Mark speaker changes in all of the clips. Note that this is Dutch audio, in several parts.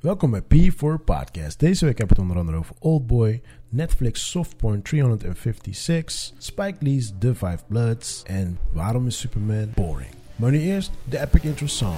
Speaker 1: Welkom bij P4 Podcast. Deze week heb ik het onder andere over Oldboy, Netflix Softporn 356, Spike Lee's The Five Bloods en waarom is Superman boring. Maar nu eerst de epic intro song.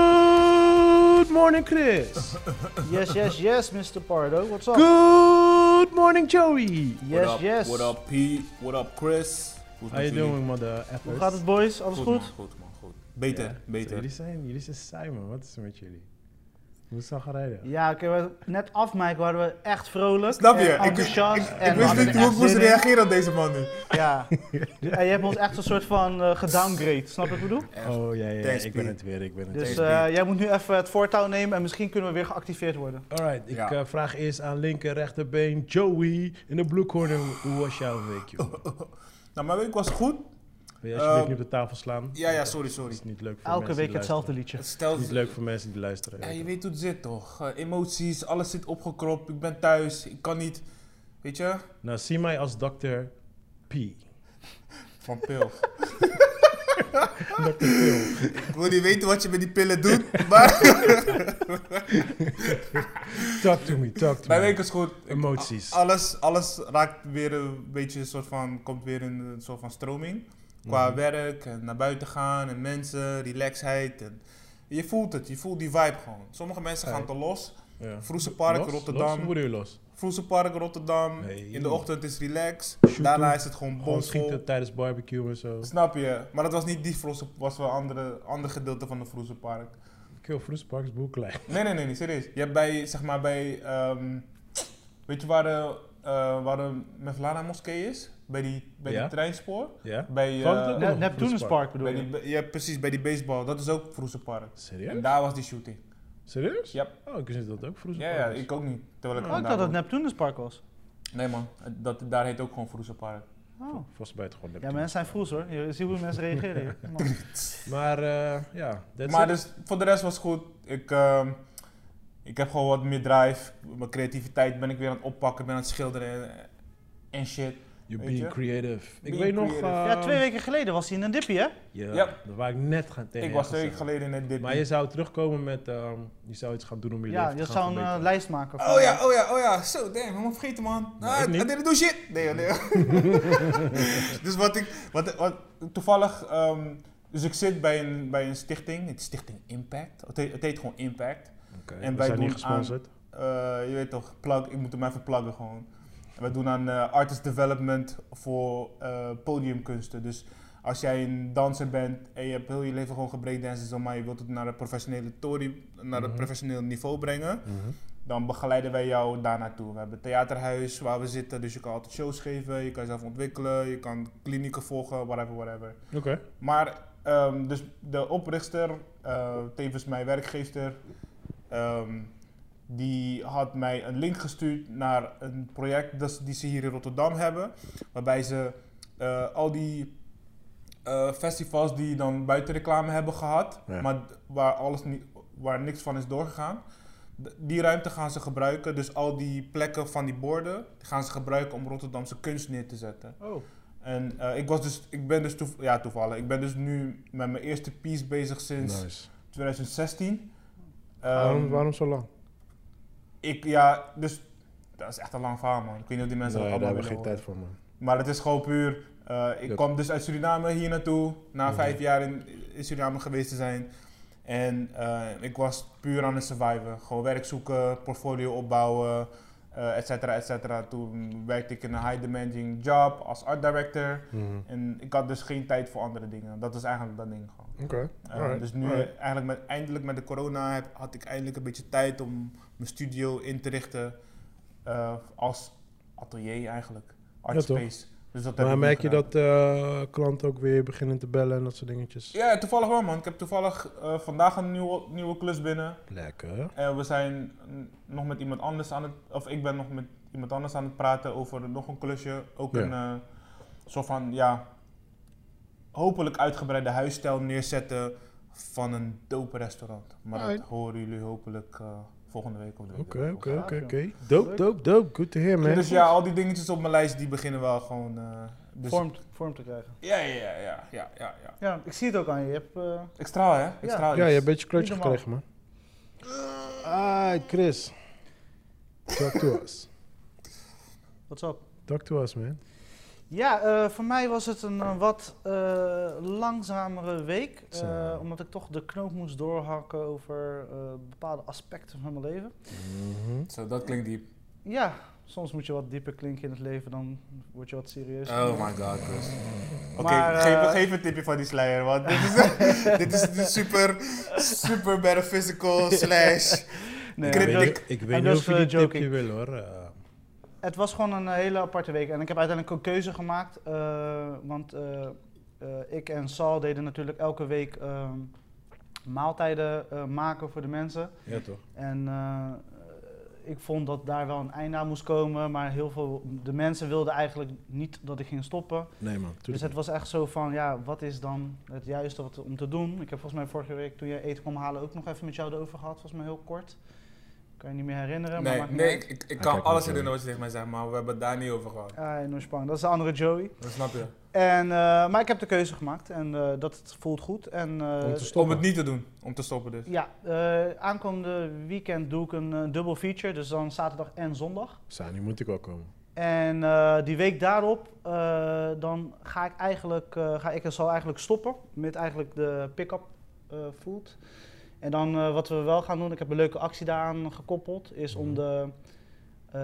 Speaker 1: Good morning Chris.
Speaker 2: Yes, yes, yes, Mr. Pardo. What's
Speaker 3: Oh.
Speaker 2: up?
Speaker 1: Good morning Joey.
Speaker 2: Yes,
Speaker 4: what up,
Speaker 2: yes.
Speaker 4: What up, Pete? What up, Chris? Hoe is
Speaker 3: How you
Speaker 4: het met jullie?
Speaker 3: doing, mother effers?
Speaker 2: Hoe gaat het, boys? Alles
Speaker 4: Goed,
Speaker 2: goed?
Speaker 4: man, goed, man, goed. Beter,
Speaker 3: Ja. Zo,
Speaker 4: beter.
Speaker 3: Jullie zijn, jullie zijn saai, man. Wat is er met jullie? Hoe zag het rijden?
Speaker 2: Ja, oké, we- net af, Mike, waren we echt vrolijk.
Speaker 4: Snap je?
Speaker 2: En
Speaker 4: Ik-
Speaker 2: enthousiast. en
Speaker 4: Ik
Speaker 2: we
Speaker 4: wist
Speaker 2: hadden
Speaker 4: niet
Speaker 2: er
Speaker 4: hoe ik
Speaker 2: echt
Speaker 4: moest
Speaker 2: zin in.
Speaker 4: reageren op deze man nu.
Speaker 2: Ja. En je hebt ons echt een soort van eh gedowngrade. Snap je wat ik bedoel?
Speaker 3: Oh ja, ja, ja,
Speaker 4: Thanks,
Speaker 3: ik ben
Speaker 4: Pete.
Speaker 3: het weer, ik ben het
Speaker 2: Dus
Speaker 3: weer.
Speaker 2: eh, jij moet nu even het voortouw nemen en misschien kunnen we weer geactiveerd worden.
Speaker 3: Alright, ik
Speaker 4: ja.
Speaker 3: eh, vraag eerst aan linker, rechterbeen, Joey in de blue corner. Hoe was jouw week, joh?
Speaker 4: Nou, mijn week was goed.
Speaker 3: Wil je alsjeblieft
Speaker 4: Eh,
Speaker 3: niet op de tafel slaan?
Speaker 4: Ja, ja,
Speaker 3: Dat
Speaker 4: sorry, sorry.
Speaker 3: is niet leuk voor
Speaker 2: Elke
Speaker 3: mensen
Speaker 2: week
Speaker 3: die
Speaker 2: hetzelfde
Speaker 3: luisteren.
Speaker 2: liedje.
Speaker 4: Het stelt...
Speaker 3: Niet leuk voor mensen die luisteren.
Speaker 4: Ja,
Speaker 3: weet
Speaker 4: je
Speaker 3: je.
Speaker 4: weet hoe het zit, toch? Eh, emoties, alles zit opgekropt. Ik ben thuis, ik kan niet... Weet je?
Speaker 3: Nou, zie mij als Dr. P.
Speaker 4: Van pil.
Speaker 3: Dr. Phil.
Speaker 4: ik wil niet weten wat je met die pillen doet, maar...
Speaker 3: Talk to me, talk to
Speaker 4: mijn
Speaker 3: me.
Speaker 4: week is goed. Ik-
Speaker 3: Emoties.
Speaker 4: a- alles, alles raakt weer een beetje een soort van... Komt weer in een soort van stroming. Qua
Speaker 3: Mhm.
Speaker 4: werk en naar buiten gaan en mensen, relaxheid. En je voelt het, je voelt die vibe gewoon. Sommige mensen gaan te los.
Speaker 3: Ja.
Speaker 4: Vroese Park,
Speaker 3: Los? Los? Hoe
Speaker 4: Rotterdam.
Speaker 3: bedoel je los?
Speaker 4: Vroese Park, Rotterdam.
Speaker 3: Nee.
Speaker 4: In de ochtend is relax.
Speaker 3: Shooten.
Speaker 4: Daarna is het gewoon
Speaker 3: Gewoon
Speaker 4: bomvol.
Speaker 3: schieten tijdens barbecue en zo.
Speaker 4: Snap je? Maar dat was niet die Vroese, was wel een andere, ander gedeelte van de Vroese Park.
Speaker 3: Kill Vroesparks, is boeklijn.
Speaker 4: Nee, nee, nee, nee, serieus. Je hebt bij, zeg maar, bij, ehm, weet je waar de, eh waar de Mevlana moskee is? Bij die, bij
Speaker 3: Ja.
Speaker 4: die treinspoor?
Speaker 3: Ja?
Speaker 4: Bij, eh,
Speaker 3: Valt het ook
Speaker 2: Ne
Speaker 3: nog een
Speaker 2: Neptunuspark bedoel
Speaker 4: bij
Speaker 2: je?
Speaker 4: die, ja, precies, bij die baseball. Dat is ook Vroese Park. En
Speaker 3: Serieus?
Speaker 4: daar was die shooting.
Speaker 3: Serieus?
Speaker 4: Ja.
Speaker 3: Oh, ik wist dat ook vroeger.
Speaker 4: Ja, ja, ik ook niet. Terwijl ik
Speaker 2: Oh, ik
Speaker 4: vandaag
Speaker 2: dacht dat het
Speaker 4: was.
Speaker 2: Neptunuspark was.
Speaker 4: Nee man, dat, daar heet ook gewoon Vroese Park.
Speaker 2: Oh.
Speaker 3: Volgens mij het gewoon
Speaker 2: Ja,
Speaker 3: Neptunus.
Speaker 2: mensen zijn vroeg hoor. Je ziet hoe mensen reageren. hier. Man.
Speaker 3: Maar eh, ja, that's
Speaker 4: maar
Speaker 3: it.
Speaker 4: dus, voor de rest was het goed. Ik, ehm, ik heb gewoon wat meer drive. Mijn creativiteit ben ik weer aan het oppakken, ben aan het schilderen en, en shit.
Speaker 3: You're
Speaker 4: dus- weet
Speaker 3: being
Speaker 4: je?
Speaker 3: creative. Ik
Speaker 4: Being
Speaker 3: weet nog...
Speaker 4: creative.
Speaker 3: eh,
Speaker 2: Ja, twee weken geleden was hij in een dippie, hè?
Speaker 3: Ja,
Speaker 4: Ja.
Speaker 3: dat waar ik net gaan tegen
Speaker 4: ik
Speaker 3: je
Speaker 4: was twee
Speaker 3: gezegd.
Speaker 4: weken geleden in het dip.
Speaker 3: Maar je zou terugkomen met... ehm, je zou iets gaan doen om je
Speaker 2: Ja,
Speaker 3: leven te
Speaker 2: je
Speaker 3: gaan
Speaker 2: zou een eh,
Speaker 3: verbeteren.
Speaker 2: lijst maken. van-
Speaker 4: Oh ja, oh ja, oh ja. Zo, damn, helemaal vergeten man.
Speaker 3: Nee,
Speaker 4: ah,
Speaker 3: ik
Speaker 4: I
Speaker 3: niet.
Speaker 4: didn't do shit. Nee, nee. dus wat ik, wat, wat, toevallig, ehm, dus ik zit bij een, bij een stichting, het is Stichting Impact. Het heet, het heet gewoon Impact.
Speaker 3: Oké,
Speaker 4: en
Speaker 3: we
Speaker 4: wij
Speaker 3: zijn niet
Speaker 4: doen aan-
Speaker 3: gesponsord.
Speaker 4: Eh, je weet toch, plug, ik moet hem even pluggen gewoon. En we doen aan eh, artist development voor eh, podiumkunsten. Dus als jij een danser bent en je hebt heel je leven gewoon gebreakdances maar je wilt het naar een professionele tori, naar een
Speaker 3: Mhm.
Speaker 4: professioneel niveau brengen,
Speaker 3: Mhm.
Speaker 4: dan begeleiden wij jou daar naartoe. We hebben een theaterhuis waar we zitten, dus je kan altijd shows geven, je kan jezelf ontwikkelen, je kan klinieken volgen, whatever, whatever.
Speaker 3: Oké.
Speaker 4: Maar, ehm, dus de oprichter, eh, tevens mijn werkgever, ehm, die had mij een link gestuurd naar een project dat ze- die ze hier in Rotterdam hebben. Waarbij ze eh, al die eh, festivals die dan buiten reclame hebben gehad,
Speaker 3: Ja.
Speaker 4: maar d- waar, alles niet, waar niks van is doorgegaan. d- Die ruimte gaan ze gebruiken, dus al die plekken van die borden gaan ze gebruiken om Rotterdamse kunst neer te zetten.
Speaker 2: Oh.
Speaker 4: En eh, ik, was dus, ik ben dus toev- ja, toevallig, ik ben dus nu met mijn eerste piece bezig sinds
Speaker 3: Nice.
Speaker 4: 2016.
Speaker 3: waarom,
Speaker 4: Ehm,
Speaker 3: waarom zo lang?
Speaker 4: Ik, ja, dus dat is echt een lang verhaal man. Ik weet niet of die mensen
Speaker 3: Nee,
Speaker 4: dat
Speaker 3: daar hebben
Speaker 4: allemaal
Speaker 3: we geen
Speaker 4: willen
Speaker 3: tijd voor, man.
Speaker 4: horen. Maar het is gewoon puur, eh, ik
Speaker 3: Ja.
Speaker 4: kwam dus uit Suriname hier naartoe, na
Speaker 3: Mhm.
Speaker 4: vijf jaar in, in Suriname geweest te zijn. En eh, ik was puur aan het surviven. Gewoon werk zoeken, portfolio opbouwen, eh et cetera, et cetera. Toen werkte ik in een high demanding job als art director.
Speaker 3: Mhm.
Speaker 4: En ik had dus geen tijd voor andere dingen. Dat is eigenlijk dat ding gewoon.
Speaker 3: Mhm. Oké,
Speaker 4: Eh,
Speaker 3: alright,
Speaker 4: dus nu
Speaker 3: alright.
Speaker 4: eigenlijk met, eindelijk met de corona heb, had ik eindelijk een beetje tijd om mijn studio in te richten eh, als atelier eigenlijk.
Speaker 3: Ja,
Speaker 4: Art
Speaker 3: toch?
Speaker 4: space. Dus dat heb
Speaker 3: Maar
Speaker 4: ik nu
Speaker 3: merk je
Speaker 4: gedaan.
Speaker 3: dat eh, klanten ook weer beginnen te bellen en dat soort dingetjes?
Speaker 4: Ja, toevallig wel man. Ik heb toevallig eh, vandaag een nieuwe, nieuwe klus binnen.
Speaker 3: Lekker.
Speaker 4: Eh, En we zijn mm, nog met iemand anders aan het... Of ik ben nog met iemand anders aan het praten over nog een klusje. Ook
Speaker 3: Ja.
Speaker 4: een eh, soort van, ja, hopelijk uitgebreide huisstijl neerzetten van een dope restaurant. Maar dat
Speaker 3: Alright.
Speaker 4: horen jullie hopelijk eh, volgende week of de week
Speaker 3: Oké,
Speaker 4: erop.
Speaker 3: oké, oké, oké. Dope, dope, dope. Good to hear, man.
Speaker 4: Dus ja, al die dingetjes op mijn lijst, die beginnen wel gewoon... eh, dus-
Speaker 2: Vorm, vorm te krijgen.
Speaker 4: Ja, ja, ja, ja, ja, ja.
Speaker 2: Ja, ik zie het ook aan je. Je hebt, eh,
Speaker 4: Ik straal, hè? Ik
Speaker 2: Ja.
Speaker 4: straal
Speaker 3: Ja, je
Speaker 4: iets.
Speaker 3: hebt een beetje klutje
Speaker 2: Niet normaal.
Speaker 3: gekregen, man. Ah, Chris. Talk to us.
Speaker 2: what's up?
Speaker 3: Talk to us, man.
Speaker 2: Ja, eh, voor mij was het een eh, wat eh, langzamere week. eh,
Speaker 3: Zo.
Speaker 2: omdat ik toch de knoop moest doorhakken over eh, bepaalde aspecten van mijn leven.
Speaker 4: Zo, dat klinkt diep.
Speaker 2: Ja, soms moet je wat dieper klinken in het leven, dan word je wat serieus.
Speaker 4: Oh my god, Chris. Oké,
Speaker 2: Maar, eh,
Speaker 4: geef, geef een tipje van die slayer, want dit is, dit is de super, super metaphysical slash.
Speaker 2: Nee,
Speaker 4: Krip-
Speaker 2: ja,
Speaker 4: weet-
Speaker 3: ik
Speaker 2: weet niet of je
Speaker 4: eh,
Speaker 2: die tipje
Speaker 3: wil, hoor. Eh,
Speaker 2: Het was gewoon een eh, hele aparte week. En ik heb uiteindelijk een keuze gemaakt. eh, want eh, eh, ik en Sal deden natuurlijk elke week ehm, maaltijden eh, maken voor de mensen.
Speaker 3: Ja, toch?
Speaker 2: En eh, ik vond dat daar wel een einde aan moest komen. Maar heel veel, de mensen wilden eigenlijk niet dat ik ging stoppen.
Speaker 3: Nee, man.
Speaker 2: Dus het was echt zo van, ja, wat is dan het juiste wat, om te doen? Ik heb volgens mij vorige week, toen je eten kwam halen, ook nog even met jou erover gehad. Volgens mij heel kort. Kan je niet meer herinneren. maar
Speaker 4: Nee,
Speaker 2: maakt niet
Speaker 4: nee,
Speaker 2: uit.
Speaker 4: ik, ik- ik
Speaker 3: Hij
Speaker 4: kan
Speaker 3: kijkt
Speaker 4: alles
Speaker 3: niet zo.
Speaker 4: herinneren wat je tegen mij zegt, maar we hebben het daar niet over gehad.
Speaker 2: Ah, no spang. Dat is de andere Joey.
Speaker 4: Dat snap je.
Speaker 2: En, eh, maar ik heb de keuze gemaakt en eh, dat voelt goed. En, eh,
Speaker 3: Om te stoppen.
Speaker 4: Om het niet te doen, om te stoppen dus.
Speaker 2: ja, eh, aankomende weekend doe ik een eh, dubbel feature, dus dan zaterdag en zondag.
Speaker 3: Sa, nu moet ik wel komen.
Speaker 2: En eh, die week daarop, eh, dan ga ik eigenlijk, eh, ga ik en zal eigenlijk stoppen met eigenlijk de pick-up eh, food. En dan eh, wat we wel gaan doen, ik heb een leuke actie daaraan gekoppeld, is
Speaker 3: Mhm.
Speaker 2: om de, eh,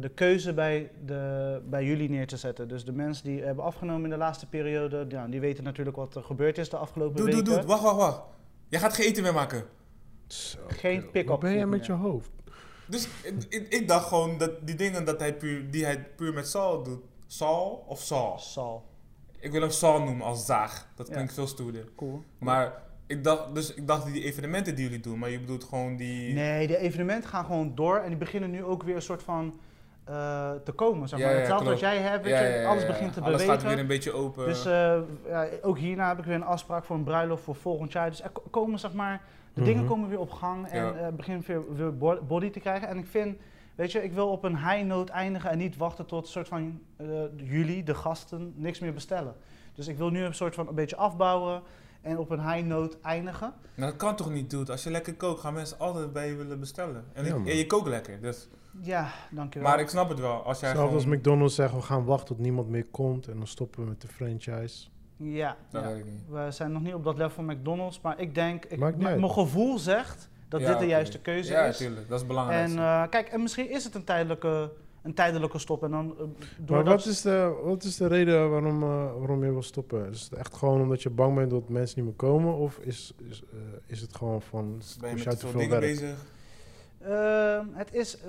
Speaker 2: de keuze bij, de, bij jullie neer te zetten. Dus de mensen die hebben afgenomen in de laatste periode, ja, die weten natuurlijk wat er gebeurd is de afgelopen
Speaker 4: Doe, doe,
Speaker 2: weken.
Speaker 4: doe. Wacht, wacht, wacht. Jij gaat geen eten meer maken.
Speaker 3: Zo,
Speaker 2: Geen
Speaker 3: kerel.
Speaker 2: pick-up
Speaker 3: Wat ben jij
Speaker 2: food
Speaker 3: met
Speaker 2: meer.
Speaker 4: Oh,
Speaker 3: je hoofd?
Speaker 4: Dus ik, ik, ik dacht gewoon dat die dingen dat hij puur, die hij puur met Saul doet. Saul of Saul?
Speaker 2: Sal,
Speaker 4: Ik wil hem Saul noemen als zaag. Dat
Speaker 2: Ja.
Speaker 4: klinkt veel stoerder.
Speaker 2: cool.
Speaker 4: Maar ik dacht, dus ik dacht die evenementen die jullie doen, maar je bedoelt gewoon die...
Speaker 2: Nee, de evenementen gaan gewoon door en die beginnen nu ook weer een soort van eh, te komen. Zeg
Speaker 4: Ja,
Speaker 2: maar.
Speaker 4: ja,
Speaker 2: Hetzelfde wat
Speaker 4: klopt.
Speaker 2: jij hebt, weet
Speaker 4: Ja,
Speaker 2: je,
Speaker 4: ja, ja,
Speaker 2: alles
Speaker 4: ja,
Speaker 2: begint te
Speaker 4: Alles gaat
Speaker 2: bewegen.
Speaker 4: weer een beetje open.
Speaker 2: Dus eh, ja, ook hierna heb ik weer een afspraak voor een bruiloft voor volgend jaar. Dus er ko- komen zeg maar, de dingen
Speaker 3: Mhm.
Speaker 2: komen weer op gang en
Speaker 4: Ja.
Speaker 2: eh, het begint weer, weer bo- body te krijgen. En ik vind, weet je, ik wil op een high note eindigen en niet wachten tot een soort van eh, jullie, de gasten, niks meer bestellen. Dus ik wil nu een soort van een beetje afbouwen en op een high note eindigen.
Speaker 4: Nou, dat kan toch niet, dude? Als je lekker kookt, gaan mensen altijd bij je willen bestellen. En,
Speaker 3: Ja,
Speaker 4: ik-
Speaker 3: man.
Speaker 4: en je kookt lekker, dus...
Speaker 2: Ja, dankjewel.
Speaker 4: Maar ik snap het wel, als jij
Speaker 3: Zelfs als
Speaker 4: gewoon...
Speaker 3: McDonald's zegt, we gaan wachten tot niemand meer komt. En dan stoppen we met de franchise.
Speaker 2: Ja,
Speaker 4: Dat
Speaker 2: ja.
Speaker 4: weet ik niet.
Speaker 2: We zijn nog niet op dat level van McDonald's, maar ik denk, ik,
Speaker 3: Maakt niet
Speaker 2: m-
Speaker 3: uit.
Speaker 2: mijn gevoel zegt dat
Speaker 4: Ja,
Speaker 2: dit de
Speaker 4: oké.
Speaker 2: juiste keuze
Speaker 4: ja,
Speaker 2: is.
Speaker 4: tuurlijk. Dat is
Speaker 2: En
Speaker 4: belangrijk.
Speaker 2: eh, kijk, en misschien is het een tijdelijke, een tijdelijke stop en dan eh,
Speaker 3: Maar
Speaker 2: door
Speaker 3: wat
Speaker 2: dat...
Speaker 3: is, de, wat is de reden waarom, eh, waarom je wil stoppen? Is het echt gewoon omdat je bang bent dat mensen niet meer komen? Of is, is, eh, is het gewoon van, is
Speaker 4: Dus ben je
Speaker 3: jij
Speaker 4: met
Speaker 3: te
Speaker 4: veel
Speaker 3: veel
Speaker 4: dingen
Speaker 3: werk?
Speaker 4: bezig?
Speaker 2: Eh, het is, eh,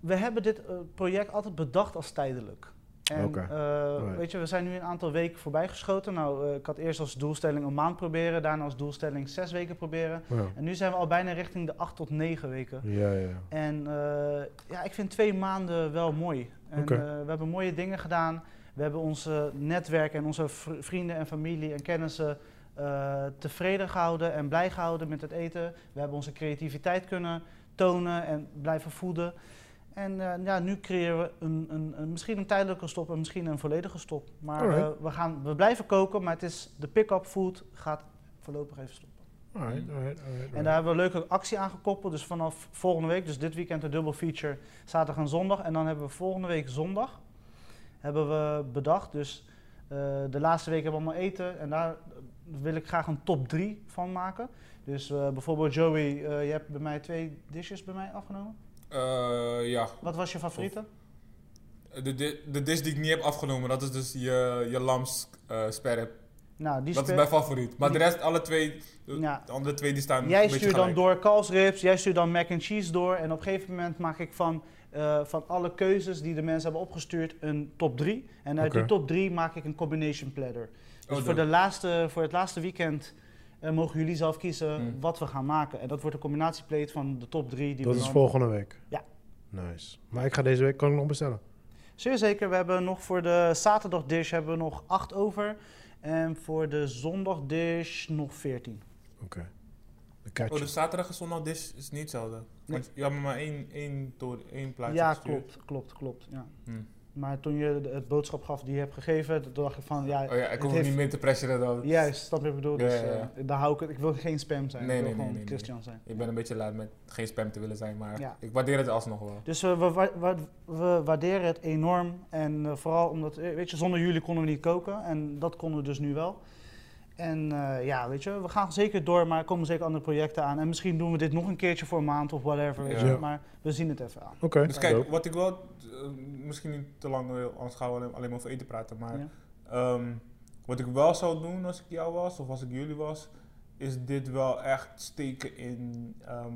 Speaker 2: we hebben dit eh, project altijd bedacht als tijdelijk. En
Speaker 3: Oké.
Speaker 2: eh,
Speaker 3: Alright.
Speaker 2: weet je, we zijn nu een aantal weken voorbijgeschoten. Nou, eh, ik had eerst als doelstelling een maand proberen, daarna als doelstelling zes weken proberen.
Speaker 3: Ja,
Speaker 2: En nu zijn we al bijna richting de acht tot negen weken.
Speaker 3: ja, ja.
Speaker 2: En eh, ja, ik vind twee maanden wel mooi. En,
Speaker 3: Oké.
Speaker 2: eh, we hebben mooie dingen gedaan. We hebben onze netwerk en onze vr- vrienden en familie en kennissen eh, tevreden gehouden en blij gehouden met het eten. We hebben onze creativiteit kunnen tonen en blijven voeden. En eh, ja, nu creëren we een, een, een- misschien een tijdelijke stop en misschien een volledige stop. Maar eh,
Speaker 3: Alright.
Speaker 2: we, gaan, we blijven koken, maar het is, de pick-up food gaat voorlopig even stoppen.
Speaker 3: Alright, alright, alright,
Speaker 2: En daar hebben we een leuke actie aan gekoppeld. Dus vanaf volgende week, dus dit weekend de dubbel feature, zaterdag en zondag. En dan hebben we volgende week zondag, hebben we bedacht. Dus eh, de laatste week hebben we allemaal eten. En daar wil ik graag een top 3 van maken. Dus eh, bijvoorbeeld Joey, eh, je hebt bij mij twee dishes bij mij afgenomen.
Speaker 4: Eh, ja.
Speaker 2: Wat was je favoriete?
Speaker 4: De, de, de dish die ik niet heb afgenomen, dat is dus je, je lams eh sperp.
Speaker 2: Nou, die
Speaker 4: Dat is
Speaker 2: spe-
Speaker 4: mijn favoriet. Maar de
Speaker 2: die-
Speaker 4: rest, alle twee, de,
Speaker 2: Ja.
Speaker 4: de andere twee die staan
Speaker 2: Jij
Speaker 4: een beetje
Speaker 2: stuurt dan
Speaker 4: gelijk.
Speaker 2: door kalfsribs, jij stuurt dan mac and cheese door. En op een gegeven moment maak ik van, eh, van alle keuzes die de mensen hebben opgestuurd een top 3. En uit
Speaker 3: Oké.
Speaker 2: die top 3 maak ik een combination platter. Dus
Speaker 4: Oh,
Speaker 2: voor,
Speaker 4: dope.
Speaker 2: de laatste, voor het laatste weekend eh, mogen jullie zelf kiezen
Speaker 4: Hmm.
Speaker 2: wat we gaan maken. En dat wordt een combinatieplate van de top 3 die
Speaker 3: dat
Speaker 2: we
Speaker 3: is
Speaker 2: dan-
Speaker 3: volgende week.
Speaker 2: Ja.
Speaker 3: Nice. Maar ik ga deze week, kan ik nog bestellen?
Speaker 2: Zeer zeker, we hebben nog voor de zaterdagdish hebben we nog 8 over. En voor de zondagdish nog 14.
Speaker 3: Een
Speaker 4: Oh,
Speaker 3: kaartje.
Speaker 4: de zaterdag en zondag dish is niet hetzelfde. Want je had me maar één, één, door, één plaatje
Speaker 2: ja,
Speaker 4: gestuurd.
Speaker 2: klopt, klopt, klopt. Ja.
Speaker 4: Hmm.
Speaker 2: Maar toen je de- het boodschap gaf die je hebt gegeven, toen dacht ik van ja,
Speaker 4: Oh ja, ik
Speaker 2: het
Speaker 4: hoef
Speaker 2: heeft-
Speaker 4: niet meer te pressuren dan.
Speaker 2: Juist, snap je wat ik bedoel?
Speaker 4: Ja,
Speaker 2: Dus,
Speaker 4: ja, ja.
Speaker 2: eh, daar hou ik het. Ik wil geen spam zijn.
Speaker 4: Nee,
Speaker 2: ik wil
Speaker 4: nee, nee,
Speaker 2: gewoon
Speaker 4: nee, nee.
Speaker 2: Christian zijn.
Speaker 4: Ik ben een beetje laat met geen spam te willen zijn, maar
Speaker 2: Ja.
Speaker 4: ik waardeer het alsnog wel.
Speaker 2: Dus eh, we, wa- wa- we waarderen het enorm. En eh, vooral omdat, eh, weet je, zonder jullie konden we niet koken. En dat konden we dus nu wel. En eh, ja, weet je, we gaan zeker door, maar er komen zeker andere projecten aan. En misschien doen we dit nog een keertje voor een maand of whatever. weet je,
Speaker 3: Ja.
Speaker 2: Maar we zien het even aan.
Speaker 3: Oké.
Speaker 4: Dus kijk,
Speaker 3: dope.
Speaker 4: wat ik wel, eh, misschien niet te lang wil, anders gaan we alleen- alleen maar over eten praten, maar
Speaker 2: Ja.
Speaker 4: ehm, wat ik wel zou doen als ik jou was, of als ik jullie was, is dit wel echt steken in, ehm,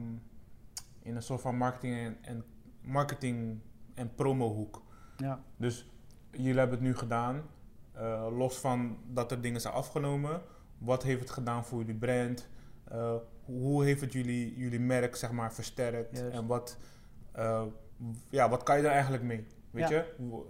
Speaker 4: in een soort van marketing en, en marketing en promo hoek.
Speaker 2: Ja.
Speaker 4: Dus jullie hebben het nu gedaan. Eh, los van dat er dingen zijn afgenomen. Wat heeft het gedaan voor jullie brand? Eh, hoe heeft het jullie, jullie merk zeg maar, versterkt?
Speaker 2: Juist.
Speaker 4: En wat, eh, w- ja, wat kan je daar eigenlijk mee? Weet
Speaker 2: Ja.
Speaker 4: je? Wo-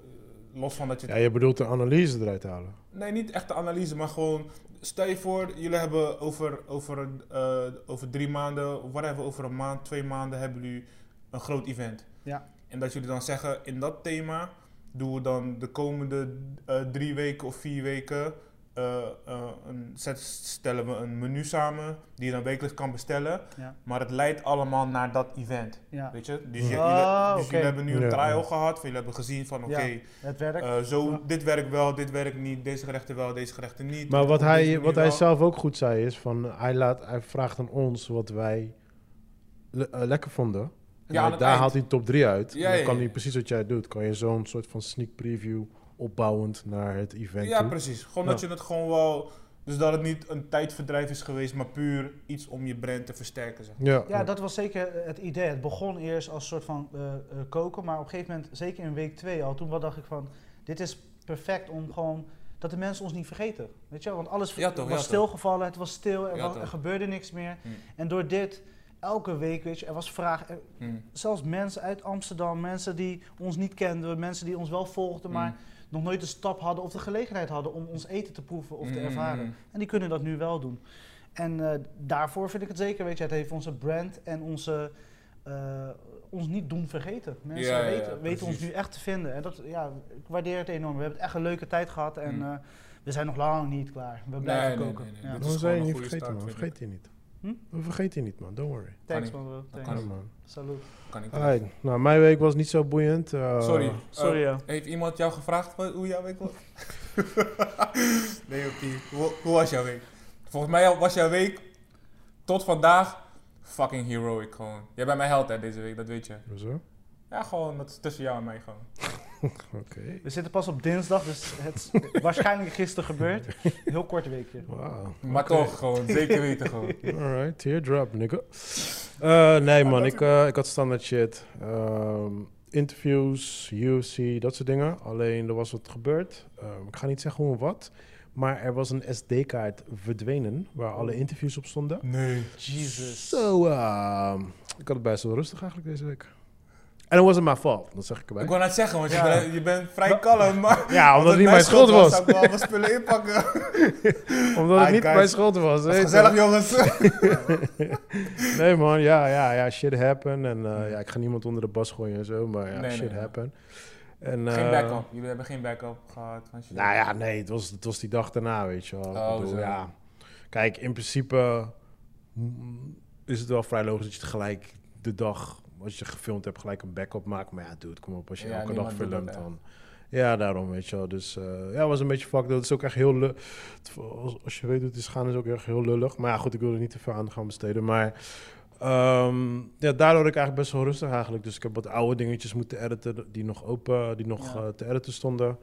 Speaker 4: eh, Los van dat je...
Speaker 3: Ja, je bedoelt de analyse eruit halen.
Speaker 4: Nee, niet echt de analyse, maar gewoon... Stel je voor, jullie hebben over, over, een, eh, over drie maanden... Of whatever, over een maand, twee maanden hebben jullie een groot event.
Speaker 2: Ja.
Speaker 4: En dat jullie dan zeggen, in dat thema doen we dan de komende eh, drie weken of vier weken. eh, eh, een, zet- stellen we een menu samen die je dan wekelijks kan bestellen.
Speaker 2: Ja.
Speaker 4: Maar het leidt allemaal naar dat event.
Speaker 2: Ja,
Speaker 4: Weet je? Dus, je,
Speaker 2: Ah,
Speaker 4: jullie- dus
Speaker 2: oké.
Speaker 4: jullie hebben nu een
Speaker 3: Ja,
Speaker 4: trial
Speaker 3: ja.
Speaker 4: gehad. Jullie hebben gezien van oké,
Speaker 2: Ja. het werkt.
Speaker 4: eh, zo,
Speaker 2: Ja.
Speaker 4: dit werkt wel, dit werkt niet. Deze gerechten wel, deze gerechten niet.
Speaker 3: Maar wat
Speaker 4: Op deze
Speaker 3: hij,
Speaker 4: manier
Speaker 3: wat hij
Speaker 4: wel.
Speaker 3: zelf ook goed zei is van eh, hij, laat, hij vraagt aan ons wat wij le- eh, lekker vonden. En
Speaker 4: Ja, aan
Speaker 3: hij-
Speaker 4: het
Speaker 3: daar
Speaker 4: eind.
Speaker 3: haalt hij top 3 uit.
Speaker 4: Ja,
Speaker 3: En dan
Speaker 4: ja,
Speaker 3: kan
Speaker 4: ja.
Speaker 3: hij precies wat jij doet. Kan je zo'n soort van sneak preview opbouwend naar het event
Speaker 4: Ja,
Speaker 3: toe.
Speaker 4: precies. Gewoon
Speaker 3: Ja.
Speaker 4: dat je het gewoon wel... Dus dat het niet een tijdverdrijf is geweest, maar puur iets om je brand te versterken. Zeg.
Speaker 3: Ja,
Speaker 2: Ja, dat was zeker het idee. Het begon eerst als een soort van eh, eh, koken, maar op een gegeven moment, zeker in week 2 al, toen wel dacht ik van, dit is perfect om gewoon, dat de mensen ons niet vergeten. Weet je wel, want alles
Speaker 4: Ja, toch,
Speaker 2: was
Speaker 4: ja,
Speaker 2: stilgevallen, het was stil, er,
Speaker 4: Ja,
Speaker 2: wa- er
Speaker 4: toch.
Speaker 2: gebeurde niks meer.
Speaker 4: Hm.
Speaker 2: En door dit, elke week, weet je, er was vraag, er-
Speaker 4: Hm.
Speaker 3: Hmm.
Speaker 2: zelfs mensen uit Amsterdam, mensen die ons niet kenden, mensen die ons wel volgden,
Speaker 4: Mm.
Speaker 2: maar nog nooit de stap hadden of de gelegenheid hadden om ons eten te proeven of te
Speaker 3: Hmm.
Speaker 4: Mm,
Speaker 2: ervaren.
Speaker 4: mm, mm.
Speaker 2: En die kunnen dat nu wel doen. En eh, daarvoor vind ik het zeker, weet je, het heeft onze brand en onze, eh, ons niet doen vergeten. Mensen
Speaker 4: Ja, ja, ja,
Speaker 2: weten, weten ons
Speaker 4: precies.
Speaker 2: nu echt te vinden. En dat, ja, ik waardeer het enorm. We hebben echt een leuke tijd gehad en
Speaker 4: Mm.
Speaker 2: eh, we zijn nog lang niet klaar. We blijven
Speaker 4: nee,
Speaker 2: koken.
Speaker 4: nee, nee.
Speaker 2: Ja.
Speaker 4: Dat is
Speaker 3: Dan zijn
Speaker 4: gewoon
Speaker 3: je
Speaker 4: een
Speaker 3: niet
Speaker 4: goede
Speaker 3: vergeten,
Speaker 4: start,
Speaker 3: man.
Speaker 4: vind ik.
Speaker 3: Vergeet je niet.
Speaker 2: Hm?
Speaker 3: We vergeten je niet, man. Don't worry.
Speaker 2: Thanks
Speaker 4: Kan
Speaker 2: man, bro.
Speaker 4: kan Oh.
Speaker 2: Thanks.
Speaker 3: Ja, man.
Speaker 2: Salut.
Speaker 4: Kan ik niet.
Speaker 3: Alright. Nou, mijn week was niet zo boeiend. Eh,
Speaker 4: Sorry.
Speaker 2: Sorry,
Speaker 4: Eh,
Speaker 2: ja.
Speaker 4: heeft iemand jou gevraagd wat- hoe jouw week was? nee, oké. Hoe, hoe was jouw week? Volgens mij was jouw week tot vandaag fucking heroic gewoon. Jij bent mijn held hè, deze week, dat weet je.
Speaker 3: Hoezo?
Speaker 4: Ja, gewoon, dat is tussen jou en mij gewoon.
Speaker 3: Oké.
Speaker 2: We zitten pas op dinsdag, dus het is waarschijnlijk gisteren gebeurd. Een heel kort weekje.
Speaker 3: Wauw.
Speaker 4: Maar toch, gewoon, zeker weten gewoon.
Speaker 3: Alright, teardrop, nigga. Eh,
Speaker 4: Ah,
Speaker 3: nee, man, ik, eh, ik had standaard shit. Ehm, interviews, UFC, dat soort dingen. Alleen er was wat gebeurd. Ehm, ik ga niet zeggen hoe en wat. Maar er was een SD-kaart verdwenen waar alle interviews op stonden.
Speaker 4: Nee.
Speaker 2: Jesus.
Speaker 3: Zo, ehm, ik had het best wel rustig eigenlijk deze week. En dat wasn't my fault, dat zeg ik erbij.
Speaker 4: Ik wou net zeggen, want je,
Speaker 2: Ja.
Speaker 4: bent, je bent vrij kalm, maar...
Speaker 3: Ja, omdat
Speaker 4: Als
Speaker 3: het niet mijn schuld was.
Speaker 4: zou ik wel allemaal spullen inpakken.
Speaker 3: Omdat het
Speaker 4: Ah,
Speaker 3: niet
Speaker 4: guys,
Speaker 3: mijn schuld was.
Speaker 4: Dat
Speaker 3: weet
Speaker 4: is
Speaker 3: je. Eh.
Speaker 4: gezellig, jongens.
Speaker 3: Nee man, ja, ja, ja, shit happen. En eh, ja, ik ga niemand onder de bas gooien en zo, maar ja,
Speaker 4: Mm. Nee, nee,
Speaker 3: shit
Speaker 4: nee.
Speaker 3: happen. En,
Speaker 4: Geen
Speaker 3: eh,
Speaker 4: backup. Jullie hebben geen backup gehad. van shit.
Speaker 3: Nou ja, nee, het was, het was die dag daarna, weet je wel. Ik
Speaker 4: Oh,
Speaker 3: bedoel,
Speaker 4: zo.
Speaker 3: ja. Kijk, in principe mm, is het wel vrij logisch dat je tegelijk de dag, als je gefilmd hebt, gelijk een backup maakt. Maar ja, dude, kom op, als je
Speaker 4: Ja,
Speaker 3: elke dag
Speaker 4: niemand doet dat,
Speaker 3: filmt
Speaker 4: hè.
Speaker 3: dan. Ja, daarom, weet je wel. Dus eh, ja, het was een beetje fucked. Dat is ook echt heel... lu- het- Als, als je weet hoe het is gaan, is het ook echt heel lullig. Maar ja, goed, ik wil er niet te veel aan gaan besteden. Maar Ehm, ja, daardoor ik eigenlijk best wel rustig eigenlijk. Dus ik heb wat oude dingetjes moeten editen die nog open, die nog
Speaker 2: Ja.
Speaker 3: eh, te editen stonden.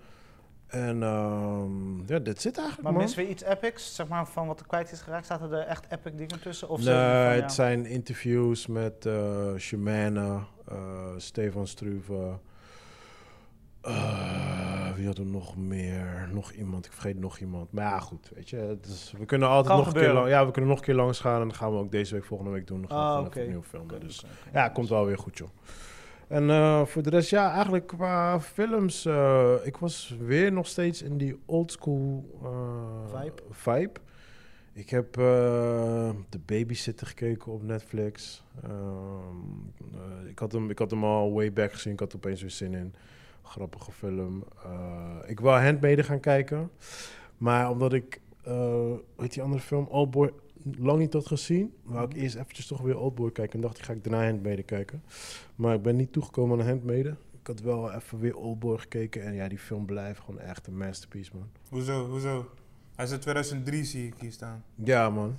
Speaker 3: En ehm, ja, dit zit eigenlijk,
Speaker 2: Maar
Speaker 3: man.
Speaker 2: missen we iets epics, zeg maar, van wat er kwijt is geraakt? Zaten er echt epic dingen tussen? Of
Speaker 3: nee,
Speaker 2: zo van, ja,
Speaker 3: het zijn interviews met eh Shemana, eh, Stefan Struve. Eh, wie had er nog meer? Nog iemand, ik vergeet nog iemand. Maar ja, goed, weet je. Het is, we kunnen altijd
Speaker 2: Kan
Speaker 3: nog een, keer
Speaker 2: gebeuren.
Speaker 3: lang, ja, we kunnen nog een keer langs gaan. En dat gaan we ook deze week, volgende week doen. Dan gaan we
Speaker 2: Ah,
Speaker 3: gewoon
Speaker 2: oké.
Speaker 3: even opnieuw filmen.
Speaker 2: Oké,
Speaker 3: Dus
Speaker 2: oké, oké.
Speaker 3: ja, komt wel weer goed, joh. En eh, voor de rest, ja, eigenlijk qua films. eh, ik was weer nog steeds in die old school eh,
Speaker 2: Vibe.
Speaker 3: vibe. Ik heb eh de babysitter gekeken op Netflix. Ehm, eh, ik, had hem, ik had hem al way back gezien. Ik had er opeens weer zin in. Grappige film. Eh, ik wil Handmaiden gaan kijken. Maar omdat ik, eh weet die andere film, Oldboy, lang niet had gezien. Wou ik eerst eventjes toch weer Oldboy kijken. En dacht ik, ga ik daarna Handmaiden kijken. Maar ik ben niet toegekomen aan Handmaiden. Ik had wel even weer Oldboy gekeken. En ja, die film blijft gewoon echt een masterpiece, man.
Speaker 5: Hoezo, hoezo? Hij is uit 2003, zie ik hier staan.
Speaker 3: Ja, man.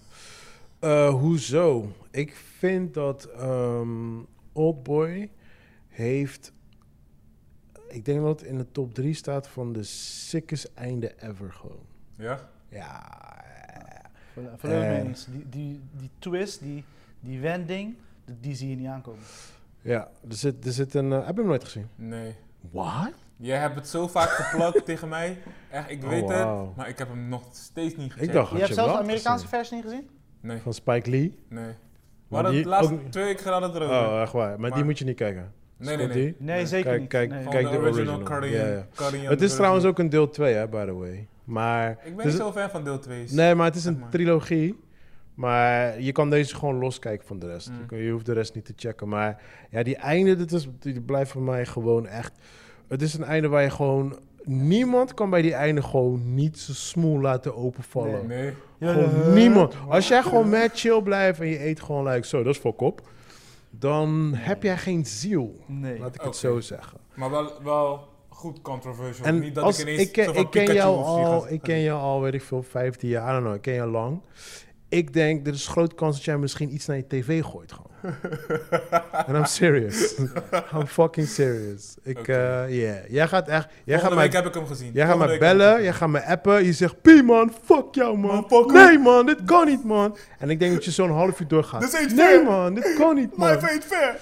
Speaker 3: Eh, hoezo? Ik vind dat ehm Oldboy heeft... Ik denk dat het in de top 3 staat van de sickest einde ever gewoon.
Speaker 5: Ja?
Speaker 3: Ja,
Speaker 2: Voor, voor de
Speaker 3: Eh.
Speaker 2: mensen, die, die, die twist, die, die wending, die, die zie je niet aankomen.
Speaker 3: Ja, er zit, er zit een... eh, heb je hem nooit gezien?
Speaker 5: Nee.
Speaker 3: What?
Speaker 5: Jij hebt het zo vaak geplakt tegen mij. Echt, ik
Speaker 3: Oh,
Speaker 5: weet
Speaker 3: wauw.
Speaker 5: het, maar ik heb hem nog steeds niet gezien.
Speaker 3: Ik dacht
Speaker 2: Je hebt
Speaker 3: je
Speaker 2: zelfs de
Speaker 3: wel
Speaker 2: Amerikaanse
Speaker 3: gezien.
Speaker 2: versie niet gezien?
Speaker 5: Nee,
Speaker 3: Van Spike Lee.
Speaker 5: nee. We
Speaker 3: Maar
Speaker 5: hadden het
Speaker 3: die
Speaker 5: laatst
Speaker 3: ook-
Speaker 5: twee weken geleden erover.
Speaker 3: Oh, echt waar. Maar, die
Speaker 5: Maar-
Speaker 3: moet je niet kijken.
Speaker 5: nee, nee,
Speaker 3: Scott
Speaker 5: nee.
Speaker 3: D.
Speaker 2: Nee,
Speaker 5: Nee.
Speaker 2: zeker
Speaker 3: Kijk,
Speaker 2: niet.
Speaker 3: kijk,
Speaker 2: nee.
Speaker 5: Gewoon
Speaker 3: kijk. de
Speaker 5: original,
Speaker 3: original.
Speaker 5: Korean-
Speaker 3: Ja, ja.
Speaker 5: Korean
Speaker 3: Het is
Speaker 5: version.
Speaker 3: trouwens ook een deel 2, hè, by the way. Maar...
Speaker 5: Ik ben
Speaker 3: dus-
Speaker 5: niet zo fan van deel 2.
Speaker 3: Nee, maar het is
Speaker 5: Zeg
Speaker 3: een
Speaker 5: maar.
Speaker 3: trilogie. Maar je kan deze gewoon loskijken van de rest.
Speaker 5: Mm.
Speaker 3: Je kan- Je hoeft de rest niet te checken. Maar ja, die einde, dat is, die blijft voor mij gewoon echt... Het is een einde waar je gewoon... Niemand kan bij die einde gewoon niet zijn smoel laten openvallen.
Speaker 5: Nee. Eh,
Speaker 2: Ja,
Speaker 3: Gewoon
Speaker 2: ja.
Speaker 3: niemand. Als jij gewoon mad chill blijft en je eet gewoon like zo, dat is voor kop. Dan heb jij geen ziel.
Speaker 2: Nee.
Speaker 3: Laat ik het
Speaker 5: Oké.
Speaker 3: zo zeggen.
Speaker 5: Maar wel, wel goed controversial.
Speaker 3: En
Speaker 5: niet dat
Speaker 3: als,
Speaker 5: ik
Speaker 3: ik,
Speaker 5: ineens
Speaker 3: ken,
Speaker 5: zo van
Speaker 3: ik ken
Speaker 5: Pikachu
Speaker 3: jou
Speaker 5: of zie
Speaker 3: al,
Speaker 5: gaan-
Speaker 3: ik ken jou al, weet ik veel, 15 jaar, I don't know, ik ken jou lang. Ik denk, er is grote kans dat jij misschien iets naar je tv gooit gewoon. En I'm serious. I'm fucking serious. Ik,
Speaker 5: Oké.
Speaker 3: eh, yeah. Jij gaat echt, jij gaat
Speaker 5: Volgende
Speaker 3: mij,
Speaker 5: week heb ik hem gezien.
Speaker 3: jij gaat
Speaker 5: Volgende
Speaker 3: mij
Speaker 5: week heb ik hem
Speaker 3: bellen, jij gaat mij appen, je zegt, P man, fuck jou man.
Speaker 5: Man, fuck
Speaker 3: nee man, dit kan niet man. En ik denk dat je zo'n half uur doorgaat.
Speaker 5: Dit is niet
Speaker 3: nee
Speaker 5: fair.
Speaker 3: man, dit kan niet man.
Speaker 5: Life ain't fair.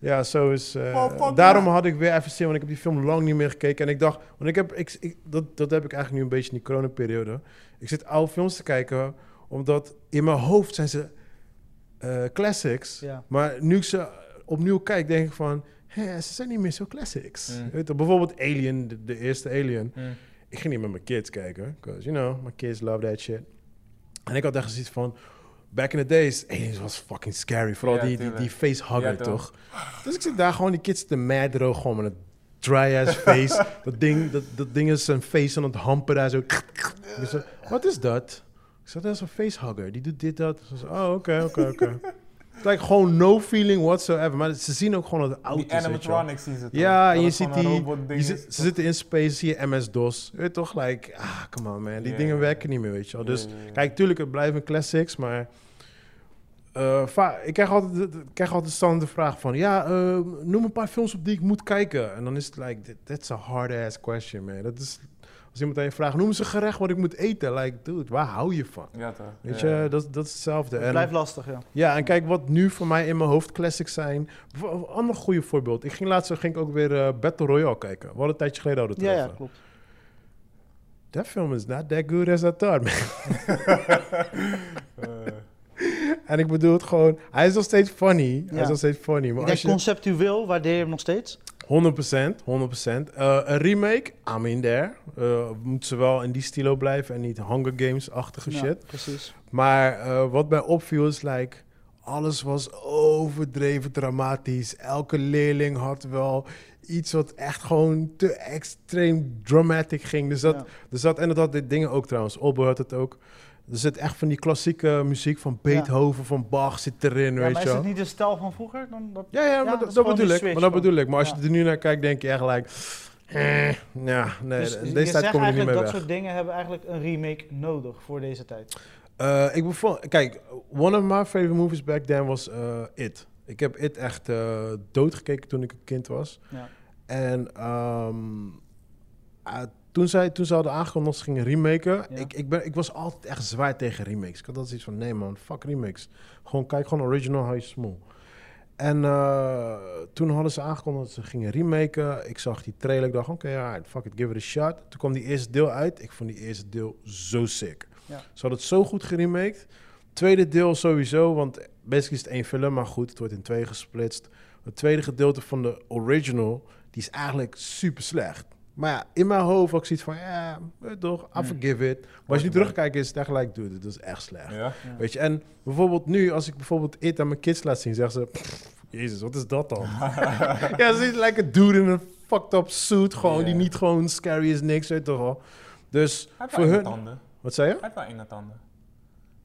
Speaker 3: Ja, zo is. eh,
Speaker 5: Man, Oh, fuck
Speaker 3: daarom
Speaker 5: ja.
Speaker 3: had ik weer even zin, want ik heb die film lang niet meer gekeken. En ik dacht, want ik heb, ik, ik- dat, dat heb ik eigenlijk nu een beetje in die coronaperiode. Ik zit oude films te kijken, omdat in mijn hoofd zijn ze eh, classics.
Speaker 2: Ja.
Speaker 3: Maar nu ik ze opnieuw kijk, denk ik van, hè, ze zijn niet meer zo classics.
Speaker 5: Mm.
Speaker 3: Je Weet je, bijvoorbeeld Alien, de, de eerste Alien.
Speaker 5: Mm.
Speaker 3: Ik ging niet met mijn kids kijken, because you know, my kids love that shit. En ik had echt zoiets van, back in the days, aliens was fucking scary. Vooral
Speaker 5: Ja,
Speaker 3: die, die,
Speaker 5: tuurlijk.
Speaker 3: die facehugger,
Speaker 5: Ja, toch.
Speaker 3: toch? Dus ik zit daar gewoon die kids te mad droog, gewoon met een dry-ass face. dat, ding, dat, dat ding is zijn face aan het hampen daar zo. Ik zo, Wat is dat? Ik zei, dat is een facehugger. Die doet dit, dat. Ze zei, oh, oké, oké, oké. Het lijkt gewoon no feeling whatsoever. Maar ze zien ook gewoon dat het oud
Speaker 5: Die
Speaker 3: is, weet je wel.
Speaker 5: animatronics zien ze toch?
Speaker 3: Ja,
Speaker 5: Dat
Speaker 3: en je
Speaker 5: het
Speaker 3: ziet
Speaker 5: gewoon een
Speaker 3: die.
Speaker 5: robotding
Speaker 3: die zi-
Speaker 5: is,
Speaker 3: ze
Speaker 5: toch?
Speaker 3: zitten in space, zie je MS-DOS. Weet je toch, like, ah, come on man. Die
Speaker 5: Ja,
Speaker 3: dingen
Speaker 5: ja.
Speaker 3: werken niet meer, weet je wel.
Speaker 5: Ja,
Speaker 3: Dus
Speaker 5: ja, ja.
Speaker 3: kijk, tuurlijk, het blijven classics, maar. eh, va- ik krijg altijd, de- de- ik krijg altijd standaard de vraag van... Ja, eh, noem een paar films op die ik moet kijken. En dan is het like, that- that's a hard-ass question, man. Dat is, als iemand aan je vraagt, noem eens een gerecht wat ik moet eten. Like, dude, waar hou je van?
Speaker 5: Ja, toch.
Speaker 3: Weet
Speaker 5: Ja.
Speaker 3: je, dat, dat is hetzelfde.
Speaker 2: Het
Speaker 3: En-
Speaker 2: blijft lastig, ja.
Speaker 3: ja, en kijk wat nu voor mij in mijn hoofd classics zijn. Bijvo- Een ander goede voorbeeld. Ik ging laatst ging ik ook weer eh, Battle Royale kijken. We hadden een tijdje geleden hadden we
Speaker 2: Ja,
Speaker 3: het
Speaker 2: ja,
Speaker 3: erover.
Speaker 2: klopt.
Speaker 3: Dat film is not that good as I thought, man.
Speaker 5: Eh,
Speaker 3: En ik bedoel het gewoon... Hij is nog steeds funny. Hij
Speaker 2: Ja.
Speaker 3: is nog steeds funny. Maar
Speaker 2: Ik
Speaker 3: als
Speaker 2: denk
Speaker 3: je... 100%,
Speaker 2: conceptueel waardeer je hem nog steeds.
Speaker 3: 100%. Eh, een remake, I'm in there. Eh, moet ze wel in die stilo blijven en niet Hunger Games-achtige
Speaker 2: Ja,
Speaker 3: shit.
Speaker 2: precies.
Speaker 3: Maar eh, wat mij opviel is, like, alles was overdreven dramatisch. Elke leerling had wel iets wat echt gewoon te extreem dramatic ging. Dus dat,
Speaker 2: Ja.
Speaker 3: dus dat, en dat had dit dingen ook trouwens. Olbo had het ook. Er zit echt van die klassieke muziek van Beethoven, van Bach zit erin,
Speaker 2: Ja,
Speaker 3: weet
Speaker 2: maar
Speaker 3: je
Speaker 2: is
Speaker 3: wel.
Speaker 2: het niet de stijl van vroeger? Dan dat...
Speaker 3: Ja, ja, maar
Speaker 2: dat
Speaker 3: dat, dat
Speaker 2: is gewoon
Speaker 3: bedoel
Speaker 2: die
Speaker 3: ik. Maar
Speaker 2: switch
Speaker 3: dat
Speaker 2: van-
Speaker 3: bedoel ik. Maar als je
Speaker 2: Ja.
Speaker 3: er nu naar kijkt, denk je echt like... eh, ja, nee,
Speaker 2: Dus
Speaker 3: in
Speaker 2: je
Speaker 3: deze tijd
Speaker 2: zegt
Speaker 3: kom je niet meer
Speaker 2: eigenlijk dat
Speaker 3: weg.
Speaker 2: soort dingen hebben eigenlijk een remake nodig voor deze tijd.
Speaker 3: Eh, ik bevond, kijk, one of my favorite movies back then was eh, It. Ik heb It echt eh, doodgekeken toen ik een kind was.
Speaker 2: Ja.
Speaker 3: En ehm, ah, toen, zij, toen ze hadden aangekondigd dat ze gingen remaken,
Speaker 2: Ja.
Speaker 3: ik, ik, ben, ik was altijd echt zwaar tegen remakes. Ik had altijd iets van, nee man, fuck remakes. Gewoon kijk gewoon original, hou je smoel. En eh, toen hadden ze aangekondigd dat ze gingen remaken. Ik zag die trailer, ik dacht, oké, alright, fuck it, give it a shot. Toen kwam die eerste deel uit. Ik vond die eerste deel zo sick.
Speaker 2: Ja.
Speaker 3: Ze hadden het zo goed geremaked. Tweede deel sowieso, want basically is het één film, maar goed, het wordt in twee gesplitst. Het tweede gedeelte van de original, die is eigenlijk super slecht. Maar ja, in mijn hoofd had ik zoiets van, ja, weet je toch, I
Speaker 5: Hmm.
Speaker 3: forgive it. Maar als je nu terugkijkt, is het echt like, dude, dit is echt slecht.
Speaker 5: Ja.
Speaker 3: Weet je, en bijvoorbeeld nu, als ik bijvoorbeeld It aan mijn kids laat zien, zeggen ze... "Pff, Jezus, wat is dat dan? ja, ze is like een dude in een fucked up suit gewoon, die
Speaker 5: Ja.
Speaker 3: niet gewoon scary is, niks, weet je toch wel. Dus
Speaker 5: Hij heeft
Speaker 3: voor
Speaker 5: wel enge
Speaker 3: hun...
Speaker 5: tanden.
Speaker 3: Wat zei je?
Speaker 5: Hij heeft wel enge tanden.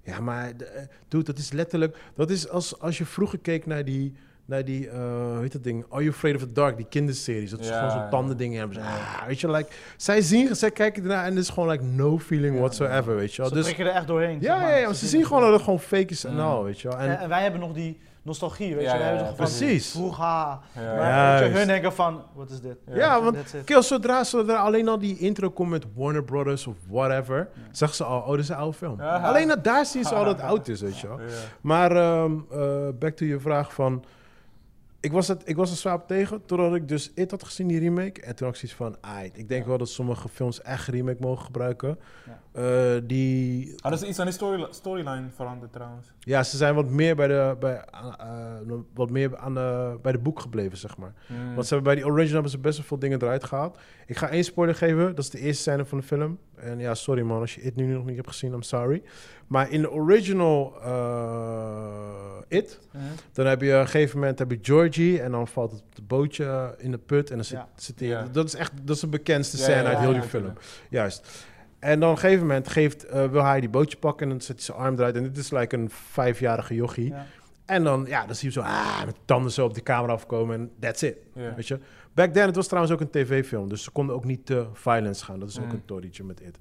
Speaker 3: Ja, maar de- eh, dude, dat is letterlijk... Dat is als, als je vroeger keek naar die... Naar die, eh, hoe heet dat ding? Are You Afraid of the Dark? Die kinderseries. Dat is
Speaker 5: Ja,
Speaker 3: gewoon
Speaker 5: ja.
Speaker 3: zo'n tandending. Hebben ze,
Speaker 5: Ja.
Speaker 3: ah, weet je, like... Zij zien, zij kijken ernaar en er is gewoon like no feeling
Speaker 5: Ja,
Speaker 3: whatsoever, weet je wel.
Speaker 2: Ze
Speaker 3: Dus,
Speaker 2: prikken er echt doorheen. zeg
Speaker 3: ja, ja,
Speaker 2: maar.
Speaker 3: ja, want ze zien gewoon dat het gewoon fake is en
Speaker 5: Mm.
Speaker 3: al, weet je wel. En,
Speaker 2: En, en wij hebben nog die nostalgie, weet
Speaker 5: Ja,
Speaker 2: je. Wij
Speaker 5: ja,
Speaker 2: hebben
Speaker 5: ja,
Speaker 2: zo van
Speaker 3: precies.
Speaker 2: vroeger. Maar
Speaker 4: Eh,
Speaker 5: Ja.
Speaker 2: weet je,
Speaker 3: Juist.
Speaker 2: hun denken van, wat is dit?
Speaker 5: Ja,
Speaker 3: Ja, want
Speaker 2: That's it.
Speaker 3: kill, zodra, zodra alleen al die intro komt met Warner Brothers of whatever, zag ze al, oh, dit is een oude film.
Speaker 5: Aha.
Speaker 3: Alleen al daar zien ze al dat het oud is, weet je wel.
Speaker 5: Ja.
Speaker 3: Maar ehm, eh, back to je vraag van, ik was, het, ik was er zwaar op tegen totdat ik dus It had gezien, die remake. En toen had ik zoiets van, aight, ik denk
Speaker 5: Ja.
Speaker 3: wel dat sommige films echt remake mogen gebruiken.
Speaker 2: Ja.
Speaker 3: Eh, die,
Speaker 5: Hadden ze Ah, iets aan die story- storyline veranderd trouwens?
Speaker 3: ja, ze zijn wat meer, bij de, bij, eh, eh, wat meer aan de, bij de boek gebleven, zeg maar.
Speaker 5: Mm.
Speaker 3: Want ze hebben bij die original hebben ze best wel veel dingen eruit gehaald. Ik ga één spoiler geven. Dat is de eerste scène van de film. En ja, sorry man, als je It nu nog niet hebt gezien, I'm sorry. Maar in de original eh, It,
Speaker 5: Mhm.
Speaker 3: dan heb je op een gegeven moment heb je Georgie en dan valt het bootje eh, in de put en dan zit,
Speaker 2: Ja.
Speaker 3: zit hij.
Speaker 5: Ja.
Speaker 3: Dat is echt dat is de bekendste
Speaker 5: Ja,
Speaker 3: scène
Speaker 5: ja,
Speaker 3: uit
Speaker 2: ja,
Speaker 3: heel
Speaker 2: ja,
Speaker 3: die
Speaker 5: ja.
Speaker 3: film. Juist. En dan op een gegeven moment geeft, eh, wil hij die bootje pakken en dan zet hij zijn arm eruit. En dit is like een vijfjarige jochie.
Speaker 2: Ja.
Speaker 3: En dan, ja, dan zie je hem zo ah, met tanden zo op de camera afkomen en that's it.
Speaker 5: Ja.
Speaker 3: Weet je? Back then, het was trouwens ook een tv-film. Dus ze konden ook niet te violence gaan. Dat is ook
Speaker 5: Mm.
Speaker 3: een torrietje met It.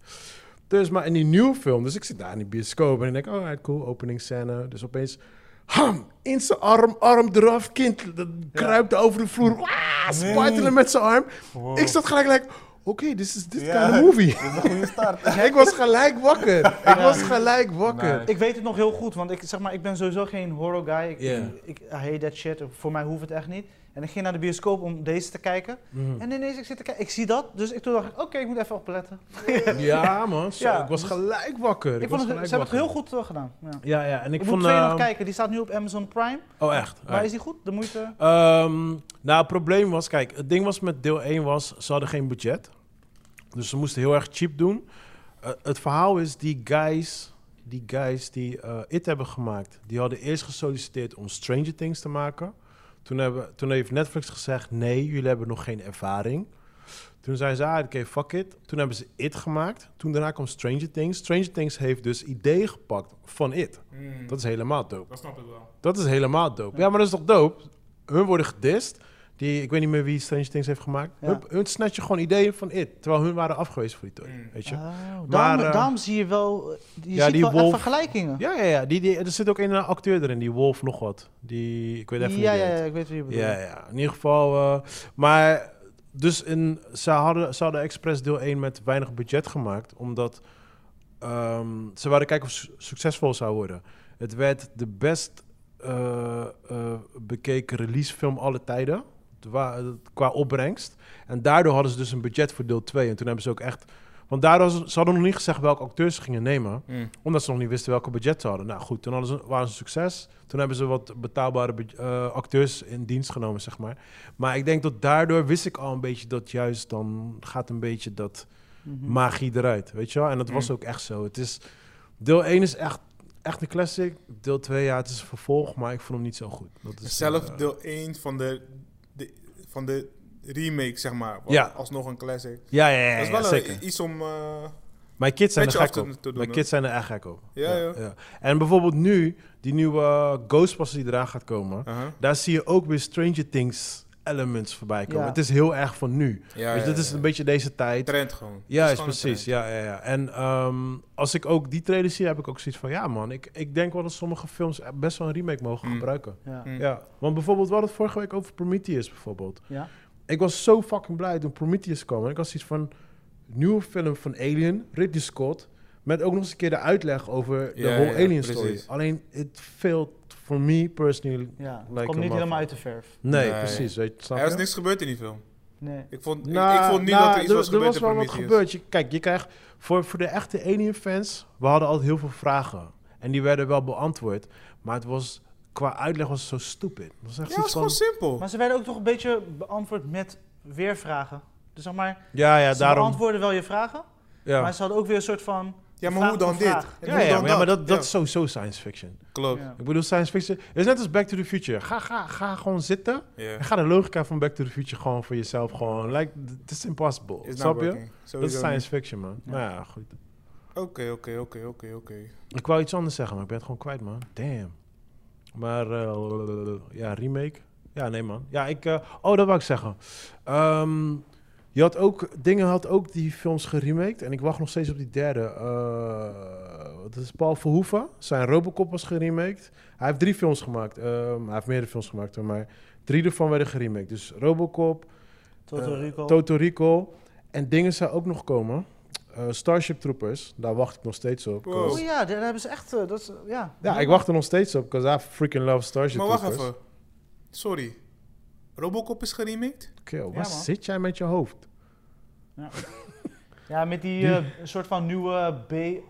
Speaker 3: Dus, maar in die nieuwe film... Dus ik zit daar in die bioscoop en ik denk... Oh, right, cool, openingsscène. Dus opeens... Ham! In zijn arm, arm eraf. Kind dat kruipt over de vloer. Waaah,
Speaker 5: Nee.
Speaker 3: spartelen met zijn arm.
Speaker 5: Mm. Wow.
Speaker 3: Ik zat gelijk like... Oké, dit is dit
Speaker 5: Ja.
Speaker 3: kind of movie.
Speaker 5: Dat is een goede start.
Speaker 3: ik was gelijk wakker. Ik was gelijk wakker.
Speaker 5: Nice.
Speaker 2: Ik weet het nog heel goed, want ik, zeg maar, ik ben sowieso geen horror guy. Ik,
Speaker 3: Ja.
Speaker 2: ik, I hate that shit. Voor mij hoeft het echt niet. En ik ging naar de bioscoop om deze te kijken.
Speaker 3: Mhm.
Speaker 2: En ineens ik zit te kijken, ik zie dat. Dus ik, toen dacht ik, oké, ik moet even opletten.
Speaker 3: Ja, man. zo,
Speaker 2: Eh, Ja.
Speaker 3: Ik was gelijk wakker. was
Speaker 2: Ik vond het, ze
Speaker 3: gelijk
Speaker 2: hebben het
Speaker 3: wakker.
Speaker 2: heel goed eh, gedaan. Ja. Ik,
Speaker 3: Ja, ja. En ik,
Speaker 2: moet
Speaker 3: vond...
Speaker 2: twee nog
Speaker 3: ehm,
Speaker 2: kijken, die staat nu op Amazon Prime.
Speaker 3: Oh, echt?
Speaker 2: Maar is die goed? De moeite? Ah,
Speaker 3: Ehm, nou, het probleem was, kijk, het ding was met deel 1 was, ze hadden geen budget. Dus ze moesten heel erg cheap doen. Eh, het verhaal is, die guys, die guys die eh, It hebben gemaakt, die hadden eerst gesolliciteerd om Stranger Things te maken. Toen, hebben, toen heeft Netflix gezegd, nee, jullie hebben nog geen ervaring. Toen zijn ze, ah, oké, fuck it. Toen hebben ze It gemaakt. Toen daarna kwam Stranger Things. Stranger Things heeft dus ideeën gepakt van It.
Speaker 5: Mm.
Speaker 3: Dat is helemaal dope.
Speaker 5: Dat snap ik wel.
Speaker 3: Dat is helemaal dope. Ja, maar dat is toch dope? Hun worden gedist. Die, ik weet niet meer wie Strange Things heeft gemaakt.
Speaker 2: Ja.
Speaker 3: Hun, hun snatchen gewoon ideeën van it. Terwijl hun waren afgewezen voor die toy.
Speaker 5: Mm.
Speaker 3: Weet je?
Speaker 2: Oh,
Speaker 3: Maar,
Speaker 2: daarom,
Speaker 3: eh,
Speaker 2: daarom zie je wel, eh, je
Speaker 3: ja,
Speaker 2: ziet
Speaker 3: die
Speaker 2: wel echt
Speaker 3: wolf-
Speaker 2: vergelijkingen.
Speaker 3: Ja, ja, ja. Die, die, er zit ook een eh, acteur erin, die Wolf nog wat. Die, ik weet even
Speaker 2: ja,
Speaker 3: niet wie
Speaker 2: ja,
Speaker 3: die
Speaker 2: ja, ik weet wie je
Speaker 3: heet.
Speaker 2: bedoelt.
Speaker 3: ja, ja. In ieder geval. eh, maar dus in, ze, hadden, ze hadden expres deel 1 met weinig budget gemaakt. Omdat ehm, ze wilden kijken of het su- succesvol het zou worden. Het werd de best eh, eh, bekeken releasefilm alle tijden. Het wa- eh, Qua opbrengst. En daardoor hadden ze dus een budget voor deel 2. En toen hebben ze ook echt. Want daardoor hadden ze, ze hadden nog niet gezegd welke acteurs ze gingen nemen.
Speaker 5: Mm.
Speaker 3: Omdat ze nog niet wisten welke budget ze hadden. Nou goed, toen hadden ze, waren ze een succes. Toen hebben ze wat betaalbare bud- eh, acteurs in dienst genomen, zeg maar. Maar ik denk dat daardoor wist ik al een beetje dat juist dan gaat een beetje dat
Speaker 2: Mhm.
Speaker 3: magie eruit, weet je wel? En dat was
Speaker 5: Mm.
Speaker 3: ook echt zo. Het is, deel 1 is echt, echt een classic. Deel 2, ja, het is een vervolg, maar ik vond hem niet zo goed. Dat is,
Speaker 4: Zelf
Speaker 3: eh,
Speaker 4: deel 1 van de, de, van de remake, zeg maar. was
Speaker 3: Ja.
Speaker 4: Alsnog een classic.
Speaker 3: Ja, ja, ja,
Speaker 4: dat is
Speaker 3: ja,
Speaker 4: wel een-
Speaker 3: zeker.
Speaker 4: iets om... eh,
Speaker 3: Mijn kids zijn er
Speaker 4: petje
Speaker 3: gek
Speaker 4: af
Speaker 3: op.
Speaker 4: te- te doen,
Speaker 3: Mijn
Speaker 4: hè?
Speaker 3: kids zijn er echt gek op.
Speaker 4: Ja, ja.
Speaker 3: En bijvoorbeeld nu, die nieuwe eh, Ghostbusters die eraan gaat komen...
Speaker 4: aha.
Speaker 3: daar zie je ook weer Stranger Things elements voorbij komen.
Speaker 2: Ja.
Speaker 3: Het is heel erg van nu.
Speaker 4: Ja,
Speaker 3: dus
Speaker 4: ja,
Speaker 3: dat is
Speaker 4: ja.
Speaker 3: een beetje deze tijd.
Speaker 4: Trend gewoon.
Speaker 3: Ja,
Speaker 4: Het
Speaker 3: is
Speaker 4: gewoon een
Speaker 3: precies.
Speaker 4: trend.
Speaker 3: Ja, ja, ja. En ehm, als ik ook die trailers zie, heb ik ook zoiets van... ja man, ik, ik denk wel dat sommige films best wel een remake mogen
Speaker 4: Mm.
Speaker 3: gebruiken.
Speaker 2: Ja.
Speaker 4: Mm.
Speaker 3: Ja, want bijvoorbeeld, we hadden het vorige week over Prometheus bijvoorbeeld.
Speaker 2: Ja.
Speaker 3: Ik was zo fucking blij toen Prometheus kwam. En ik had zoiets van, nieuwe film van Alien, Ridley Scott... met ook nog eens een keer de uitleg over de
Speaker 4: Ja,
Speaker 3: whole
Speaker 4: ja,
Speaker 3: Alien
Speaker 4: precies.
Speaker 3: story. Alleen, it failed for me personally.
Speaker 2: Ja, het
Speaker 3: Lijkt
Speaker 2: komt
Speaker 3: hem
Speaker 2: niet
Speaker 3: af.
Speaker 2: helemaal uit de verf.
Speaker 3: Nee,
Speaker 4: Nee.
Speaker 3: precies. Weet, je, snap
Speaker 4: Er is
Speaker 3: je?
Speaker 4: niks gebeurd in die film.
Speaker 2: Nee.
Speaker 4: Ik vond, ik-
Speaker 3: Nou,
Speaker 4: ik, vond niet
Speaker 3: nou,
Speaker 4: dat er iets
Speaker 3: er-
Speaker 4: was
Speaker 3: er
Speaker 4: gebeurd
Speaker 3: was wel wat
Speaker 4: Prometheus.
Speaker 3: gebeurd. Je, kijk, je krijgt voor, voor de echte Alien-fans, we hadden altijd heel veel vragen. En die werden wel beantwoord. Maar het was qua uitleg was het zo stupid. Dat was echt
Speaker 4: Ja, dat
Speaker 3: zoiets
Speaker 4: is gewoon
Speaker 3: van...
Speaker 4: simpel.
Speaker 2: Maar ze werden ook toch een beetje beantwoord met weervragen. Dus zeg maar,
Speaker 3: Ja, ja,
Speaker 2: ze
Speaker 3: daarom.
Speaker 2: beantwoorden wel je vragen,
Speaker 3: ja.
Speaker 2: maar ze hadden ook weer een soort van...
Speaker 4: Ja, maar
Speaker 2: vraag
Speaker 4: hoe dan
Speaker 2: op
Speaker 4: dit? En
Speaker 2: vraag.
Speaker 4: hoe
Speaker 3: Ja, ja,
Speaker 4: dan
Speaker 3: maar, ja, maar dat, dat
Speaker 4: Ja,
Speaker 3: is sowieso science fiction.
Speaker 4: Klopt.
Speaker 2: Ja.
Speaker 3: Ik bedoel, science fiction... Het is net als Back to the Future. Ga, ga, ga gewoon zitten.
Speaker 4: Ja.
Speaker 3: En ga de logica van Back to the Future gewoon voor jezelf gewoon... Like, it is impossible.
Speaker 4: Is
Speaker 3: snap
Speaker 4: not
Speaker 3: je?
Speaker 4: working.
Speaker 3: Dat is
Speaker 4: Sowieso
Speaker 3: science fiction, man.
Speaker 2: Ja.
Speaker 3: Maar ja, goed.
Speaker 4: niet. Oké, oké, oké, oké, oké.
Speaker 3: Ik wou iets anders zeggen, maar ik ben het gewoon kwijt, man. Damn. Maar, eh, ja, remake. Ja, nee, man. Ja, ik... eh, oh, dat wou ik zeggen. Ehm, je had ook... Dingen had ook die films geremaked. En ik wacht nog steeds op die derde. Eh, dat is Paul Verhoeven. Zijn Robocop was geremaked. Hij heeft drie films gemaakt. Ehm, hij heeft meerdere films gemaakt, hoor, maar... Drie ervan werden geremaked. Dus Robocop,
Speaker 2: Toto
Speaker 3: eh,
Speaker 2: Rico.
Speaker 3: Toto Rico. En dingen zou ook nog komen. Eh, Starship Troopers, daar wacht ik nog steeds op.
Speaker 4: Wow.
Speaker 3: 'cause-
Speaker 2: Oh ja, daar hebben ze echt... eh, dat is, ja.
Speaker 3: ja, ik wacht er nog steeds op, because I freaking love Starship
Speaker 4: Maar wacht
Speaker 3: Troopers.
Speaker 4: even. Sorry. Robocop is geremaked?
Speaker 3: Kill, waar
Speaker 2: man.
Speaker 3: zit jij met je hoofd?
Speaker 2: Ja, met die,
Speaker 3: Die-
Speaker 2: eh, soort van nieuwe B...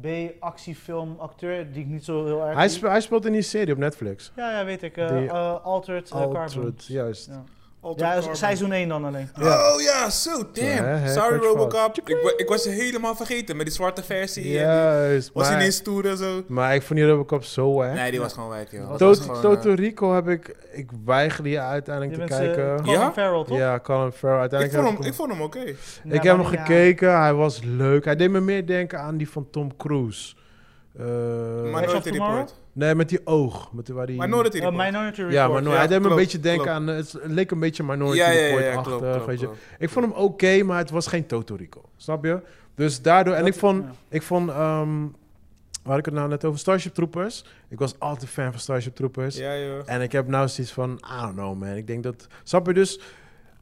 Speaker 2: B-actiefilm acteur die ik niet zo heel erg...
Speaker 3: Hij, spe- hij speelt in die serie op Netflix.
Speaker 2: Ja, ja, weet ik. eh,
Speaker 3: Die-
Speaker 2: eh, Altered, eh, Carbon.
Speaker 3: Altered, juist.
Speaker 2: Ja.
Speaker 4: Altered
Speaker 2: Ja,
Speaker 4: Carbon.
Speaker 2: seizoen 1 dan alleen.
Speaker 3: Ja.
Speaker 4: Oh ja, zo, damn.
Speaker 3: Ja, hè,
Speaker 4: Sorry
Speaker 3: kwart fout.
Speaker 4: Robocop. Ik, wa- ik was ze helemaal vergeten met die zwarte versie. en die-
Speaker 3: Juist,
Speaker 4: was hij
Speaker 3: maar,
Speaker 4: ineens stoer en zo?
Speaker 3: maar ik vond die Robocop zo wack.
Speaker 4: Nee, die was gewoon wijk, joh.
Speaker 2: Dat
Speaker 4: Dat was
Speaker 3: Tot-
Speaker 4: gewoon,
Speaker 3: Toto
Speaker 4: eh,
Speaker 3: Rico heb ik... Ik weiger die
Speaker 2: Je
Speaker 3: uiteindelijk
Speaker 2: bent
Speaker 3: te kijken.
Speaker 2: Colin
Speaker 4: Ja?
Speaker 2: Farrell, toch?
Speaker 3: ja, Colin Farrell.
Speaker 4: ik,
Speaker 3: Uiteindelijk
Speaker 4: vond
Speaker 3: heb
Speaker 4: hem, ik vond hem oké.
Speaker 2: Ja,
Speaker 3: ik heb hem
Speaker 2: maar- ja.
Speaker 3: gekeken, hij was leuk. Hij deed me meer denken aan die van Tom Cruise. Eh,
Speaker 4: Maar
Speaker 2: Edge of
Speaker 4: nooit in
Speaker 2: Tomorrow?
Speaker 4: report.
Speaker 3: nee, met die oog. Met die, waar die,
Speaker 4: Maar nooit in
Speaker 2: Eh,
Speaker 4: report.
Speaker 2: Minority Report.
Speaker 3: ja, maar
Speaker 4: ja,
Speaker 3: hij deed me een
Speaker 4: klopt,
Speaker 3: beetje denken
Speaker 4: klopt.
Speaker 3: aan... eh, Het leek een beetje Minority
Speaker 4: Ja, ja, ja,
Speaker 3: Report-achtig,
Speaker 4: ja, klopt, klopt,
Speaker 3: eh, weet je.
Speaker 4: klopt.
Speaker 3: Ik vond hem oké, maar het was geen Toto Rico. Snap je? Dus daardoor... En
Speaker 2: Dat-
Speaker 3: ik vond...
Speaker 2: ja.
Speaker 3: Ik vond ehm, waar ik het nou net over... Starship Troopers. Ik was altijd fan van Starship Troopers.
Speaker 4: Ja, joh.
Speaker 3: En ik heb nou zoiets van... I don't know, man. Ik denk dat... Snap je? Dus...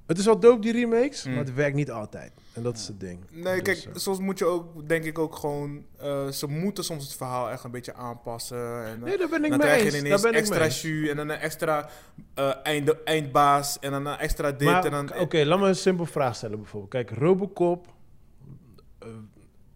Speaker 3: Het is wel dope, die remakes.
Speaker 4: Mm.
Speaker 3: Maar het werkt niet altijd. En dat is het ding. Dus,
Speaker 4: Nee, kijk,
Speaker 3: eh,
Speaker 4: soms moet je ook, denk ik ook gewoon... eh, ze moeten soms het verhaal echt een beetje aanpassen. En, eh,
Speaker 3: nee, daar ben ik
Speaker 4: dan
Speaker 3: mee
Speaker 4: krijg
Speaker 3: eens.
Speaker 4: je
Speaker 3: Daar
Speaker 4: ineens
Speaker 3: ben ik mee
Speaker 4: extra
Speaker 3: eens.
Speaker 4: jus en dan een extra eh, einde, eindbaas en dan een extra dit
Speaker 3: Maar,
Speaker 4: en dan...
Speaker 3: Oké, laat me een simpel vraag stellen bijvoorbeeld. Kijk, Robocop... eh,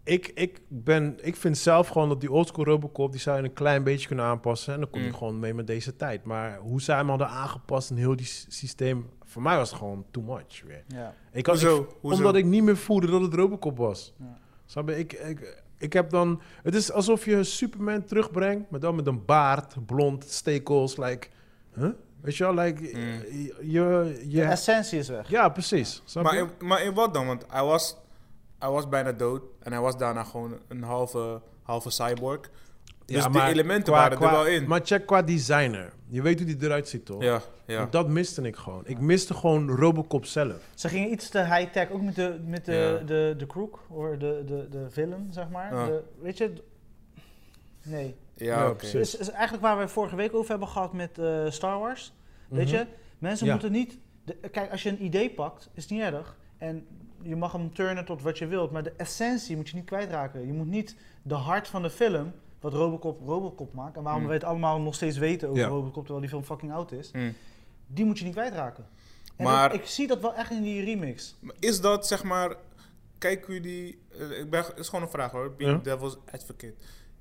Speaker 3: ik, ik, ben, ik vind zelf gewoon dat die oldschool Robocop... die zou je een klein beetje kunnen aanpassen... en dan kom je
Speaker 4: Mm.
Speaker 3: gewoon mee met deze tijd. Maar hoe zij hem hadden aangepast en heel die sy- systeem... voor mij was het gewoon too much weer.
Speaker 2: Ja.
Speaker 3: Ik had,
Speaker 4: Hoezo?
Speaker 3: ik-
Speaker 4: Hoezo?
Speaker 3: omdat ik niet meer voelde dat het Robocop was.
Speaker 2: Ja.
Speaker 3: Snap je? Ik, ik, ik heb dan... Het is alsof je Superman terugbrengt... maar dan met een baard, blond, stekels, like... Huh? Weet je wel, like...
Speaker 4: Mm.
Speaker 3: Je, je,
Speaker 2: De essentie is weg.
Speaker 3: ja, precies. Snap
Speaker 4: maar,
Speaker 3: je?
Speaker 4: in, maar in wat dan? Want hij was, hij was bijna dood en hij was daarna gewoon een halve, halve cyborg. Dus
Speaker 3: Ja,
Speaker 4: die
Speaker 3: maar
Speaker 4: elementen
Speaker 3: qua-
Speaker 4: waren
Speaker 3: qua-
Speaker 4: er wel in.
Speaker 3: Maar check qua designer. Je weet hoe die eruit ziet, toch?
Speaker 4: ja, ja.
Speaker 3: En Dat miste ik gewoon. Ik miste gewoon Robocop zelf.
Speaker 2: Ze gingen iets te high-tech, ook met de, met de,
Speaker 4: Ja.
Speaker 2: de, de crook, of de, de, de villain, zeg maar.
Speaker 4: Ja.
Speaker 2: De, weet je... d- Nee.
Speaker 4: Ja,
Speaker 3: Ja,
Speaker 4: oké.
Speaker 3: precies.
Speaker 2: Is, is eigenlijk waar we vorige week over hebben gehad met eh, Star Wars. Weet je,
Speaker 3: Mhm.
Speaker 2: mensen
Speaker 3: Ja.
Speaker 2: moeten niet... de- kijk, als je een idee pakt, is het niet erg. En je mag hem turnen tot wat je wilt. Maar de essentie moet je niet kwijtraken. Je moet niet de hart van de film, wat Robocop Robocop maakt... en waarom
Speaker 4: Mm.
Speaker 2: we het allemaal nog steeds weten over
Speaker 3: Mhm. Ja. Mhm.
Speaker 2: Robocop... terwijl die film fucking oud is.
Speaker 4: Hmm.
Speaker 2: die moet je niet kwijtraken. En
Speaker 4: Maar-
Speaker 2: dat- ik zie dat wel echt in die remix.
Speaker 4: Maar Is dat zeg maar, kijken jullie, eh, ik ben, is gewoon een vraag hoor, being
Speaker 3: Ja.
Speaker 4: devil's advocate.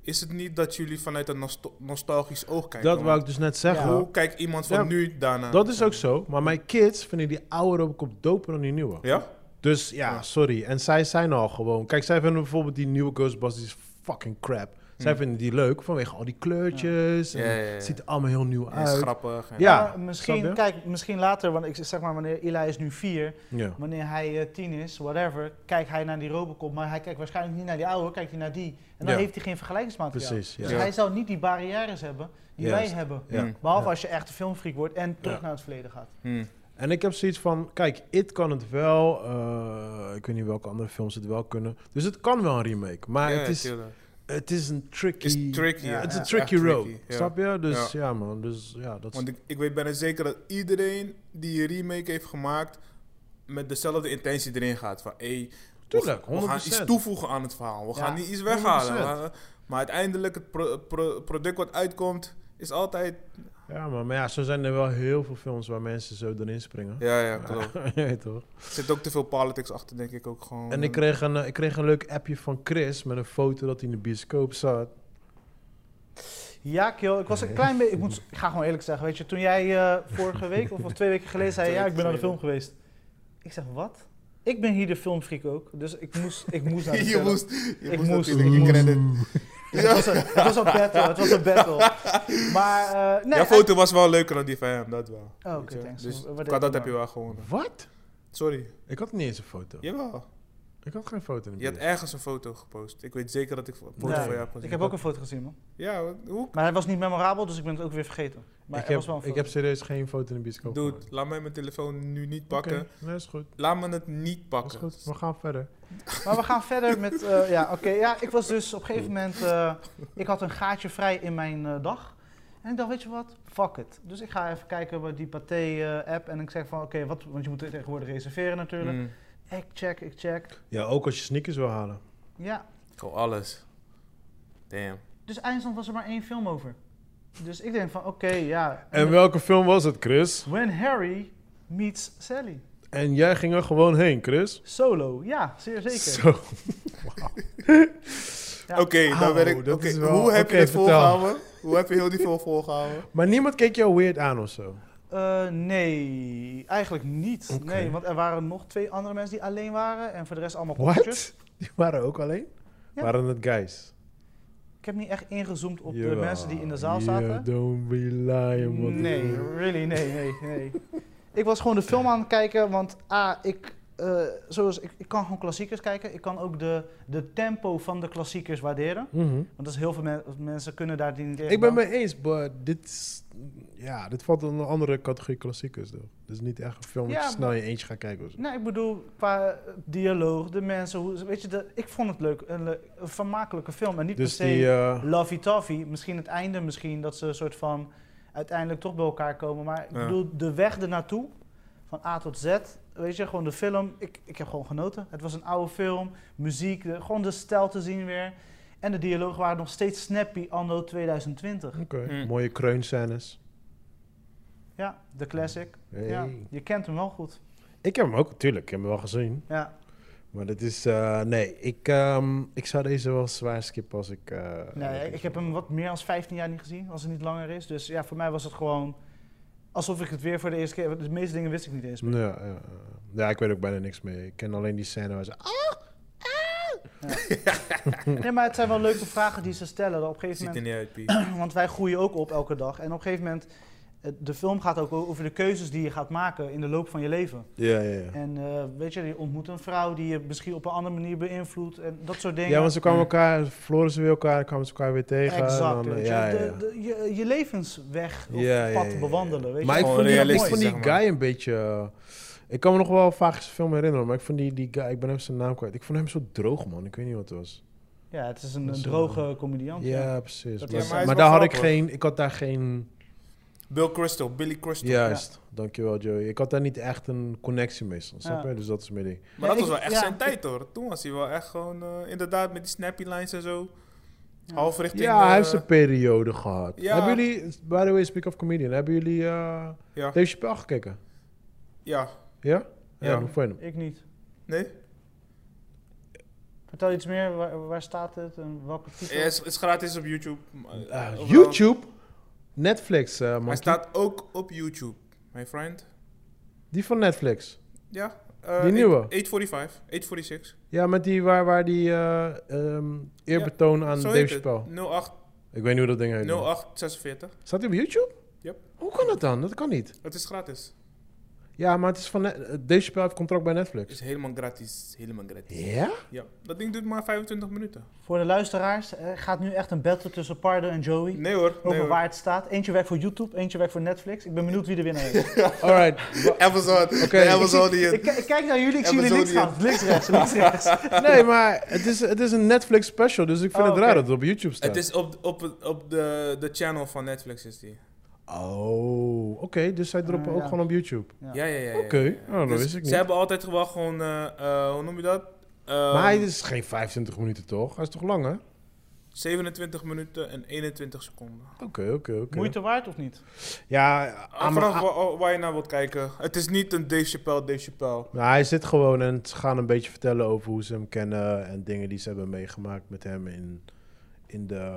Speaker 4: Is het niet dat jullie vanuit een nostal- nostalgisch oog kijken?
Speaker 3: Dat wou
Speaker 4: Want
Speaker 3: ik dus net zeggen.
Speaker 2: Ja.
Speaker 4: Hoe kijkt iemand van
Speaker 3: Ja.
Speaker 4: nu daarna?
Speaker 3: Dat is ook zo. Maar mijn kids vinden die oude Robocop doper dan die nieuwe.
Speaker 4: Ja?
Speaker 3: Dus ja, sorry. En zij zijn al gewoon... Kijk, zij vinden bijvoorbeeld die nieuwe Ghostbusters fucking crap. Zij
Speaker 4: Hm.
Speaker 3: vinden die leuk vanwege al die kleurtjes.
Speaker 4: Ja,
Speaker 3: En
Speaker 4: ja, ja.
Speaker 3: Het ziet er allemaal heel nieuw
Speaker 4: Hij is
Speaker 3: uit.
Speaker 4: grappig. en-
Speaker 3: Ja,
Speaker 2: Maar misschien,
Speaker 3: snap je?
Speaker 2: kijk, misschien later, want ik zeg maar, wanneer Eli is nu vier,
Speaker 3: Ja.
Speaker 2: wanneer hij eh, tien is, whatever, kijkt hij naar die Robocop, maar hij kijkt waarschijnlijk niet naar die oude, kijkt hij naar die. En dan
Speaker 3: Ja.
Speaker 2: heeft hij geen vergelijkingsmateriaal.
Speaker 3: Precies, ja.
Speaker 2: Dus
Speaker 4: Ja.
Speaker 2: hij zal niet die barrières hebben die
Speaker 3: Juist.
Speaker 2: wij hebben.
Speaker 3: Ja.
Speaker 4: Hmm.
Speaker 2: Behalve
Speaker 3: Ja.
Speaker 2: als je echt een filmfreak wordt en terug
Speaker 3: Ja.
Speaker 2: naar het verleden gaat.
Speaker 4: Hmm.
Speaker 3: En ik heb zoiets van, kijk, It kan het wel. eh, ik weet niet welke andere films het wel kunnen. Dus het kan wel een remake. Maar
Speaker 4: Ja,
Speaker 3: het, is,
Speaker 4: tuurlijk.
Speaker 3: het is een tricky...
Speaker 4: Is tricky.
Speaker 2: Ja,
Speaker 4: ja.
Speaker 3: Het is
Speaker 2: ja,
Speaker 3: een
Speaker 4: Echt
Speaker 3: tricky road,
Speaker 4: ja.
Speaker 3: snap je? Dus ja. man, dus ja, dat is...
Speaker 4: Want ik, ik weet bijna zeker dat iedereen die een remake heeft gemaakt... met dezelfde intentie erin gaat. Van, hé,
Speaker 3: Tuurlijk,
Speaker 4: we gaan
Speaker 3: 100%.
Speaker 4: iets toevoegen aan het verhaal. We
Speaker 2: Ja,
Speaker 4: gaan niet iets weghalen.
Speaker 3: 100%.
Speaker 4: Maar, maar uiteindelijk, het pro- pro- product wat uitkomt, is altijd...
Speaker 3: Ja man, maar ja, zo zijn er wel heel veel films waar mensen zo erin springen.
Speaker 4: Ja, ja, klopt.
Speaker 3: Je weet toch?
Speaker 4: Er zit ook te veel politics achter, denk ik ook gewoon.
Speaker 3: En ik kreeg, een, eh, ik kreeg een leuk appje van Chris met een foto dat hij in de bioscoop zat.
Speaker 2: Ja, Kjell, ik was een klein beetje. Ik, moet, ik ga gewoon eerlijk zeggen, weet je, toen jij eh, vorige week of, of twee weken geleden zei:
Speaker 4: Twee
Speaker 2: Ja, ik
Speaker 4: weken
Speaker 2: ben naar de film
Speaker 4: geleden.
Speaker 2: geweest. Ik zeg: Wat? Ik ben hier de filmfreak ook, dus ik moest, ik moest naar de
Speaker 4: je
Speaker 2: film.
Speaker 4: moest, je
Speaker 2: Ik
Speaker 4: moest,
Speaker 2: moest,
Speaker 4: natuurlijk
Speaker 2: ik
Speaker 4: je
Speaker 2: moest.
Speaker 4: credit.
Speaker 2: Dus het, was een, het was een battle, het was een battle. Maar, eh, nee.
Speaker 4: Jouw foto was wel leuker dan die van hem, dat wel.
Speaker 2: Oh, oké,
Speaker 4: Weet je?
Speaker 2: thanks.
Speaker 4: Dus
Speaker 2: Wat deed
Speaker 4: qua
Speaker 2: ik
Speaker 4: dat
Speaker 2: nou?
Speaker 4: heb je wel gewonnen.
Speaker 3: Wat?
Speaker 4: Sorry.
Speaker 3: Ik had niet eens een foto.
Speaker 4: Jawel.
Speaker 3: Ik had geen foto in de
Speaker 4: Je had
Speaker 3: buurt.
Speaker 4: ergens een foto gepost. Ik weet zeker dat ik een foto
Speaker 2: Nee,
Speaker 4: van jou heb gezien.
Speaker 2: Ik heb ook een foto gezien, man.
Speaker 4: Ja, wat- hoe?
Speaker 2: Maar hij was niet memorabel, dus ik ben het ook weer vergeten. Maar
Speaker 3: ik,
Speaker 2: er was wel
Speaker 3: heb,
Speaker 2: een
Speaker 3: ik
Speaker 2: foto.
Speaker 3: heb serieus geen foto in de bioscoop
Speaker 4: Dude,
Speaker 3: gemaakt.
Speaker 4: laat mij mijn telefoon nu niet
Speaker 3: Oké,
Speaker 4: pakken.
Speaker 3: nee, is goed.
Speaker 4: Laat me het niet
Speaker 3: Is
Speaker 4: pakken.
Speaker 3: goed. We gaan verder.
Speaker 2: Maar we gaan verder met. eh, ja, oké. ja, ik was dus op een gegeven moment. eh, ik had een gaatje vrij in mijn eh, dag. En ik dacht, weet je wat? Fuck it. Dus ik ga even kijken bij die Pathé-app. en ik zeg van, oké, wat? Want je moet tegenwoordig reserveren natuurlijk.
Speaker 4: Mm.
Speaker 2: Ik check, ik check.
Speaker 3: Ja, ook als je sneakers wil halen.
Speaker 2: Ja.
Speaker 4: Gewoon alles. Damn.
Speaker 2: Dus eindstand was er maar één film over. Dus ik denk van, oké, ja.
Speaker 3: En welke film was het, Chris?
Speaker 2: When Harry meets Sally.
Speaker 3: En jij ging er gewoon heen, Chris.
Speaker 2: Solo. Ja, zeer zeker.
Speaker 3: Zo.
Speaker 2: Ja.
Speaker 4: Oké, dan
Speaker 3: Oh,
Speaker 4: ben ik.
Speaker 3: dat
Speaker 4: oké,
Speaker 3: is wel-
Speaker 4: Hoe heb
Speaker 3: oké,
Speaker 4: je het
Speaker 3: vertel.
Speaker 4: volgehouden? Hoe heb je heel die film volgehouden?
Speaker 3: Maar niemand keek jou weird aan of zo.
Speaker 2: Eh, nee, eigenlijk niet.
Speaker 3: Oké.
Speaker 2: Nee, want er waren nog twee andere mensen die alleen waren. En voor de rest allemaal poppetjes.
Speaker 3: What? Die waren ook alleen?
Speaker 2: Ja.
Speaker 3: Waren het guys?
Speaker 2: Ik heb niet echt ingezoomd op de
Speaker 3: Jawel.
Speaker 2: mensen die in de zaal
Speaker 3: You
Speaker 2: zaten.
Speaker 3: don't be lying, man.
Speaker 2: Nee, really, nee, nee, nee. ik was gewoon de film aan het kijken, want A, ik, eh, zoals, ik, ik kan gewoon klassiekers kijken. Ik kan ook de, de tempo van de klassiekers waarderen.
Speaker 3: Mhm.
Speaker 2: Want dat is heel veel men- mensen kunnen daar die niet tegen.
Speaker 3: Ik ben mee eens, maar dit, is- ja, dit valt onder een andere categorie klassiekers. Toch? Dus niet echt een film dat
Speaker 2: Ja,
Speaker 3: je snel in je eentje gaat kijken. Of zo.
Speaker 2: Nee, ik bedoel, qua eh, dialoog, de mensen, hoe, ze- weet je, de, ik vond het leuk. Een, le- een vermakelijke film en niet
Speaker 3: Dus
Speaker 2: per
Speaker 3: die,
Speaker 2: se...
Speaker 3: eh,
Speaker 2: Mm. lovey-dovey. Misschien het einde, misschien dat ze een soort van uiteindelijk toch bij elkaar komen. Maar ik
Speaker 4: Ja.
Speaker 2: bedoel, de weg ernaartoe, van A tot Z, weet je, gewoon de film. Ik, ik heb gewoon genoten. Het was een oude film, muziek, de- gewoon de stijl te zien weer. En de dialogen waren nog steeds snappy anno 2020.
Speaker 3: oké.
Speaker 4: Mm.
Speaker 3: mooie kreunscènes.
Speaker 2: Ja, de classic.
Speaker 3: Hey.
Speaker 2: Ja, je kent hem wel goed.
Speaker 3: Ik heb hem ook, natuurlijk, ik heb hem wel gezien.
Speaker 2: Ja,
Speaker 3: Maar dat is, eh, nee, ik, ehm, ik zou deze wel zwaar skippen als ik... eh,
Speaker 2: nee,
Speaker 3: eerlijk
Speaker 2: ik
Speaker 3: is.
Speaker 2: heb hem wat meer dan 15 jaar niet gezien, als het niet langer is. Dus ja, voor mij was het gewoon alsof ik het weer voor de eerste keer... De meeste dingen wist ik niet eens meer.
Speaker 3: Ja, ja, ja. ja, ik weet ook bijna niks meer. Ik ken alleen die scène waar ze... Ah!
Speaker 2: Nee, maar het zijn wel leuke vragen die ze stellen. Op een gegeven
Speaker 4: Ziet
Speaker 2: moment
Speaker 4: er niet uit, Piet.
Speaker 2: Want wij groeien ook op elke dag. En op een gegeven moment, eh, de film gaat ook over de keuzes die je gaat maken in de loop van je leven.
Speaker 3: Ja, ja, ja.
Speaker 2: En eh, weet je, je ontmoet een vrouw die je misschien op een andere manier beïnvloedt en dat soort dingen.
Speaker 3: Ja, want ze kwamen elkaar, verloren ze weer elkaar, kwamen ze elkaar weer tegen. en
Speaker 2: Exact.
Speaker 3: dan, eh,
Speaker 2: weet je.
Speaker 3: ja, ja.
Speaker 2: De- de- je, je levensweg of
Speaker 3: Ja, ja,
Speaker 2: pad
Speaker 3: ja, ja.
Speaker 2: bewandelen. Weet
Speaker 3: maar
Speaker 2: je.
Speaker 3: ik
Speaker 4: Gewoon
Speaker 3: vond, die, ik
Speaker 4: realistisch,
Speaker 3: vond die
Speaker 4: zeg maar.
Speaker 3: guy een beetje... eh, ik kan me nog wel vaak zijn film herinneren, maar ik vond die, die guy... Ik ben even zijn naam kwijt. Ik vond hem zo droog, man. Ik weet niet wat het was.
Speaker 2: Ja, het is een,
Speaker 3: Dat is,
Speaker 2: droge comediant.
Speaker 3: Ja,
Speaker 2: ja.
Speaker 3: precies.
Speaker 2: Dat
Speaker 3: maar
Speaker 2: is- Ja, maar hij
Speaker 4: is
Speaker 3: maar
Speaker 4: wel
Speaker 3: daar had ik
Speaker 4: grappig.
Speaker 3: geen... Ik had daar geen...
Speaker 4: Bill Crystal, Billy Crystal.
Speaker 3: Juist. Dankjewel, Joey. Ik had daar niet echt een connectie mee, snap
Speaker 2: Ja.
Speaker 3: je? Dus dat is mijn ding.
Speaker 4: Maar dat
Speaker 2: ik-
Speaker 4: was wel echt
Speaker 2: ja,
Speaker 4: zijn
Speaker 2: ik-
Speaker 4: tijd hoor. Toen was hij wel echt gewoon, eh, inderdaad, met die snappy lines en zo. Half richting.
Speaker 3: Ja, hij
Speaker 4: eh,
Speaker 3: heeft zijn periode gehad.
Speaker 4: ja.
Speaker 3: Hebben jullie... By the way, speak of comedian. Hebben jullie eh
Speaker 4: Ja.
Speaker 3: Dave Chappelle gekeken?
Speaker 4: Ja,
Speaker 3: Ja? Ja.
Speaker 4: Ja.
Speaker 3: hoe vond je hem?
Speaker 2: Ik niet.
Speaker 4: nee?
Speaker 2: Vertel iets meer, waar, waar staat het en welke titel?
Speaker 4: Het is, is gratis op YouTube. maar, eh,
Speaker 3: Eh,
Speaker 4: overal.
Speaker 3: YouTube? Netflix, eh man.
Speaker 4: Hij staat ook op YouTube, my friend.
Speaker 3: Die van Netflix.
Speaker 4: Ja. eh,
Speaker 3: Die nieuwe?
Speaker 4: 845, 846.
Speaker 3: Ja, met die waar, waar die eh, ehm, eerbetoon aan
Speaker 4: Zo
Speaker 3: Dave
Speaker 4: heet het.
Speaker 3: Chappelle.
Speaker 4: 08,
Speaker 3: Ik weet niet hoe dat ding heet. man.
Speaker 4: 0846.
Speaker 3: Staat die op YouTube?
Speaker 4: Yep.
Speaker 3: Hoe kan dat dan? Dat kan niet.
Speaker 4: Het is gratis.
Speaker 3: Ja, maar het is van... Net- eh, Dave Chappelle heeft contract bij
Speaker 4: Het
Speaker 3: Netflix.
Speaker 4: is helemaal gratis. Helemaal gratis.
Speaker 3: Ja?
Speaker 4: Ja. Dat ding duurt maar 25 minuten.
Speaker 2: Voor de luisteraars eh, gaat nu echt een battle tussen Pardo en Joey.
Speaker 4: Nee hoor.
Speaker 2: Over
Speaker 4: Nee hoor.
Speaker 2: waar het staat. Eentje werkt voor YouTube, eentje werkt voor Netflix. Ik ben benieuwd wie de winnaar is.
Speaker 3: Alright. wa-
Speaker 4: Amazon.
Speaker 3: Oké.
Speaker 4: De Amazon die
Speaker 2: Ik,
Speaker 4: het.
Speaker 2: ik kijk naar jullie, ik zie jullie links
Speaker 4: Amazonian.
Speaker 2: gaan. Links, rechts, links, rechts.
Speaker 3: Nee, maar het is, het is een Netflix special, dus ik vind
Speaker 2: Oh,
Speaker 3: het raar
Speaker 2: oké.
Speaker 3: dat het op YouTube staat.
Speaker 4: Het is op, op, op de, de channel van Netflix is die.
Speaker 3: Oh, oké, dus zij droppen
Speaker 2: Ah,
Speaker 3: ook
Speaker 2: ja.
Speaker 3: gewoon op YouTube.
Speaker 2: Ja.
Speaker 4: Ja, ja, ja. ja, ja.
Speaker 3: Oké, oh, dat
Speaker 4: Dus
Speaker 3: wist ik niet.
Speaker 4: Ze hebben altijd wel gewoon, eh, eh, hoe noem je dat? Ehm,
Speaker 3: Maar hij is geen 25 minuten toch? Hij is toch lang, hè? Oké,
Speaker 4: 27 minuten en 21 seconden.
Speaker 3: oké, oké.
Speaker 2: Moeite waard of niet?
Speaker 3: Ja, aan-
Speaker 4: Ah, Vanaf
Speaker 3: aan-
Speaker 4: waar, oh, waar je naar wilt kijken. Het is niet een Dave Chappelle, Dave Chappelle.
Speaker 3: Nou, hij zit gewoon en ze gaan een beetje vertellen over hoe ze hem kennen en dingen die ze hebben meegemaakt met hem in, in de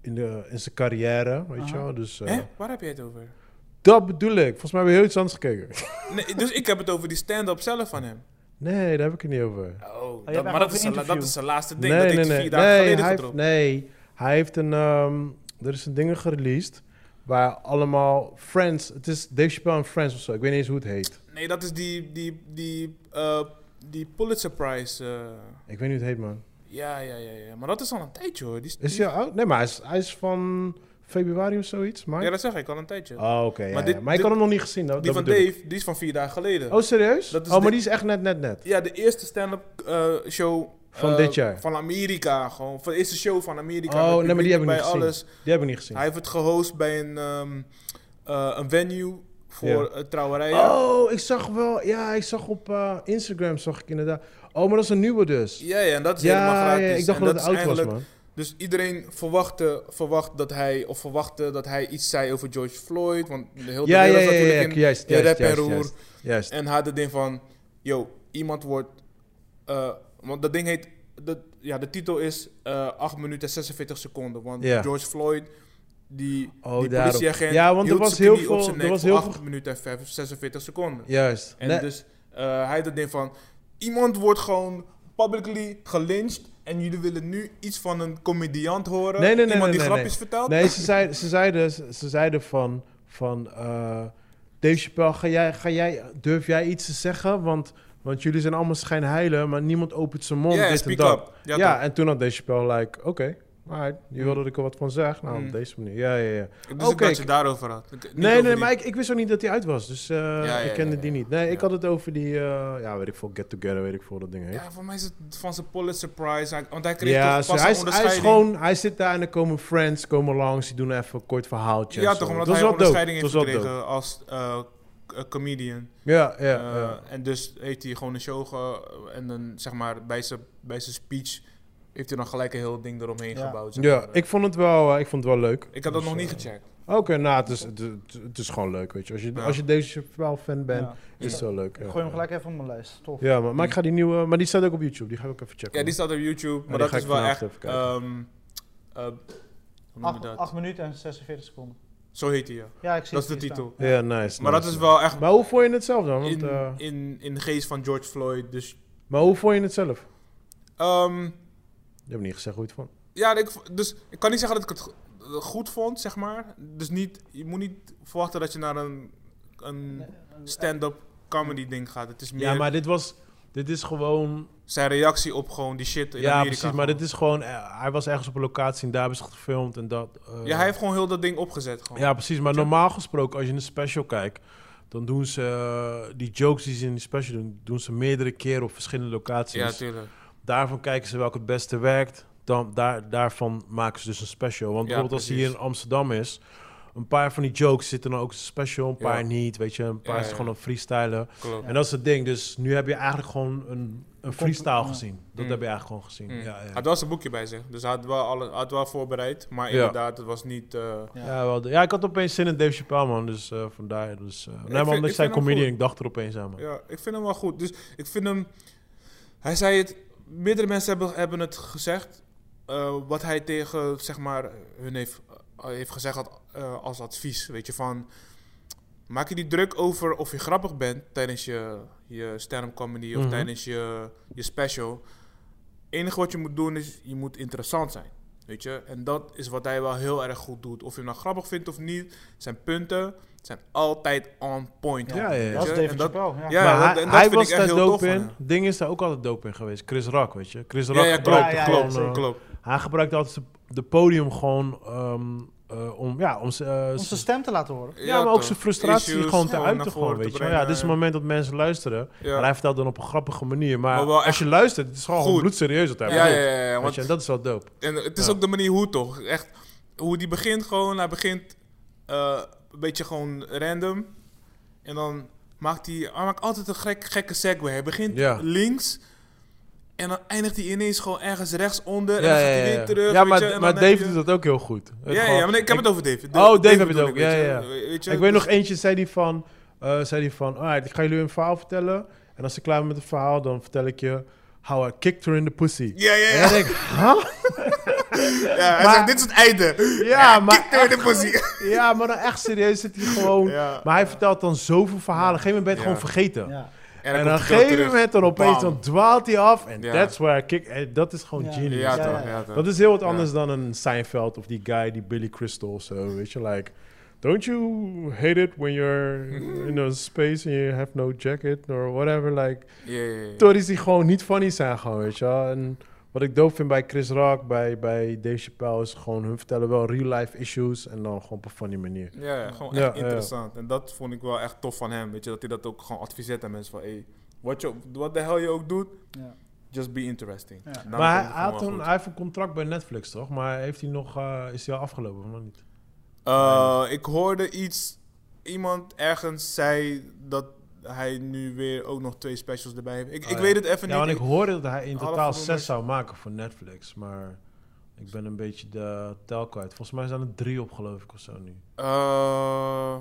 Speaker 3: in, de, in zijn carrière, weet je
Speaker 2: Aha.
Speaker 3: wel. Dus eh,
Speaker 4: Hè? Waar heb je het over?
Speaker 3: dat bedoel ik. Volgens mij heb je heel iets anders gekeken.
Speaker 4: Nee, dus ik heb het over die stand-up zelf van hem.
Speaker 3: nee, daar heb ik het niet over.
Speaker 4: Oh,
Speaker 2: hebt
Speaker 4: dat,
Speaker 2: echt
Speaker 4: maar dat
Speaker 2: over
Speaker 4: is, zijn la- dat
Speaker 2: interview.
Speaker 4: is zijn laatste ding.
Speaker 3: Nee,
Speaker 4: dat
Speaker 3: nee,
Speaker 4: heeft
Speaker 3: nee.
Speaker 4: hij
Speaker 3: Nee,
Speaker 4: vier dagen geleden
Speaker 3: hij heeft,
Speaker 4: gedropt.
Speaker 3: nee, hij heeft een... ehm, er is een ding gereleased waar allemaal Friends... Het is Dave Chappelle en Friends of zo. Ik weet niet eens hoe het heet.
Speaker 4: Nee, dat is die, die, die, eh, die Pulitzer Prize. eh,
Speaker 3: Ik weet niet hoe het heet, man.
Speaker 4: ja, ja, ja, ja. Maar dat is al een tijdje hoor. Die, is-
Speaker 3: Is hij al oud? Nee, maar hij is, hij is van februari of zoiets, maar...
Speaker 4: ja, dat zeg ik al een tijdje.
Speaker 3: Oh, oké. ja, ja. maar
Speaker 4: dit-
Speaker 3: ik
Speaker 4: dit-
Speaker 3: had hem nog niet gezien. Dat,
Speaker 4: die
Speaker 3: dat
Speaker 4: van
Speaker 3: bedoel ik.
Speaker 4: Dave, die is van vier dagen geleden.
Speaker 3: Oh, serieus?
Speaker 4: Dat is
Speaker 3: oh, maar
Speaker 4: de-
Speaker 3: die is echt net, net, net.
Speaker 4: Ja, de eerste stand-up eh, show.
Speaker 3: Van
Speaker 4: eh,
Speaker 3: dit jaar.
Speaker 4: Van Amerika gewoon. Van de eerste show van Amerika.
Speaker 3: Oh,
Speaker 4: Met
Speaker 3: nee, maar die
Speaker 4: publiek
Speaker 3: heb ik
Speaker 4: bij
Speaker 3: niet gezien.
Speaker 4: alles.
Speaker 3: Die heb ik niet gezien.
Speaker 4: Hij heeft het gehost bij een, ehm, eh, een venue voor
Speaker 3: Ja.
Speaker 4: eh, trouwerijen.
Speaker 3: Oh, ik zag wel... Ja, ik zag op eh, Instagram, zag ik inderdaad... Oh, maar dat is een nieuwe dus.
Speaker 4: Ja, ja, en dat is helemaal
Speaker 3: ja,
Speaker 4: gratis.
Speaker 3: ja, ik dacht
Speaker 4: En
Speaker 3: dat het
Speaker 4: is
Speaker 3: oud was,
Speaker 4: eigenlijk-
Speaker 3: man.
Speaker 4: Dus iedereen verwachtte, verwacht dat hij, of verwachtte dat hij iets zei over George Floyd. Want Oh, de hele
Speaker 3: Ja, ja,
Speaker 4: wereld
Speaker 3: ja, ja,
Speaker 4: natuurlijk
Speaker 3: ja,
Speaker 4: in-
Speaker 3: juist,
Speaker 4: in
Speaker 3: juist,
Speaker 4: rep en
Speaker 3: juist,
Speaker 4: roer.
Speaker 3: juist, juist.
Speaker 4: En hij had het ding van, yo, iemand wordt... eh, want dat ding heet... Dat, ja, de titel is eh 8 minuten en 46 seconden. Want
Speaker 3: Ja.
Speaker 4: George Floyd, die,
Speaker 3: Oh,
Speaker 4: die
Speaker 3: daarom.
Speaker 4: politieagent...
Speaker 3: Ja, want er
Speaker 4: hield
Speaker 3: was
Speaker 4: zijn knie
Speaker 3: heel
Speaker 4: op
Speaker 3: veel-
Speaker 4: zijn
Speaker 3: er
Speaker 4: nek
Speaker 3: was
Speaker 4: voor
Speaker 3: heel
Speaker 4: 8
Speaker 3: veel-
Speaker 4: minuten en vijf- 46 seconden.
Speaker 3: Juist.
Speaker 4: En
Speaker 3: Nee,
Speaker 4: dus eh, hij had het ding van... Iemand wordt gewoon publicly gelynched... en jullie willen nu iets van een comediant horen.
Speaker 3: Nee, nee, nee,
Speaker 4: iemand
Speaker 3: nee,
Speaker 4: die
Speaker 3: nee,
Speaker 4: grapjes vertelt.
Speaker 3: nee ze, zeiden, ze, zeiden, ze zeiden van... van eh, Dave Chappelle, ga jij, ga jij, durf jij iets te zeggen? Want, want jullie zijn allemaal schijnheilen... maar niemand opent zijn mond,
Speaker 4: Ja,
Speaker 3: dit en
Speaker 4: speak
Speaker 3: dat.
Speaker 4: up.
Speaker 3: Ja,
Speaker 4: Ja, toch.
Speaker 3: en toen had Dave Chappelle like... Oké, alright, je wil dat ik er wat van zeg? Nou, op
Speaker 4: Mm.
Speaker 3: deze manier. Ja, ja, ja.
Speaker 4: Dus ik
Speaker 3: Oké,
Speaker 4: dacht dat je
Speaker 3: ik-
Speaker 4: het daarover had. Ik- niet
Speaker 3: Nee,
Speaker 4: over
Speaker 3: nee,
Speaker 4: die-
Speaker 3: maar ik, ik wist ook niet dat hij uit was. Dus eh,
Speaker 4: ja,
Speaker 3: ik
Speaker 4: ja,
Speaker 3: kende
Speaker 4: ja,
Speaker 3: die
Speaker 4: ja.
Speaker 3: niet. Nee, ik
Speaker 4: Ja.
Speaker 3: had het over die... eh, ja, weet ik veel. Get Together, weet ik veel. Dat ding heet.
Speaker 4: Ja, voor mij is het van zijn Pulitzer Prize. Hij- Want hij kreeg
Speaker 3: Ja,
Speaker 4: toch
Speaker 3: zo,
Speaker 4: pas
Speaker 3: hij,
Speaker 4: een
Speaker 3: is, hij is
Speaker 4: onderscheiding.
Speaker 3: gewoon, hij zit daar en er komen friends, komen langs, die doen even een kort verhaaltje.
Speaker 4: ja,
Speaker 3: en
Speaker 4: toch,
Speaker 3: zo.
Speaker 4: omdat
Speaker 3: Dat is
Speaker 4: hij een
Speaker 3: wel dope,
Speaker 4: onderscheiding heeft
Speaker 3: dat is wel dope.
Speaker 4: gekregen als eh, c- eh, comedian.
Speaker 3: Ja, ja,
Speaker 4: Eh,
Speaker 3: ja.
Speaker 4: En dus heeft hij gewoon een show ge- en dan zeg maar bij zijn, bij zijn speech heeft hij dan gelijk een heel ding eromheen
Speaker 2: Ja.
Speaker 4: gebouwd. zeg
Speaker 3: ja,
Speaker 4: maar.
Speaker 3: ik vond het wel, eh, ik vond het wel leuk.
Speaker 4: ik had dat
Speaker 3: Dus,
Speaker 4: nog niet
Speaker 3: eh,
Speaker 4: gecheckt.
Speaker 3: Oké, nou, het is, het, het- het is gewoon leuk, weet je. Als je,
Speaker 4: Ja.
Speaker 3: als je deze Chappelle fan bent,
Speaker 2: Ja.
Speaker 3: is het wel leuk.
Speaker 2: Ik
Speaker 3: ja.
Speaker 2: gooi hem gelijk even op mijn lijst. Tof.
Speaker 3: Ja, maar, maar ik ga die nieuwe, maar die staat ook op YouTube, die ga ik ook even checken.
Speaker 4: Ja, die staat op YouTube, maar
Speaker 3: die
Speaker 4: dat
Speaker 3: ga
Speaker 4: is
Speaker 3: ik
Speaker 4: wel
Speaker 3: vanavond
Speaker 4: echt...
Speaker 3: even kijken.
Speaker 4: ehm, eh, hoe noem je
Speaker 2: Acht,
Speaker 4: dat?
Speaker 2: acht minuten en 46 seconden.
Speaker 4: Zo heet hij, ja.
Speaker 2: Ja, ik zie
Speaker 4: Dat is de
Speaker 2: het hier
Speaker 4: titel.
Speaker 3: Ja, nice.
Speaker 4: Maar dat
Speaker 3: nice,
Speaker 4: is
Speaker 3: nice.
Speaker 4: wel echt
Speaker 3: Maar hoe vond je het zelf dan? Want,
Speaker 4: in,
Speaker 3: eh,
Speaker 4: in, in de geest van George Floyd. Dus
Speaker 3: maar hoe vond je het zelf?
Speaker 4: ehm,
Speaker 3: Je hebt niet gezegd hoe je het vond.
Speaker 4: Ja, ik, v- dus ik kan niet zeggen dat ik het go- eh, goed vond, zeg maar. Dus niet, je moet niet verwachten dat je naar een, een stand-up comedy ding gaat. Het is meer
Speaker 3: Ja, maar dit was, dit is gewoon
Speaker 4: zijn reactie op gewoon die shit in
Speaker 3: ja,
Speaker 4: Amerika.
Speaker 3: precies. Maar
Speaker 4: gewoon.
Speaker 3: dit is gewoon... eh, hij was ergens op een locatie en daar hebben ze het gefilmd en dat... eh,
Speaker 4: Ja, hij heeft gewoon heel dat ding opgezet gewoon.
Speaker 3: Ja, precies. Maar normaal gesproken, als je een special kijkt... dan doen ze... eh, die jokes die ze in die special doen... doen ze meerdere keren op verschillende locaties.
Speaker 4: Ja, tuurlijk.
Speaker 3: Daarvan kijken ze welke het beste werkt. Dan, daar, daarvan maken ze dus een special. Want
Speaker 4: Ja,
Speaker 3: bijvoorbeeld als hij hier
Speaker 4: precies.
Speaker 3: in Amsterdam is... een paar van die jokes zitten dan ook in een special... een
Speaker 4: Ja.
Speaker 3: paar niet, weet je. Een paar
Speaker 4: Ja,
Speaker 3: is
Speaker 4: ja.
Speaker 3: gewoon een freestyler.
Speaker 4: Klopt.
Speaker 3: En dat is het ding. Dus nu heb je eigenlijk gewoon een, een freestyle
Speaker 2: ja.
Speaker 3: gezien. Dat
Speaker 4: Mm.
Speaker 3: heb je eigenlijk gewoon gezien.
Speaker 4: Mm.
Speaker 3: Ja,
Speaker 4: Hij
Speaker 3: ja.
Speaker 4: had wel zijn boekje bij zich. Dus hij had wel, alle, hij had wel voorbereid. Maar
Speaker 3: Ja.
Speaker 4: inderdaad, het was niet... eh,
Speaker 2: Ja.
Speaker 3: Ja, wel, ja, ik had opeens zin in Dave Chappelle, man. Dus eh, vandaar. Dus, eh nee,
Speaker 4: vind-
Speaker 3: man,
Speaker 4: ik
Speaker 3: ik
Speaker 4: vind
Speaker 3: zei
Speaker 4: hem
Speaker 3: comedian.
Speaker 4: goed.
Speaker 3: Ik dacht er opeens aan, man.
Speaker 4: Ja, ik vind hem wel goed. Dus ik vind hem. Hij zei het. Meerdere mensen hebben, hebben het gezegd. eh, wat hij tegen zeg maar, hun heeft, eh, heeft gezegd had, eh, als advies. Weet je van. Maak je niet druk over of je grappig bent tijdens je, je stand-up comedy of
Speaker 3: Mhm.
Speaker 4: tijdens je, je special. Het enige wat je moet doen is je moet interessant zijn. Weet je? En dat is wat hij wel heel erg goed doet. Of je hem nou grappig vindt of niet, zijn punten zijn altijd on point.
Speaker 3: Ja, ja, ja.
Speaker 4: Weet
Speaker 2: Dat
Speaker 4: je?
Speaker 2: is
Speaker 4: En
Speaker 2: David
Speaker 4: dat-
Speaker 2: Chappelle. Ja.
Speaker 4: ja,
Speaker 3: maar
Speaker 4: dat-
Speaker 3: hij,
Speaker 4: en dat
Speaker 3: hij
Speaker 4: vind
Speaker 3: was
Speaker 4: ik echt
Speaker 3: daar
Speaker 4: heel tof
Speaker 3: dope
Speaker 4: van
Speaker 3: in.
Speaker 4: hem.
Speaker 3: Ding is daar ook altijd dope in geweest. Chris Rock, weet je. Chris
Speaker 4: Ja,
Speaker 3: Rock
Speaker 4: ja, klopt,
Speaker 3: gebruikte
Speaker 2: ja, ja,
Speaker 3: gewoon...
Speaker 2: zeker.
Speaker 3: eh,
Speaker 4: Klopt.
Speaker 3: hij gebruikte altijd de- de podium gewoon ehm, eh, om... Ja, om, ze- eh,
Speaker 2: Om
Speaker 3: ze-
Speaker 2: zijn stem te laten horen.
Speaker 3: ja, maar ook
Speaker 4: toch.
Speaker 3: zijn frustratie
Speaker 4: Issues,
Speaker 3: gewoon te
Speaker 4: ja,
Speaker 3: uiten.
Speaker 4: naar
Speaker 3: Gewoon,
Speaker 4: voren te
Speaker 3: weet je.
Speaker 4: brengen,
Speaker 3: Ja, dit is het moment dat mensen luisteren.
Speaker 4: Ja.
Speaker 3: Maar hij vertelt dan op een grappige manier. Maar,
Speaker 4: Maar wel
Speaker 3: als
Speaker 4: echt
Speaker 3: je luistert, het is gewoon
Speaker 4: goed.
Speaker 3: bloedserieus wat hij
Speaker 4: Ja, ja,
Speaker 3: bedoelt.
Speaker 4: ja, ja,
Speaker 3: Weet
Speaker 4: want
Speaker 3: je, en dat is wel dope.
Speaker 4: en het is
Speaker 3: Ja.
Speaker 4: ook de manier hoe toch. Echt, hoe die begint gewoon. Hij begint eh, een beetje gewoon random. En dan maakt hij, hij maakt altijd een gek, gekke segue. Hij begint
Speaker 3: Ja.
Speaker 4: links. En dan eindigt hij ineens gewoon ergens rechtsonder. en
Speaker 3: Ja,
Speaker 4: dan
Speaker 3: ja,
Speaker 4: gaat hij
Speaker 3: ja,
Speaker 4: weer
Speaker 3: ja.
Speaker 4: terug.
Speaker 3: Ja,
Speaker 4: weet
Speaker 3: maar,
Speaker 4: je, en
Speaker 3: maar
Speaker 4: dan
Speaker 3: Dave
Speaker 4: heb je-
Speaker 3: doet dat ook heel goed. Het
Speaker 4: Ja, ja,
Speaker 3: gewoon-
Speaker 4: maar nee, ik heb het over David.
Speaker 3: Dave heb
Speaker 4: David
Speaker 3: het
Speaker 4: bedoel
Speaker 3: ook,
Speaker 4: ik, weet
Speaker 3: ja,
Speaker 4: je.
Speaker 3: ja.
Speaker 4: Weet je,
Speaker 3: ik weet
Speaker 4: dus-
Speaker 3: nog eentje, zei die van... eh, zei die van, alright, ik ga jullie een verhaal vertellen. En als ik klaar ben met het verhaal, dan vertel ik je... How I kicked her in the pussy.
Speaker 4: Ja, ja,
Speaker 3: En
Speaker 4: ja.
Speaker 3: dan denk ik, huh?
Speaker 4: Ja, hij
Speaker 3: Maar-
Speaker 4: zegt, dit is het einde.
Speaker 3: Ja, maar,
Speaker 4: Kick door de pussy.
Speaker 3: echt- ja, maar dan echt serieus zit hij gewoon...
Speaker 4: Ja.
Speaker 3: Maar hij vertelt dan zoveel verhalen. Op een gegeven moment ben je het
Speaker 4: Ja.
Speaker 3: gewoon vergeten.
Speaker 2: Ja.
Speaker 4: En,
Speaker 3: En
Speaker 4: dan
Speaker 3: dan
Speaker 4: komt hij
Speaker 3: gegeven
Speaker 4: terug.
Speaker 3: moment dan opeens
Speaker 4: Bam.
Speaker 3: dan dwaalt hij af. En
Speaker 4: Ja.
Speaker 3: that's where I kick... eh, Dat is gewoon
Speaker 2: Ja.
Speaker 3: genius.
Speaker 4: Ja,
Speaker 2: Ja,
Speaker 4: toch.
Speaker 2: ja.
Speaker 4: Ja, toch.
Speaker 3: Dat is heel wat
Speaker 4: Ja.
Speaker 3: anders dan een Seinfeld of die guy, die Billy Crystal of zo. Weet je, like... Don't you hate it when you're in a space and you have no jacket or whatever? Like,
Speaker 4: Ja, ja, ja.
Speaker 3: stories die gewoon niet funny zijn, gewoon, weet je wel. En wat ik doof vind bij Chris Rock, bij, bij Dave Chappelle, is gewoon hun vertellen wel real-life issues en dan gewoon op een funny manier.
Speaker 4: Ja, ja, gewoon
Speaker 3: Ja,
Speaker 4: echt
Speaker 3: ja.
Speaker 4: interessant. En dat vond ik wel echt tof van hem. Weet je, dat hij dat ook gewoon adviseert aan mensen van... Hey, wat, je, wat de hel je ook doet,
Speaker 2: Ja.
Speaker 4: just be interesting. Nou,
Speaker 2: Ja.
Speaker 4: Dan komt
Speaker 3: maar hij,
Speaker 4: het
Speaker 3: had
Speaker 4: gewoon
Speaker 3: een,
Speaker 4: goed.
Speaker 3: hij heeft een contract bij Netflix, toch? Maar heeft hij nog, eh, is hij al afgelopen? Of nog niet?
Speaker 4: Eh, ik hoorde iets... Iemand ergens zei dat hij nu weer ook nog twee specials erbij heeft. Ik,
Speaker 3: Oh,
Speaker 4: ik
Speaker 3: ja.
Speaker 4: weet het even
Speaker 3: Ja, want
Speaker 4: niet.
Speaker 3: ik hoorde dat hij in
Speaker 4: Half
Speaker 3: totaal
Speaker 4: miljoen
Speaker 3: zes zou maken voor Netflix, maar ik ben een beetje de tel kwijt. Volgens mij zijn er drie op, geloof ik, of zo nu.
Speaker 4: Eh,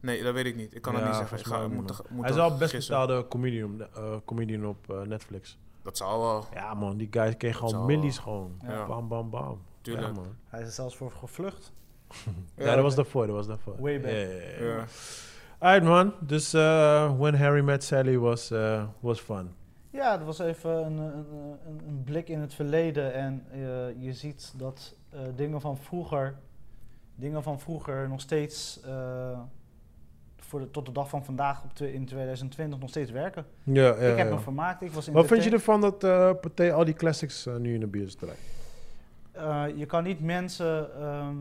Speaker 4: nee, dat weet ik niet. Ik kan
Speaker 3: Ja,
Speaker 4: dat niet zeggen. Ik
Speaker 3: volgens
Speaker 4: ga,
Speaker 3: mij ook
Speaker 4: moet,
Speaker 3: niet,
Speaker 4: moet
Speaker 3: hij is wel
Speaker 4: dat
Speaker 3: best
Speaker 4: gissen.
Speaker 3: betaalde comedian, eh, comedian op eh, Netflix.
Speaker 4: Dat zou wel.
Speaker 3: Ja man, die guy kreeg
Speaker 4: Zo.
Speaker 3: gewoon millies gewoon.
Speaker 4: Ja.
Speaker 3: Bam, bam, bam.
Speaker 4: Tuurlijk.
Speaker 3: Ja, man.
Speaker 2: Hij is er zelfs voor gevlucht.
Speaker 3: Ja, dat was daarvoor, dat was daarvoor.
Speaker 2: Way back.
Speaker 3: Ja, ja, ja, ja.
Speaker 4: Ja.
Speaker 3: Alright, man, dus eh, When Harry Met Sally was, eh, was fun.
Speaker 2: Ja, dat was even een, een, een, een blik in het verleden. En eh, je ziet dat eh, dingen van vroeger, dingen van vroeger nog steeds eh, voor de, tot de dag van vandaag op twe- in 2020 nog steeds werken.
Speaker 3: Ja, ja,
Speaker 2: ik heb
Speaker 3: ja.
Speaker 2: me vermaakt. Ik was in
Speaker 3: Wat vind je ervan dat eh Pathé al die classics eh, nu in de bios draait?
Speaker 2: Eh, je kan niet mensen ehm,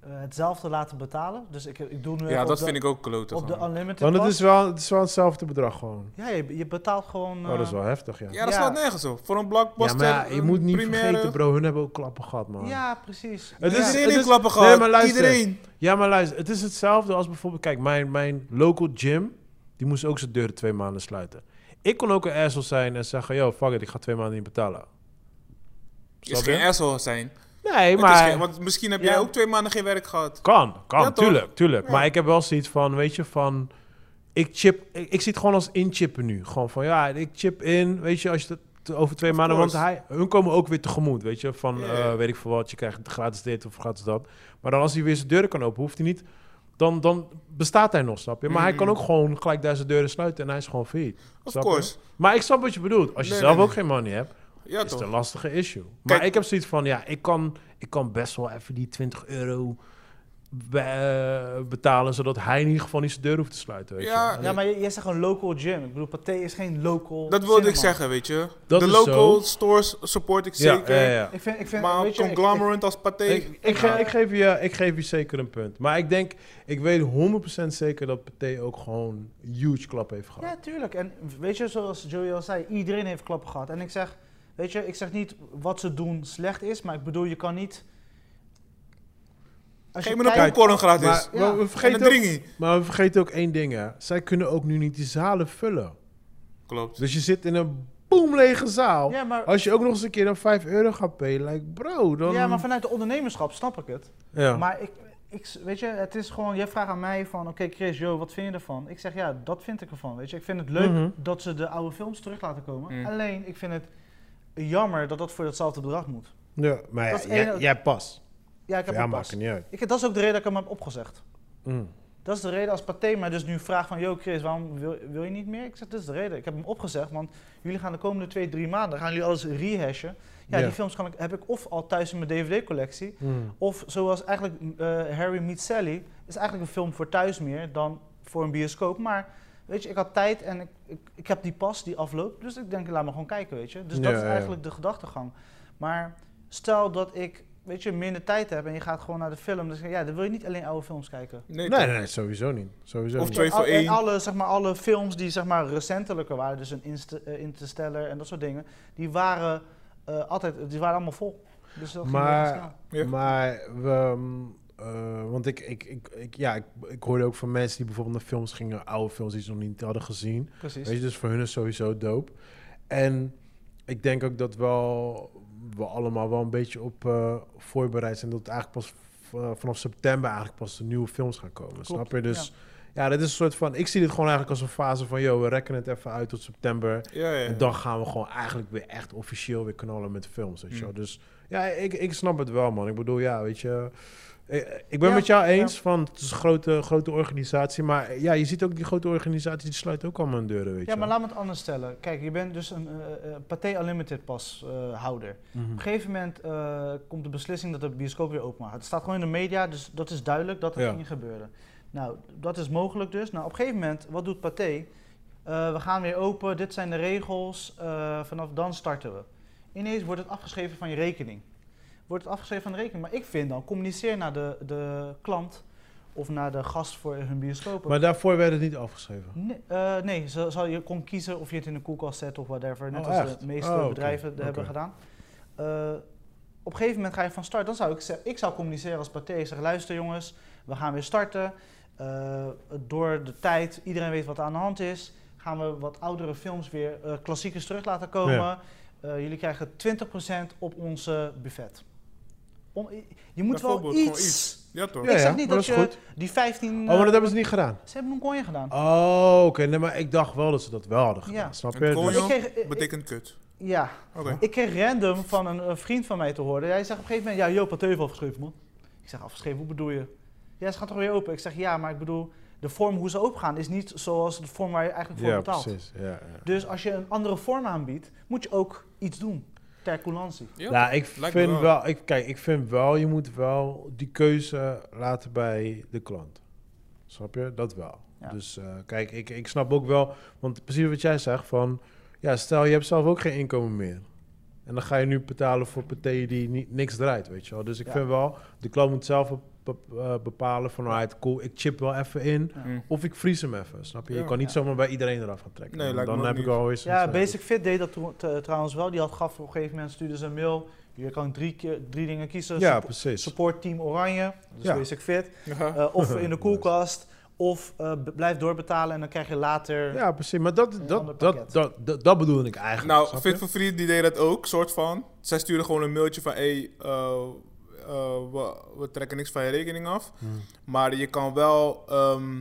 Speaker 2: eh, hetzelfde laten betalen. Dus ik, ik doe nu
Speaker 4: Ja,
Speaker 2: even
Speaker 4: dat
Speaker 2: op
Speaker 4: vind
Speaker 2: de,
Speaker 4: ik ook klote.
Speaker 2: op de
Speaker 4: gewoon.
Speaker 2: unlimited
Speaker 3: Want het
Speaker 2: pas.
Speaker 3: is, wel, het is wel hetzelfde bedrag gewoon.
Speaker 2: Ja, je, je betaalt gewoon...
Speaker 3: Oh, dat is
Speaker 2: eh,
Speaker 3: wel heftig, ja.
Speaker 4: Ja, dat
Speaker 2: Ja.
Speaker 4: slaat nergens op. Voor een
Speaker 3: Ja,
Speaker 4: blockbuster.
Speaker 3: maar ja, je
Speaker 4: een
Speaker 3: moet niet
Speaker 4: première.
Speaker 3: vergeten, bro, hun hebben ook klappen gehad, man.
Speaker 2: Ja, precies.
Speaker 3: Het
Speaker 4: Het
Speaker 3: is-
Speaker 4: is
Speaker 3: het
Speaker 4: iedereen
Speaker 3: is-
Speaker 4: klappen
Speaker 3: nee,
Speaker 4: gehad.
Speaker 3: maar luister.
Speaker 4: Iedereen.
Speaker 3: Ja, maar luister, het is hetzelfde als bijvoorbeeld... Kijk, mijn, mijn local gym, die moest ook zijn deuren twee maanden sluiten. Ik kon ook een asshole zijn en zeggen... Yo, fuck it, ik ga twee maanden niet betalen.
Speaker 4: Het is
Speaker 3: Snap je?
Speaker 4: geen asshole zijn.
Speaker 3: Nee,
Speaker 4: Het is
Speaker 3: maar...
Speaker 4: geen- want misschien heb jij
Speaker 3: Ja.
Speaker 4: ook twee maanden geen werk gehad.
Speaker 3: Kan, kan,
Speaker 4: Ja, toch?
Speaker 3: tuurlijk, tuurlijk. Maar ik heb wel zoiets van, weet je, van... Ik chip, ik, ik zie het gewoon als inchippen nu. Gewoon van, ja, ik chip in, weet je, als je dat t- over twee maanden... Want
Speaker 4: course.
Speaker 3: hij, hun komen ook weer tegemoet, weet je, van,
Speaker 4: Ja,
Speaker 3: eh,
Speaker 4: ja.
Speaker 3: weet ik veel wat, je krijgt gratis dit of gratis dat. Maar dan als hij weer zijn deuren kan openen, hoeft hij niet... Dan, dan bestaat hij nog, snap je? Maar hij kan ook gewoon gelijk daar zijn deuren sluiten en hij is gewoon failliet.
Speaker 4: Mm. Of
Speaker 3: snap je?
Speaker 4: course.
Speaker 3: Maar ik snap wat je bedoelt. Als je
Speaker 4: Nee,
Speaker 3: zelf
Speaker 4: nee,
Speaker 3: ook geen money hebt,
Speaker 4: Ja,
Speaker 3: is het
Speaker 4: toch?
Speaker 3: een lastige issue. Maar
Speaker 4: Kijk-
Speaker 3: ik heb zoiets van, ja, ik kan, ik kan best wel even die 20 euro be- eh, betalen, zodat hij in ieder geval niet zijn deur hoeft te sluiten. Weet
Speaker 4: Ja,
Speaker 3: je. wel.
Speaker 2: Ja, maar j- jij zegt een local gym. Ik bedoel, Pathé is geen local
Speaker 4: Dat wilde ik
Speaker 2: cinema.
Speaker 4: zeggen, weet je.
Speaker 3: Dat
Speaker 4: de
Speaker 3: is
Speaker 4: local
Speaker 3: zo.
Speaker 4: stores support ik
Speaker 3: Ja,
Speaker 4: zeker.
Speaker 3: ja, ja.
Speaker 2: Ik vind, ik vind,
Speaker 4: Maar een
Speaker 2: weet je, ik-
Speaker 4: conglomerate als Pathé.
Speaker 3: Ik, ik,
Speaker 4: Nou.
Speaker 3: ge- ik, geef je, ik geef je zeker een punt. Maar ik denk, ik weet 100% zeker dat Pathé ook gewoon een huge klap heeft
Speaker 2: ik- ja,
Speaker 3: gehad.
Speaker 2: tuurlijk. En weet je, zoals Joey al zei, iedereen heeft klappen gehad. En ik zeg, weet je, ik zeg niet wat ze doen slecht is, maar ik bedoel, je kan niet... Als
Speaker 4: Geef
Speaker 2: je
Speaker 4: me een
Speaker 2: kijkt-
Speaker 4: popcorn gratis.
Speaker 3: Maar,
Speaker 2: Ja.
Speaker 3: maar we
Speaker 4: En een
Speaker 3: vergeten ook,
Speaker 4: dringie.
Speaker 3: maar we vergeten ook één ding, hè. Zij kunnen ook nu niet die zalen vullen.
Speaker 4: Klopt.
Speaker 3: Dus je zit in een boemlege zaal.
Speaker 2: Ja, maar,
Speaker 3: Als je ook nog eens een keer dan 5 euro gaat payen, like bro, dan...
Speaker 2: ja, maar vanuit de ondernemerschap snap ik het.
Speaker 3: Ja.
Speaker 2: Maar ik, ik, weet je, het is gewoon, jij vraagt aan mij van, oké Chris, Jo, wat vind je ervan? Ik zeg, ja, dat vind ik ervan, weet je. Ik vind het leuk
Speaker 3: Mhm.
Speaker 2: dat ze de oude films terug laten komen.
Speaker 4: Mm.
Speaker 2: Alleen, ik vind het jammer dat dat voor hetzelfde bedrag moet.
Speaker 3: Ja, maar
Speaker 2: Dat
Speaker 3: ja,
Speaker 2: is
Speaker 3: jij,
Speaker 2: één-
Speaker 3: jij pas.
Speaker 2: Ja, ik heb
Speaker 3: Ja,
Speaker 2: een
Speaker 3: maakt
Speaker 2: pas.
Speaker 3: het niet uit.
Speaker 2: Ik, dat is ook de reden dat ik hem heb opgezegd.
Speaker 3: Mm.
Speaker 2: Dat is de reden als Pathé mij dus nu vraagt van... Yo Chris, waarom wil, wil je niet meer? Ik zeg, dat is de reden. Ik heb hem opgezegd, want jullie gaan de komende twee, drie maanden... gaan jullie alles rehashen. Ja,
Speaker 3: Ja.
Speaker 2: die films kan ik, heb ik of al thuis in mijn dvd-collectie...
Speaker 3: Mm.
Speaker 2: of zoals eigenlijk eh, Harry Meets Sally... is eigenlijk een film voor thuis meer dan voor een bioscoop. Maar weet je, ik had tijd en ik, ik, ik heb die pas die afloopt. Dus ik denk, laat me gewoon kijken, weet je. Dus
Speaker 3: Ja,
Speaker 2: dat is
Speaker 3: ja.
Speaker 2: eigenlijk de gedachtegang. Maar stel dat ik... Weet je, minder tijd heb en je gaat gewoon naar de film. Dus ja, dan wil je niet alleen oude films kijken.
Speaker 4: Nee,
Speaker 3: Nee,
Speaker 4: toch?
Speaker 3: nee, nee, sowieso niet. Sowieso
Speaker 4: Of
Speaker 3: niet.
Speaker 4: twee- voor
Speaker 2: Al- en
Speaker 4: één.
Speaker 2: alle, zeg maar, alle films die zeg maar, recentelijker waren, dus een Inst- eh, Interstellar en dat soort dingen, die waren eh, altijd, die waren allemaal vol. Dus dat ging
Speaker 3: Maar-
Speaker 2: heel snel.
Speaker 4: Ja.
Speaker 3: Maar, we, ehm, eh, want ik, ik, ik, ik, ja, ik, ik hoorde ook van mensen die bijvoorbeeld naar films gingen, oude films die ze nog niet hadden gezien.
Speaker 2: Precies.
Speaker 3: Weet je, dus voor hun is sowieso dope. En ik denk ook dat wel, we allemaal wel een beetje op eh, voorbereid zijn. Dat het eigenlijk pas v- eh, vanaf september eigenlijk pas de nieuwe films gaan komen. Snap je? Dus ja. Ja, dit is een soort van... Ik zie dit gewoon eigenlijk als een fase van... Yo, we rekken het even uit tot september.
Speaker 4: Ja, ja.
Speaker 3: En dan gaan we gewoon eigenlijk weer echt officieel weer knallen met films. Weet je
Speaker 4: Mm.
Speaker 3: wel. Dus ja, ik, ik snap het wel, man. Ik bedoel, ja, weet je. Ik, ik ben
Speaker 2: Ja,
Speaker 3: met jou
Speaker 2: ja.
Speaker 3: eens van het is een grote, grote organisatie. Maar eh, ja, je ziet ook die grote organisaties die sluiten ook allemaal hun deuren, weet
Speaker 2: Ja,
Speaker 3: je
Speaker 2: maar
Speaker 3: wel.
Speaker 2: laat me het anders stellen. Kijk, je bent dus een eh, eh, Pathé Unlimited pas eh, houder.
Speaker 3: Mhm.
Speaker 2: Op een gegeven moment eh, komt de beslissing dat de bioscoop weer open mag. Het staat gewoon in de media, dus dat is duidelijk dat het
Speaker 3: Ja.
Speaker 2: ging gebeuren. Nou, dat is mogelijk dus. Nou, op een gegeven moment, wat doet Pathé? Eh, we gaan weer open, dit zijn de regels, eh, vanaf dan starten we. Ineens wordt het afgeschreven van je rekening. Wordt het afgeschreven van de rekening. Maar ik vind dan, communiceer naar de, de klant of naar de gast voor hun bioscoop.
Speaker 3: Maar daarvoor werd het niet afgeschreven.
Speaker 2: Nee, eh, nee ze, ze- je kon kiezen of je het in de koelkast zet of whatever. Net
Speaker 3: Oh,
Speaker 2: als
Speaker 3: echt?
Speaker 2: de meeste
Speaker 3: Oh, oké.
Speaker 2: bedrijven dat hebben
Speaker 3: Oké.
Speaker 2: gedaan. Eh, op een gegeven moment ga je van start. Dan zou ik, ze- ik zou communiceren als partij. Ik Zeg, luister jongens, we gaan weer starten. Eh, door de tijd, iedereen weet wat er aan de hand is. Gaan we wat oudere films weer eh, klassiekers terug laten komen.
Speaker 3: Ja.
Speaker 2: Eh, jullie krijgen 20% op onze buffet. Om, je moet wel
Speaker 4: Bijvoorbeeld, gewoon
Speaker 2: iets.
Speaker 4: iets. Ja, toch?
Speaker 3: Ja,
Speaker 2: ik
Speaker 3: ja,
Speaker 2: zeg niet
Speaker 3: maar
Speaker 2: dat,
Speaker 3: dat
Speaker 2: je
Speaker 3: is goed.
Speaker 2: die 15...
Speaker 3: Oh, maar
Speaker 2: eh,
Speaker 3: dat hebben ze niet gedaan.
Speaker 2: Ze hebben een konje gedaan.
Speaker 3: Oh, oké. Nee, maar ik dacht wel dat ze dat wel hadden gedaan.
Speaker 2: Ja.
Speaker 3: Snap
Speaker 4: En
Speaker 3: je?
Speaker 4: kon
Speaker 3: Dus-
Speaker 4: je-
Speaker 2: Ik kreeg, ik-
Speaker 4: Betekent kut.
Speaker 2: ja,
Speaker 4: Oké.
Speaker 2: Ik kreeg random van een, een vriend van mij te horen. Hij zegt op een gegeven moment, ja, Joop had even afgeschreven, man. Ik zeg, afgeschreven, hoe bedoel je? Ja, ze gaat toch weer open? Ik zeg, ja, maar ik bedoel, de vorm hoe ze opengaan is niet zoals de vorm waar je eigenlijk voor
Speaker 3: ja,
Speaker 2: betaalt.
Speaker 3: precies. Ja, ja.
Speaker 2: Dus als je een andere vorm aanbiedt, moet je ook iets doen ter coulantie.
Speaker 4: Ja,
Speaker 3: Nou, ik
Speaker 4: lijkt me
Speaker 3: vind
Speaker 4: wel.
Speaker 3: wel, ik, kijk, ik vind wel, je moet wel die keuze laten bij de klant. Snap je? Dat wel.
Speaker 2: Ja.
Speaker 3: Dus eh, kijk, ik, ik snap ook wel, want precies wat jij zegt, van ja, stel je hebt zelf ook geen inkomen meer. En dan ga je nu betalen voor partij die niet, niks draait, weet je wel. Dus ik
Speaker 2: Ja.
Speaker 3: vind wel, de klant moet zelf bep- bep- eh, bepalen van, alright, cool, ik chip wel even in.
Speaker 2: Ja.
Speaker 4: Mm.
Speaker 3: Of ik vries hem even, snap je? Je
Speaker 4: Ja.
Speaker 3: kan niet
Speaker 2: Ja.
Speaker 3: zomaar bij iedereen eraf gaan trekken.
Speaker 4: Nee,
Speaker 3: Dan-
Speaker 4: lijkt me
Speaker 3: dan
Speaker 4: ook
Speaker 3: heb ik
Speaker 4: niet.
Speaker 3: alweer...
Speaker 2: Ja, Basic Fit deed dat tro- te- trouwens wel. Die had gaf op een gegeven moment, stuurde ze een mail. Je kan drie, keer, drie dingen kiezen.
Speaker 3: Ja,
Speaker 2: Suppo-
Speaker 3: precies.
Speaker 2: support Team Oranje, dus
Speaker 3: Ja.
Speaker 2: Basic Fit.
Speaker 4: Ja.
Speaker 2: Eh, of in de
Speaker 3: Nice.
Speaker 2: koelkast. Of eh, b- blijf doorbetalen en dan krijg je later.
Speaker 3: Ja, precies. Maar dat,
Speaker 2: Een ander
Speaker 3: dat, dat,
Speaker 2: pakket.
Speaker 3: dat, dat, dat bedoelde ik eigenlijk.
Speaker 4: Nou,
Speaker 3: snap je?
Speaker 4: Fit for Free die deed dat ook, soort van. Zij stuurden gewoon een mailtje van, hey, eh, eh, we, we trekken niks van je rekening af.
Speaker 3: Hmm.
Speaker 4: Maar je kan wel, ehm,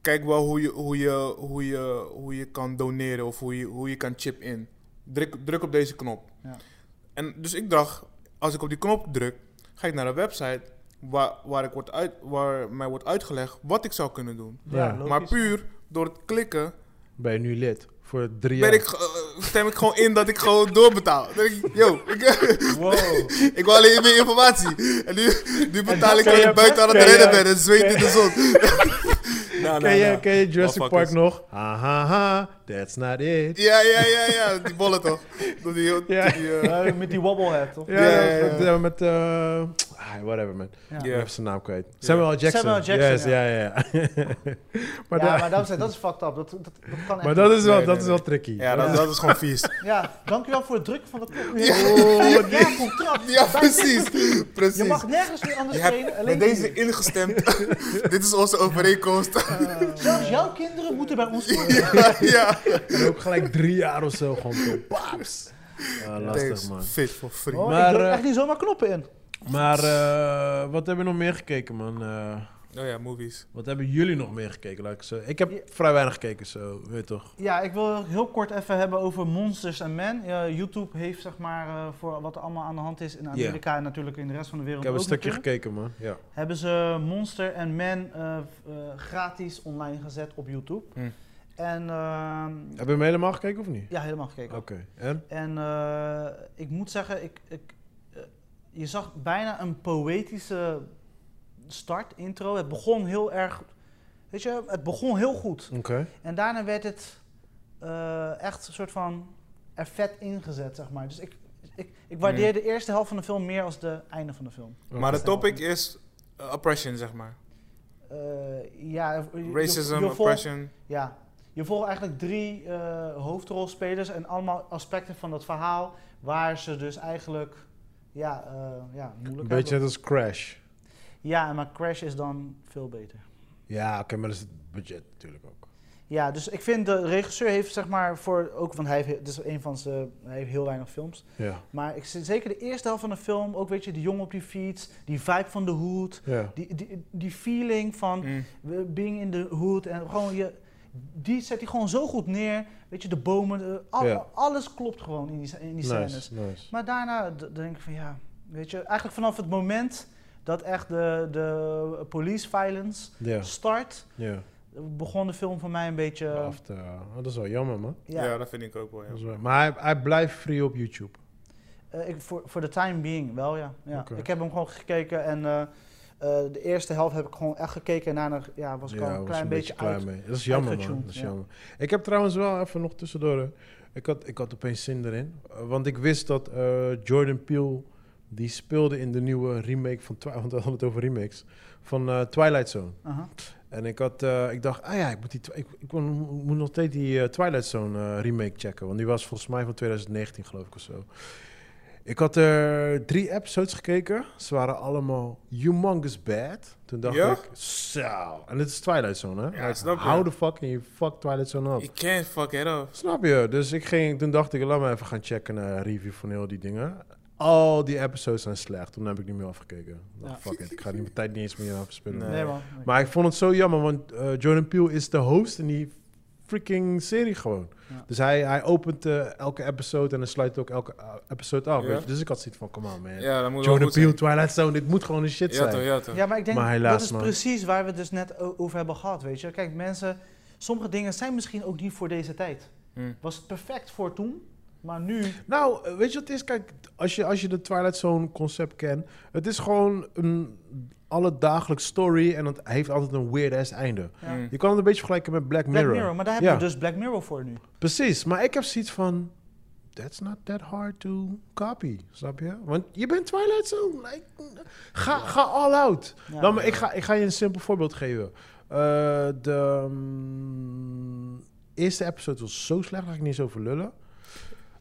Speaker 4: kijk wel hoe je, hoe, je, hoe, je, hoe je kan doneren of hoe je, hoe je kan chip in. Druk, druk op deze knop.
Speaker 2: Ja.
Speaker 4: En dus ik dacht, als ik op die knop druk, ga ik naar een website waar, waar, ik wordt uit, waar mij wordt uitgelegd wat ik zou kunnen doen.
Speaker 3: Ja.
Speaker 2: logisch.
Speaker 4: Maar puur door het klikken
Speaker 3: Ben je nu lid voor drie jaar?
Speaker 4: ben ik, ge- eh, stem ik gewoon in dat ik gewoon doorbetaal. Dat ik, yo, ik,
Speaker 2: Wow.
Speaker 4: ik wil alleen meer informatie. En nu, nu betaal ik
Speaker 3: Ken
Speaker 4: dat
Speaker 3: je-
Speaker 4: ik buiten aan het
Speaker 3: ken je-
Speaker 4: rennen ben en zweet in de zon. Nou,
Speaker 3: Ken
Speaker 4: nou,
Speaker 3: je,
Speaker 4: nou.
Speaker 3: ken je Jurassic
Speaker 4: Oh, fuck
Speaker 3: Park
Speaker 4: is-
Speaker 3: nog? Ha, ha, ha, that's not it.
Speaker 4: Ja, ja, ja, ja, die bollen toch. Door die, heel-
Speaker 3: Ja.
Speaker 4: door die, eh,
Speaker 2: Ja, met die wobblehead, toch?
Speaker 3: Ja,
Speaker 4: Ja, ja,
Speaker 3: met,
Speaker 4: ja.
Speaker 3: eh, met eh, ah, whatever man.
Speaker 2: Ja.
Speaker 3: Ik
Speaker 4: Ja.
Speaker 3: ben even zijn naam kwijt. Samuel L. Jackson.
Speaker 2: Samuel L. Jackson,
Speaker 3: Yes, ja, ja. ja. maar, da-
Speaker 2: Maar, ja, maar daarom zei ik, dat is fucked up. Dat, dat, dat kan echt
Speaker 3: maar dat is wel, dat
Speaker 4: Nee, nee,
Speaker 3: is wel
Speaker 4: nee.
Speaker 3: tricky.
Speaker 4: ja, dat, dat is gewoon vies.
Speaker 2: niet. Ja, dankjewel voor het drukken van de knop.
Speaker 4: Ja.
Speaker 2: Oh, ja, contract.
Speaker 4: Ja,
Speaker 2: Bij-
Speaker 4: precies.
Speaker 2: Je
Speaker 4: precies.
Speaker 2: mag nergens meer anders
Speaker 4: Je hebt
Speaker 2: trainen.
Speaker 4: Met
Speaker 2: Alleen
Speaker 4: deze
Speaker 2: hier.
Speaker 4: ingestemd. Dit is onze overeenkomst.
Speaker 2: Zelfs jouw kinderen moeten bij ons komen.
Speaker 4: ja.
Speaker 3: En ook gelijk drie jaar of zo gewoon zo, paps. Ja, lastig
Speaker 4: Thanks.
Speaker 3: man.
Speaker 4: Fit for free.
Speaker 2: Oh,
Speaker 3: Maar,
Speaker 2: ik
Speaker 3: eh,
Speaker 2: druk echt niet zomaar knoppen in.
Speaker 3: Maar eh, wat hebben we nog meer gekeken man? Eh,
Speaker 4: Oh ja, movies.
Speaker 3: Wat hebben jullie nog meer gekeken? Laat ik, zo- ik heb
Speaker 2: Ja.
Speaker 3: vrij weinig gekeken, zo, weet je toch?
Speaker 2: Ja, ik wil heel kort even hebben over Monsters and Men. Ja, YouTube heeft zeg maar eh, voor wat er allemaal aan de hand is in Amerika en natuurlijk in de rest van de wereld
Speaker 3: Ik heb een
Speaker 2: ook
Speaker 3: stukje
Speaker 2: natuurlijk.
Speaker 3: gekeken, man. Ja.
Speaker 2: hebben ze Monster en Man eh, v- eh, gratis online gezet op YouTube.
Speaker 4: Hmm.
Speaker 2: En ehm,
Speaker 3: Heb je hem helemaal gekeken of niet?
Speaker 2: ja, helemaal gekeken.
Speaker 3: Oké. En?
Speaker 2: En eh, ik moet zeggen, ik, ik, eh, je zag bijna een poëtische start, intro. Het begon heel erg, weet je, het begon heel goed.
Speaker 3: Oké.
Speaker 2: En daarna werd het eh, echt een soort van er vet ingezet, zeg maar. Dus ik, ik, ik waardeer
Speaker 4: Hmm.
Speaker 2: de eerste helft van de film meer als de einde van de film.
Speaker 4: Maar de topic is eh, oppression, zeg maar.
Speaker 2: Eh, ja, je- je-
Speaker 4: Racism,
Speaker 2: je volgt-
Speaker 4: oppression.
Speaker 2: Ja, je volgt eigenlijk drie eh, hoofdrolspelers en allemaal aspecten van dat verhaal waar ze dus eigenlijk ja, eh, ja,
Speaker 3: Een
Speaker 2: moeilijk
Speaker 3: beetje net
Speaker 2: hebben.
Speaker 3: als Crash.
Speaker 2: Ja, maar Crash is dan veel beter.
Speaker 3: Ja, oké, maar dat is het budget natuurlijk ook.
Speaker 2: Ja, dus ik vind de regisseur heeft zeg maar voor ook, want hij heeft, he- dit is een van zijn, hij heeft heel weinig films.
Speaker 3: Ja.
Speaker 2: Maar ik, zit zeker de eerste helft van de film, ook weet je, die jongen op die fiets, die vibe van de hoed,
Speaker 3: Ja.
Speaker 2: die, die, die feeling van
Speaker 4: Mm.
Speaker 2: we- Eh, being in de hoed en gewoon je, die zet hij gewoon zo goed neer. Weet je, de bomen, eh, al-
Speaker 3: Ja.
Speaker 2: alles klopt gewoon in die, in die scènes.
Speaker 3: Nice, nice.
Speaker 2: Maar daarna d- denk ik van ja, weet je, eigenlijk vanaf het moment dat echt de, de police violence
Speaker 3: Ja,
Speaker 2: start,
Speaker 3: ja.
Speaker 2: begon de film voor mij een beetje.
Speaker 3: Af te- ah, dat is wel jammer, man.
Speaker 4: Ja.
Speaker 2: ja,
Speaker 4: dat vind ik ook wel. Ja.
Speaker 3: Dat is wel- Maar hij, hij blijft free op YouTube.
Speaker 2: Eh, ik, voor, voor de time being wel, ja. ja.
Speaker 3: Oké.
Speaker 2: Ik heb hem gewoon gekeken en eh, eh, de eerste helft heb ik gewoon echt gekeken. En daarna ja, was ik al
Speaker 3: was
Speaker 2: een klein beetje, uit.
Speaker 3: mee. Dat is jammer, man.
Speaker 2: uitgetuned,
Speaker 3: Dat is
Speaker 2: ja.
Speaker 3: jammer. Ik heb trouwens wel even nog tussendoor. hè. Ik had, ik had opeens zin erin. Eh, want ik wist dat eh, Jordan Peele. die speelde in de nieuwe remake van. Twi- Want we hadden het over remakes. Van eh, Twilight Zone.
Speaker 2: Aha.
Speaker 3: En ik, had, eh, ik dacht, ah ja, ik moet, die, twi- ik, ik moet- moet nog steeds die eh, Twilight Zone eh, remake checken. Want die was volgens mij van 2019, geloof ik of zo. Ik had er drie episodes gekeken. Ze waren allemaal humongous bad. Toen dacht
Speaker 4: Ja?
Speaker 3: ik, zo. En dit is Twilight Zone, hè?
Speaker 4: Ja,
Speaker 3: Like,
Speaker 4: snap je.
Speaker 3: How the fuck can you fuck Twilight Zone up?
Speaker 4: You can't fuck it up.
Speaker 3: Snap je? Dus ik ging, toen dacht ik, laat me even gaan checken naar een review van heel die dingen. Al die episodes zijn slecht. Toen heb ik niet meer afgekeken. Nou,
Speaker 2: Ja.
Speaker 3: fuck it. Ik ga niet mijn tijd niet eens meer aan verspillen.
Speaker 4: Nee.
Speaker 2: Nee, man. Nee.
Speaker 3: Maar ik vond het zo jammer, want eh, Jordan Peele is de host in die freaking serie gewoon.
Speaker 2: Ja.
Speaker 3: Dus hij, hij opent eh, elke episode en dan sluit ook elke eh, episode af.
Speaker 4: Ja.
Speaker 3: weet je. Dus ik had zoiets van, come on man.
Speaker 4: Ja, dat moet wel
Speaker 3: Jordan
Speaker 4: goed zijn.
Speaker 3: Peele, Twilight Zone, dit moet gewoon een shit
Speaker 4: Ja
Speaker 3: zijn.
Speaker 4: toch, ja toch.
Speaker 2: Ja, maar ik denk
Speaker 3: Maar helaas,
Speaker 2: dat is
Speaker 3: man.
Speaker 2: precies waar we het dus net o- over hebben gehad, weet je. Kijk, mensen, sommige dingen zijn misschien ook niet voor deze tijd.
Speaker 4: Hmm.
Speaker 2: Was het perfect voor toen, maar nu...
Speaker 3: Nou, eh, weet je wat het is? Kijk, als je, als je de Twilight Zone concept kent, het is gewoon een alledagelijks story en het heeft altijd een weird ass einde.
Speaker 2: Ja.
Speaker 4: Mm.
Speaker 3: Je kan het een beetje vergelijken met Black
Speaker 2: Black
Speaker 3: Mirror.
Speaker 2: Mirror, maar daar hebben
Speaker 3: Ja.
Speaker 2: we dus Black Mirror voor nu.
Speaker 3: Precies, maar ik heb zoiets van... That's not that hard to copy, snap je? Want je bent Twilight Zone. like, ga, ga all out.
Speaker 2: Ja.
Speaker 3: nou, maar ik, ga, ik ga je een simpel voorbeeld geven. Eh, de mm, eerste episode was zo slecht, daar ga ik niet eens over lullen.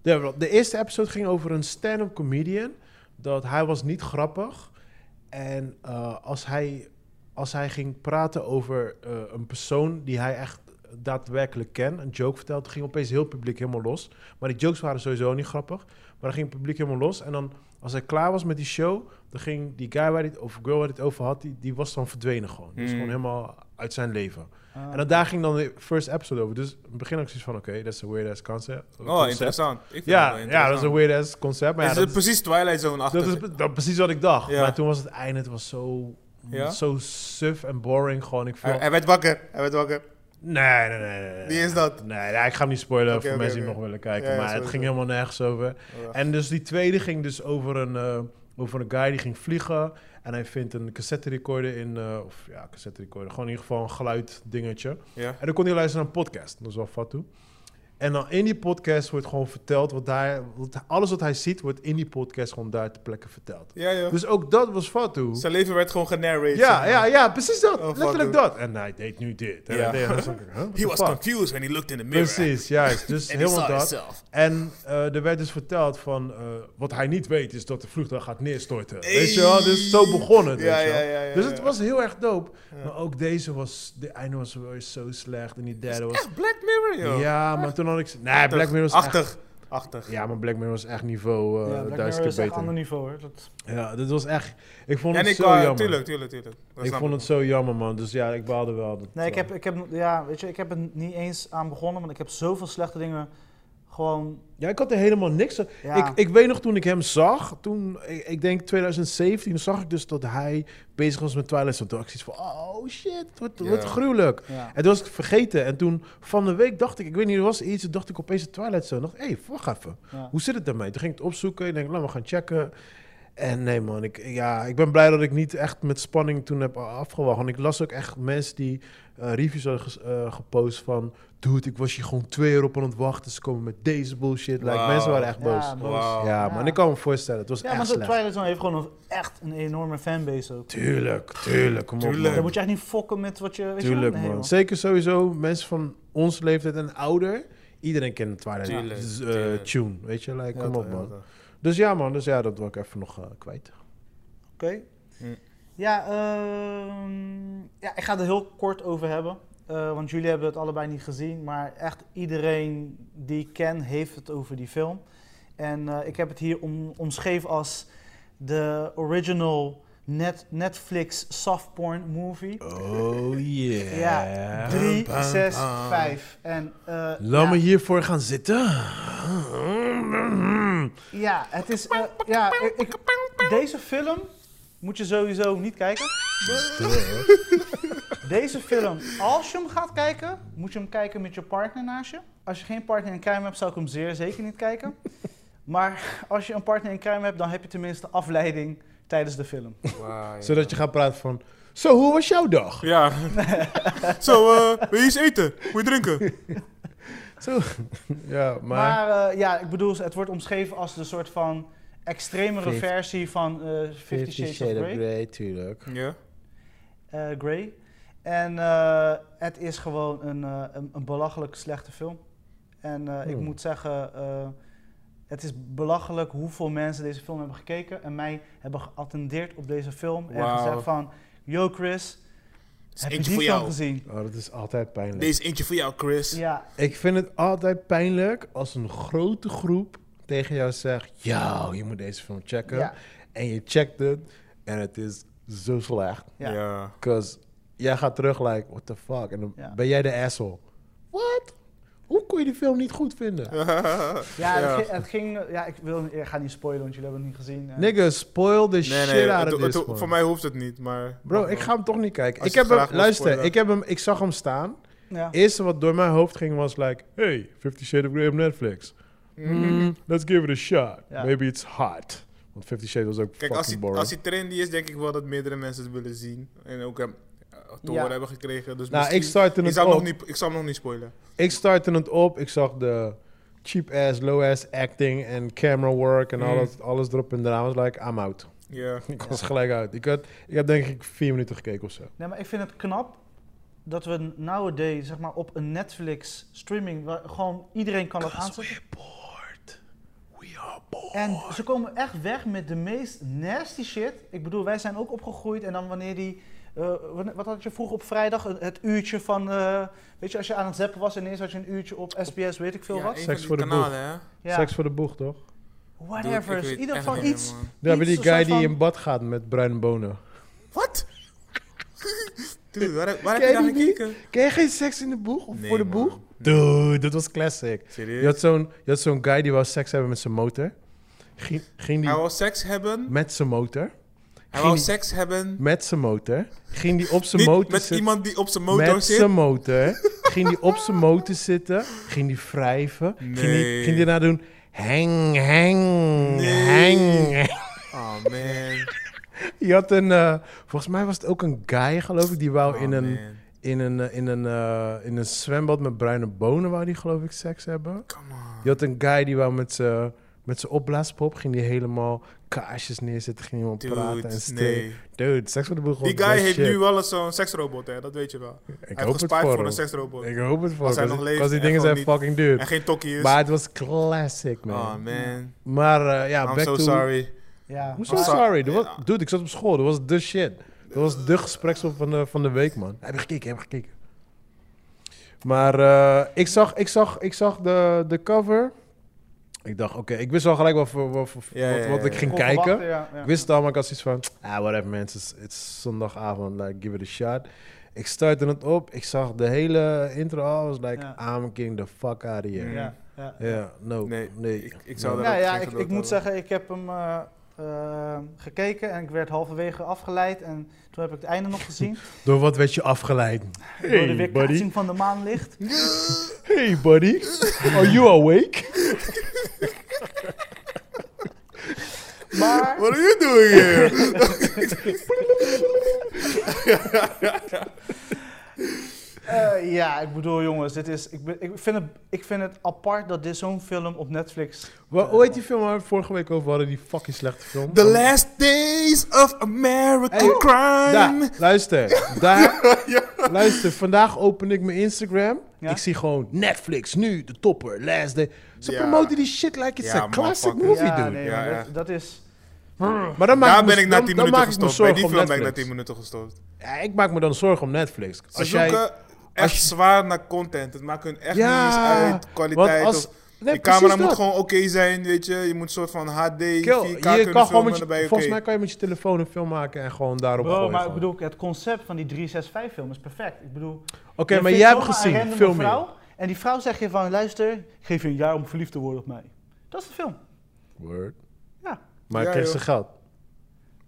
Speaker 3: De, de eerste episode ging over een stand-up comedian. Dat hij was niet grappig. En eh, als, hij, als hij ging praten over eh, een persoon die hij echt daadwerkelijk kent, een joke vertelde, ging opeens heel het publiek helemaal los. Maar die jokes waren sowieso niet grappig. Maar dan ging het publiek helemaal los. En dan, als hij klaar was met die show, dan ging die guy waar dit, of girl waar dit over had, die, die was dan verdwenen gewoon. Die is
Speaker 4: Mm.
Speaker 3: gewoon helemaal uit zijn leven.
Speaker 2: Ah.
Speaker 3: En dan, daar ging dan de first episode over. Dus in het begin had ik zoiets van, oké, dat is een weird ass concept.
Speaker 4: Oh,
Speaker 3: concept.
Speaker 4: interessant. Ik vind het
Speaker 3: Ja,
Speaker 4: wel
Speaker 3: ja, dat is een weird ass concept. Maar ja,
Speaker 4: Het is
Speaker 3: dat
Speaker 4: een
Speaker 3: is-
Speaker 4: precies Twilight Zone achter.
Speaker 3: dat is pre- dat, precies wat ik dacht.
Speaker 4: Ja.
Speaker 3: Maar toen was het einde, het was zo,
Speaker 4: Ja?
Speaker 3: zo suf en boring. Gewoon, ik viel...
Speaker 4: hij, hij werd wakker. Hij werd wakker.
Speaker 3: nee, nee, nee, nee, nee.
Speaker 4: Wie is dat?
Speaker 3: Nee, nee, ik ga hem niet spoilen
Speaker 4: Oké,
Speaker 3: voor
Speaker 4: oké,
Speaker 3: mensen die
Speaker 4: oké.
Speaker 3: nog willen kijken.
Speaker 4: Ja, ja,
Speaker 3: maar het
Speaker 4: sowieso. Oh,
Speaker 3: ging helemaal nergens over. En dus die tweede ging dus over een, eh, over een guy die ging vliegen. En hij vindt een cassette recorder in, eh, of ja, cassette recorder. Gewoon in ieder geval een geluid dingetje.
Speaker 4: Ja.
Speaker 3: En dan kon hij luisteren naar een podcast. Dat is wel fat toe. En dan in die podcast wordt gewoon verteld wat hij, wat- alles wat hij ziet, wordt in die podcast gewoon daar ter plekke verteld.
Speaker 4: Ja, joh.
Speaker 3: Dus ook dat was fat toe.
Speaker 4: Zijn leven werd gewoon genarrated.
Speaker 3: Ja, ja, ja, precies dat.
Speaker 4: Oh, fuck,
Speaker 3: Letterlijk
Speaker 4: dude.
Speaker 3: dat. En hij deed nu dit. En
Speaker 4: Ja.
Speaker 3: hij deed, en dan zag ik, huh, what
Speaker 4: He
Speaker 3: the
Speaker 4: was
Speaker 3: fuck?
Speaker 4: confused when he looked in the mirror.
Speaker 3: Precies, juist. Dus
Speaker 4: And he
Speaker 3: helemaal
Speaker 4: saw
Speaker 3: dat.
Speaker 4: himself.
Speaker 3: En eh, er werd dus verteld van, eh, wat hij niet weet is dat de vliegtuig gaat neerstorten.
Speaker 4: Hey.
Speaker 3: Weet je wel, dus zo begon het.
Speaker 4: Ja,
Speaker 3: weet je wel.
Speaker 4: ja, ja, ja,
Speaker 3: dus het
Speaker 4: ja.
Speaker 3: was heel erg dope. Maar ook deze was, de einde was wel eens zo slecht en die derde was...
Speaker 4: Echt Black Mirror, joh.
Speaker 3: Ja, maar toen had ik... z- Nee, Black Mirror was echt...
Speaker 4: Achtig. Achtig.
Speaker 3: Ja, maar Black Mirror was echt niveau eh
Speaker 2: ja,
Speaker 3: duizend
Speaker 2: Black Mirror
Speaker 3: keer
Speaker 2: is echt
Speaker 3: beter.
Speaker 2: een ander niveau, hoor. Dat...
Speaker 3: Ja, dit was echt... Ik vond
Speaker 4: En
Speaker 3: het
Speaker 4: ik,
Speaker 3: zo
Speaker 4: eh,
Speaker 3: jammer.
Speaker 4: tuurlijk, tuurlijk, tuurlijk. Dat
Speaker 3: Ik
Speaker 4: snap
Speaker 3: vond het zo jammer, man. Dus ja, ik baalde wel. dat- eh,
Speaker 2: Nee, ik heb, ik, heb, ja, weet je, ik heb er niet eens aan begonnen, want ik heb zoveel slechte dingen gewoon...
Speaker 3: Ja, ik had er helemaal niks aan.
Speaker 2: Ja.
Speaker 3: Ik, ik weet nog toen ik hem zag, toen, ik, ik denk 2017, zag ik dus dat hij bezig was met Twilight Zone. Toen dacht ik zoiets van, oh shit, het wordt, het wordt
Speaker 4: Ja.
Speaker 3: gruwelijk.
Speaker 2: Ja.
Speaker 3: En toen was ik het vergeten. En toen van de week dacht ik, ik weet niet, er was iets, toen dacht ik opeens aan Twilight Zone. dacht, hé, hey, wacht even,
Speaker 2: Ja.
Speaker 3: hoe zit het daarmee? Toen ging ik het opzoeken, ik denk, laten we gaan checken. En nee man, ik, ja, ik ben blij dat ik niet echt met spanning toen heb afgewacht. Want ik las ook echt mensen die eh, reviews hadden ges- eh, gepost van... Dude, ik was hier gewoon twee uur op aan het wachten. Ze komen met deze bullshit. Like,
Speaker 4: Wauw.
Speaker 3: mensen waren echt boos.
Speaker 2: Ja,
Speaker 3: Ja,
Speaker 2: boos.
Speaker 4: Wauw.
Speaker 3: man, ik kan me voorstellen. Het was
Speaker 2: Ja,
Speaker 3: echt
Speaker 2: maar de
Speaker 3: slecht.
Speaker 2: Twilight Zone heeft gewoon een, echt een enorme fanbase ook.
Speaker 3: Tuurlijk, tuurlijk. Kom op,
Speaker 4: Tuurlijk.
Speaker 2: Dan
Speaker 3: man.
Speaker 2: moet je echt niet fokken met wat je... Weet je
Speaker 3: Tuurlijk,
Speaker 2: wel? Nee,
Speaker 3: man. Zeker sowieso mensen van onze leeftijd en ouder. Iedereen kent de Twilight
Speaker 4: Tuurlijk,
Speaker 3: z- eh,
Speaker 4: tuurlijk.
Speaker 3: tune, weet je? Like,
Speaker 4: Ja,
Speaker 3: kom
Speaker 4: toch,
Speaker 3: op,
Speaker 4: ja,
Speaker 3: man.
Speaker 4: toch.
Speaker 3: Dus ja, man. Dus ja, dat wil ik even nog eh, kwijt.
Speaker 2: Oké.
Speaker 4: Hm.
Speaker 2: Ja, ehm, ja, ik ga het er heel kort over hebben. eh, want jullie hebben het allebei niet gezien, maar echt iedereen die ik ken heeft het over die film. En eh, ik heb het hier om, omschreven als de original net, Netflix soft porn movie.
Speaker 3: Oh yeah.
Speaker 2: Ja,
Speaker 3: Bam,
Speaker 2: 3,
Speaker 3: bam,
Speaker 2: 6,
Speaker 3: bam.
Speaker 2: 5. En eh,
Speaker 3: Laat
Speaker 2: ja,
Speaker 3: me hiervoor gaan zitten.
Speaker 2: ja, het is. eh, ja, ik- ik- deze film moet je sowieso niet kijken. Deze film, als je hem gaat kijken, moet je hem kijken met je partner naast je. Als je geen partner in crime hebt, zou ik hem zeer zeker niet kijken. Maar als je een partner in crime hebt, dan heb je tenminste afleiding tijdens de film.
Speaker 1: Zodat je gaat praten van. Zo, hoe was jouw dag?
Speaker 4: Ja. Zo, eh, wil je iets eten? Moet je drinken?
Speaker 3: Ja, maar...
Speaker 2: Maar eh, ja, ik bedoel, het wordt omschreven als de soort van extremere
Speaker 3: Fifty-
Speaker 2: versie van eh Fifty Shades, of Grey.
Speaker 3: tuurlijk.
Speaker 4: Ja.
Speaker 2: eh, Grey. En eh, het is gewoon een, eh, een, een belachelijk slechte film. En eh, ik
Speaker 4: Oh.
Speaker 3: Hmm.
Speaker 2: moet zeggen, eh, het is belachelijk hoeveel mensen deze film hebben gekeken en mij hebben geattendeerd op deze film. En
Speaker 4: Wauw.
Speaker 2: gezegd van, yo Chris,
Speaker 4: Dit is
Speaker 2: heb je
Speaker 4: eentje
Speaker 2: die
Speaker 4: voor
Speaker 2: film
Speaker 4: jou.
Speaker 2: gezien?
Speaker 3: Oh, dat is altijd pijnlijk.
Speaker 4: Deze eentje voor jou, Chris.
Speaker 2: Ja,
Speaker 3: Ik vind het altijd pijnlijk als een grote groep tegen jou zegt... Ja, je moet deze film checken.
Speaker 2: Ja.
Speaker 3: En je checkt het en het is zo slecht.
Speaker 2: ja.
Speaker 4: Ja.
Speaker 3: Because jij gaat terug like, what the fuck? En dan
Speaker 2: Ja.
Speaker 3: ben jij de asshole. What? Hoe kon je die film niet goed vinden?
Speaker 2: Ja,
Speaker 4: Ja.
Speaker 2: Het, ging, het ging- ja, ik, wil, ik ga niet spoilen, want jullie hebben het niet gezien. Eh,
Speaker 3: Nigga, spoil the
Speaker 4: Nee,
Speaker 3: shit
Speaker 4: nee,
Speaker 3: out
Speaker 4: het-
Speaker 3: of
Speaker 4: het-
Speaker 3: this one.
Speaker 4: voor mij hoeft het niet, maar...
Speaker 3: Bro, ik ga hem toch niet kijken.
Speaker 4: Als
Speaker 3: Ik
Speaker 4: je
Speaker 3: heb
Speaker 4: het graag
Speaker 3: hem,
Speaker 4: wil
Speaker 3: luister,
Speaker 4: spoilen.
Speaker 3: ik, heb hem, ik zag hem staan.
Speaker 2: ja.
Speaker 3: eerste wat door mijn hoofd ging was like... Hey, Fifty Shades of Grey op Netflix. Mm, let's give it a shot.
Speaker 2: Ja.
Speaker 3: Maybe it's hot. Want Fifty Shades was ook
Speaker 4: Kijk, als
Speaker 3: fucking
Speaker 4: die,
Speaker 3: boring.
Speaker 4: als die trendy is, denk ik wel dat meerdere mensen het willen zien. En ook hem eh, te
Speaker 2: Ja.
Speaker 4: horen hebben gekregen. Dus
Speaker 3: nou,
Speaker 4: misschien-
Speaker 3: ik startte
Speaker 4: ik
Speaker 3: het
Speaker 4: zou,
Speaker 3: op.
Speaker 4: nog niet, ik zou hem nog niet spoilen.
Speaker 3: Ik startte het op. Ik zag de cheap ass, low ass acting en camera work en
Speaker 4: Mm.
Speaker 3: alles, alles erop en eraan. I was like, I'm out.
Speaker 4: Ja.
Speaker 3: Ik was gelijk uit. Ik, had, ik heb denk ik vier minuten gekeken of zo.
Speaker 2: Nee, maar ik vind het knap dat we nowadays, zeg maar, op een Netflix streaming, waar gewoon iedereen kan dat aanzetten.
Speaker 3: bored. We are bored.
Speaker 2: En ze komen echt weg met de meest nasty shit. Ik bedoel, wij zijn ook opgegroeid en dan wanneer die... eh, wanneer- wat had je vroeg op vrijdag? Het- Het uurtje van... eh, weet je, als je aan het zappen was en ineens had je een uurtje op SBS, weet ik veel
Speaker 4: Ja,
Speaker 2: wat.
Speaker 4: een
Speaker 3: Seks
Speaker 4: van
Speaker 3: voor de
Speaker 4: die
Speaker 3: boeg.
Speaker 4: kanalen, hè?
Speaker 2: Ja,
Speaker 3: Seks voor de boeg, toch?
Speaker 4: Dude, ik
Speaker 2: whatever.
Speaker 4: weet
Speaker 2: In ieder
Speaker 4: echt
Speaker 2: geval
Speaker 4: niet meer,
Speaker 2: iets...
Speaker 4: man.
Speaker 3: Ja, maar die
Speaker 2: een soort
Speaker 3: guy die
Speaker 2: van-
Speaker 3: in bad gaat met bruine bonen.
Speaker 4: Wat? Dude, waar, heb- waar heb
Speaker 3: Ken
Speaker 4: je
Speaker 3: je
Speaker 4: naar
Speaker 3: die niet?
Speaker 4: gekeken?
Speaker 3: Ken je geen seks in de boeg? Of
Speaker 4: Nee,
Speaker 3: voor de
Speaker 4: man.
Speaker 3: boeg? Dude, dat was classic.
Speaker 4: Serieus?
Speaker 3: Je had zo'n je had zo'n guy die wou seks hebben met zijn motor. Ging, ging die
Speaker 4: Hij wou seks hebben.
Speaker 3: met zijn motor.
Speaker 4: Hij wou
Speaker 3: Ging-
Speaker 4: seks hebben.
Speaker 3: Met zijn motor. Ging die op zijn
Speaker 4: Niet
Speaker 3: motor
Speaker 4: met
Speaker 3: zitten.
Speaker 4: iemand die op zijn motor
Speaker 3: met
Speaker 4: zit.
Speaker 3: zijn motor. ging die op zijn motor zitten. Ging die wrijven. Ging, die,
Speaker 4: Nee.
Speaker 3: ging die daar doen. Heng, heng,
Speaker 4: Nee.
Speaker 3: heng.
Speaker 4: Oh man.
Speaker 3: Je had een... eh, volgens mij was het ook een guy, geloof ik. Die wou
Speaker 4: Oh,
Speaker 3: in een...
Speaker 4: man.
Speaker 3: In een, eh, in, een, eh, in een zwembad met bruine bonen wou die geloof ik seks hebben.
Speaker 4: Come on.
Speaker 3: Je had een guy die wou met zijn met zijn opblaaspop ging die helemaal kaarsjes neerzetten, ging iemand praten en
Speaker 4: Dude,
Speaker 3: stil.
Speaker 4: nee.
Speaker 3: Dude, seks voor de boel gewoon
Speaker 4: Die guy
Speaker 3: best
Speaker 4: heeft
Speaker 3: shit.
Speaker 4: nu wel eens zo'n seksrobot, hè? Dat weet je wel.
Speaker 3: Ik
Speaker 4: hij
Speaker 3: hoop
Speaker 4: heeft
Speaker 3: het
Speaker 4: gespaard
Speaker 3: voor
Speaker 4: voor een
Speaker 3: hem.
Speaker 4: seksrobot.
Speaker 3: Ik hoop het voor
Speaker 4: Als hij
Speaker 3: hem,
Speaker 4: nog
Speaker 3: want-
Speaker 4: leeft
Speaker 3: want die
Speaker 4: en
Speaker 3: dingen zijn
Speaker 4: gewoon niet-
Speaker 3: fucking duur.
Speaker 4: En geen tokkie is.
Speaker 3: Maar het was classic, man.
Speaker 4: oh man.
Speaker 3: Maar eh, ja,
Speaker 4: I'm
Speaker 3: back
Speaker 4: so
Speaker 3: to...
Speaker 4: sorry.
Speaker 2: Ja.
Speaker 3: Hoezo
Speaker 4: I'm so-
Speaker 3: sorry? Dat was-
Speaker 4: Ja.
Speaker 3: Dude, ik zat op school. Dat was de shit. Dat was de gespreksel van de, van de week, man. Heb je gekeken, heb je gekeken. Maar eh, ik zag, ik zag, ik zag de, de cover. Ik dacht, oké, ik wist al gelijk wat, voor- wat, voor-
Speaker 4: Ja, ja,
Speaker 3: wat,
Speaker 4: ja,
Speaker 3: wat ik
Speaker 4: ja.
Speaker 3: ging
Speaker 2: Kon
Speaker 3: kijken.
Speaker 2: verwachten, ja, ja.
Speaker 3: Ik wist het al, maar ik had zoiets van... Ah, whatever, mensen. Het is- Het is zondagavond. Like, give it a shot. Ik startte het op. Ik zag de hele intro al. I was like, I'm king the fuck out of here.
Speaker 4: Mm.
Speaker 2: Ja, ja.
Speaker 3: Ja, no.
Speaker 4: Nee,
Speaker 3: Nee.
Speaker 4: ik- ik zou
Speaker 3: No.
Speaker 4: daar
Speaker 2: Nou
Speaker 4: ook
Speaker 2: ja,
Speaker 4: geen
Speaker 2: ik,
Speaker 4: geduld
Speaker 2: ik moet
Speaker 4: hebben.
Speaker 2: zeggen, ik heb hem eh, eh, gekeken en ik werd halverwege afgeleid. En toen heb ik het einde nog gezien.
Speaker 3: Door wat werd je afgeleid?
Speaker 2: door de
Speaker 3: Hey, buddy.
Speaker 2: weerkaatsing van de maanlicht.
Speaker 3: Hey buddy, are you awake?
Speaker 2: Maar...
Speaker 4: What are you doing here?
Speaker 2: Eh, ja, ik bedoel jongens, dit is, ik, ben- ik, vind het, ik vind het apart dat dit zo'n film op Netflix...
Speaker 3: Wel, hoe heet die film waar we het vorige week over hadden? Die fucking slechte film.
Speaker 4: The last days of American
Speaker 3: Hey,
Speaker 4: crime.
Speaker 3: Daar, luister. Daar, Luister, vandaag open ik mijn Instagram.
Speaker 2: Ja?
Speaker 3: Ik zie gewoon Netflix, nu, de topper, last day. Ze
Speaker 4: Ja.
Speaker 3: promoten die shit like it's
Speaker 4: Ja,
Speaker 3: a classic
Speaker 4: motherfucker.
Speaker 3: movie,
Speaker 2: ja,
Speaker 3: dude.
Speaker 2: nee,
Speaker 4: Ja,
Speaker 2: maar
Speaker 4: ja.
Speaker 2: Dat, dat is...
Speaker 3: Maar dan maak
Speaker 4: Daar
Speaker 3: ik me-
Speaker 4: ben ik na
Speaker 3: dan- dan
Speaker 4: 10 minuten
Speaker 3: maak ik me
Speaker 4: gestopt. Bij
Speaker 3: zorgen
Speaker 4: die
Speaker 3: om
Speaker 4: film ben ik na
Speaker 3: Netflix.
Speaker 4: 10 minuten gestopt.
Speaker 3: Ja, ik maak me dan zorgen om Netflix.
Speaker 4: Ze
Speaker 3: Als jij,
Speaker 4: zoeken echt zwaar naar content. Het maakt hun echt
Speaker 3: Ja,
Speaker 4: niet eens uit. Kwaliteit.
Speaker 3: Want als,
Speaker 4: of,
Speaker 3: nee,
Speaker 4: de camera
Speaker 3: precies
Speaker 4: moet
Speaker 3: dat.
Speaker 4: gewoon oké zijn, weet je. Je moet een soort van HD, 4K
Speaker 3: Kill, je
Speaker 4: kunnen
Speaker 3: kan gewoon met
Speaker 4: filmen.
Speaker 3: je,
Speaker 4: erbij, oké.
Speaker 3: Volgens mij kan je met je telefoon een film maken en gewoon daarop
Speaker 2: Bro,
Speaker 3: gooien.
Speaker 2: maar ik
Speaker 3: gewoon.
Speaker 2: bedoel, het concept van die 365 film is perfect. Ik bedoel,
Speaker 3: Oké,
Speaker 2: je
Speaker 3: maar
Speaker 2: vindt
Speaker 3: jij hebt
Speaker 2: zomaar een
Speaker 3: gezien,
Speaker 2: random
Speaker 3: film
Speaker 2: vrouw, En die vrouw zegt je van, luister, ik geef je een jaar om verliefd te worden op mij. Dat is de film.
Speaker 3: Word.
Speaker 2: Ja.
Speaker 3: Maar
Speaker 4: Ja,
Speaker 3: kreeg ze
Speaker 4: joh.
Speaker 3: geld.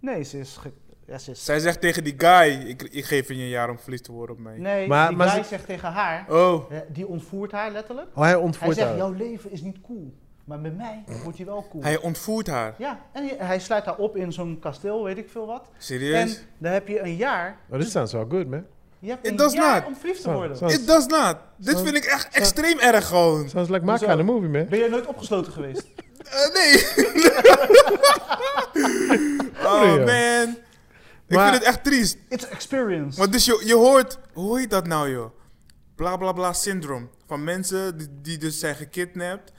Speaker 2: Nee, ze is... Ge... Ja, ze is...
Speaker 4: Zij zegt tegen die guy, ik, ik geef je een jaar om verliefd te worden op mij.
Speaker 2: Nee,
Speaker 3: Maar-
Speaker 2: die
Speaker 3: maar
Speaker 2: guy
Speaker 3: ze-
Speaker 2: zegt tegen haar,
Speaker 4: Oh,
Speaker 2: eh, die ontvoert haar letterlijk.
Speaker 3: Oh, hij
Speaker 2: Hij
Speaker 3: ontvoert
Speaker 2: zegt,
Speaker 3: haar.
Speaker 2: jouw leven is niet cool. Maar met mij wordt hij wel cool.
Speaker 4: Mhm. hij ontvoert haar.
Speaker 2: Ja, en hij- hij sluit haar op in zo'n kasteel, weet ik veel wat.
Speaker 4: Serieus?
Speaker 2: En dan heb je een jaar...
Speaker 3: Oh, dit sounds wel good, man.
Speaker 2: Je hebt
Speaker 4: It
Speaker 2: een
Speaker 4: does
Speaker 2: jaar
Speaker 4: not.
Speaker 2: om verliefd te
Speaker 3: Zo,
Speaker 2: worden.
Speaker 3: zo.
Speaker 4: It does not. Dit
Speaker 3: Zo-
Speaker 4: vind ik echt extreem erg gewoon.
Speaker 3: Sounds like my
Speaker 2: Hoezo?
Speaker 3: kind of movie, man.
Speaker 2: Ben jij nooit opgesloten geweest?
Speaker 4: Eh, nee. oh
Speaker 3: joh.
Speaker 4: man. Ik
Speaker 3: Maar-
Speaker 4: vind het echt triest.
Speaker 2: It's experience.
Speaker 4: Want dus je, je hoort, hoe heet dat nou joh? Bla bla bla syndroom. Van mensen die, die dus zijn gekidnapt.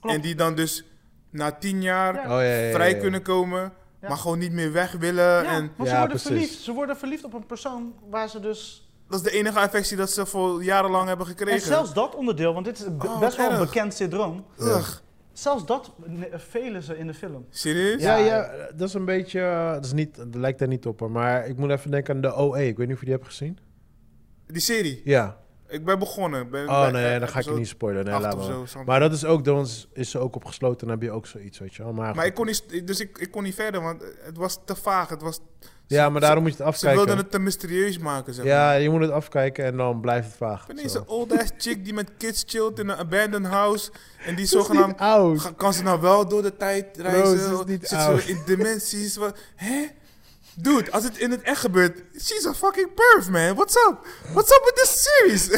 Speaker 2: Klopt.
Speaker 4: En die dan dus na tien jaar
Speaker 2: Ja.
Speaker 3: ja, ja, ja,
Speaker 4: vrij
Speaker 3: ja.
Speaker 4: kunnen komen.
Speaker 2: Ja.
Speaker 4: Maar gewoon niet meer weg willen.
Speaker 2: Ja,
Speaker 4: En
Speaker 2: want ze
Speaker 3: Ja,
Speaker 2: worden
Speaker 3: precies.
Speaker 2: verliefd. Ze worden verliefd op een persoon waar ze dus...
Speaker 4: dat is de enige affectie dat ze voor jarenlang hebben gekregen.
Speaker 2: En zelfs dat onderdeel, want dit is be-
Speaker 4: Oh,
Speaker 2: best wel een
Speaker 4: erg.
Speaker 2: bekend syndroom.
Speaker 4: Ugh,
Speaker 2: Zelfs dat ne- velen ze in de film.
Speaker 4: serieus?
Speaker 3: Ja,
Speaker 2: Ja,
Speaker 3: ja, dat is een beetje. eh, Dat is niet, dat lijkt daar niet op, hoor, maar ik moet even denken aan de OE. Ik weet niet of je die hebt gezien.
Speaker 4: Die serie.
Speaker 3: Ja.
Speaker 4: Ik ben begonnen. Ben,
Speaker 3: Oh
Speaker 4: ben-
Speaker 3: nee, dan ga ik je
Speaker 4: episode
Speaker 3: niet spoilen. Nee,
Speaker 4: acht
Speaker 3: laat
Speaker 4: of
Speaker 3: maar.
Speaker 4: zo, something.
Speaker 3: Maar dat is ook, dan is- is ze ook opgesloten. Dan heb je ook zoiets, weet je wel. Maar,
Speaker 4: Maar ik kon niet, dus ik, ik kon niet verder, want het was te vaag. Het was, ze
Speaker 3: ja, maar daarom moet je het
Speaker 4: wilden
Speaker 3: afkijken.
Speaker 4: het te mysterieus maken, zeg
Speaker 3: Ja,
Speaker 4: maar.
Speaker 3: je moet het afkijken en dan blijft het vaag.
Speaker 4: Ik ben
Speaker 3: zo.
Speaker 4: eens een old-ass chick die met kids chillt in een abandoned house. En die
Speaker 3: Dat is niet
Speaker 4: zogenaamd...
Speaker 3: oud.
Speaker 4: ga- Kan ze nou wel door de tijd reizen?
Speaker 3: is niet
Speaker 4: Zit
Speaker 3: oud.
Speaker 4: ze in dimensies? Wat, hè? Dude, als het in het echt gebeurt... She's a fucking perv, man. What's up? What's up with this series?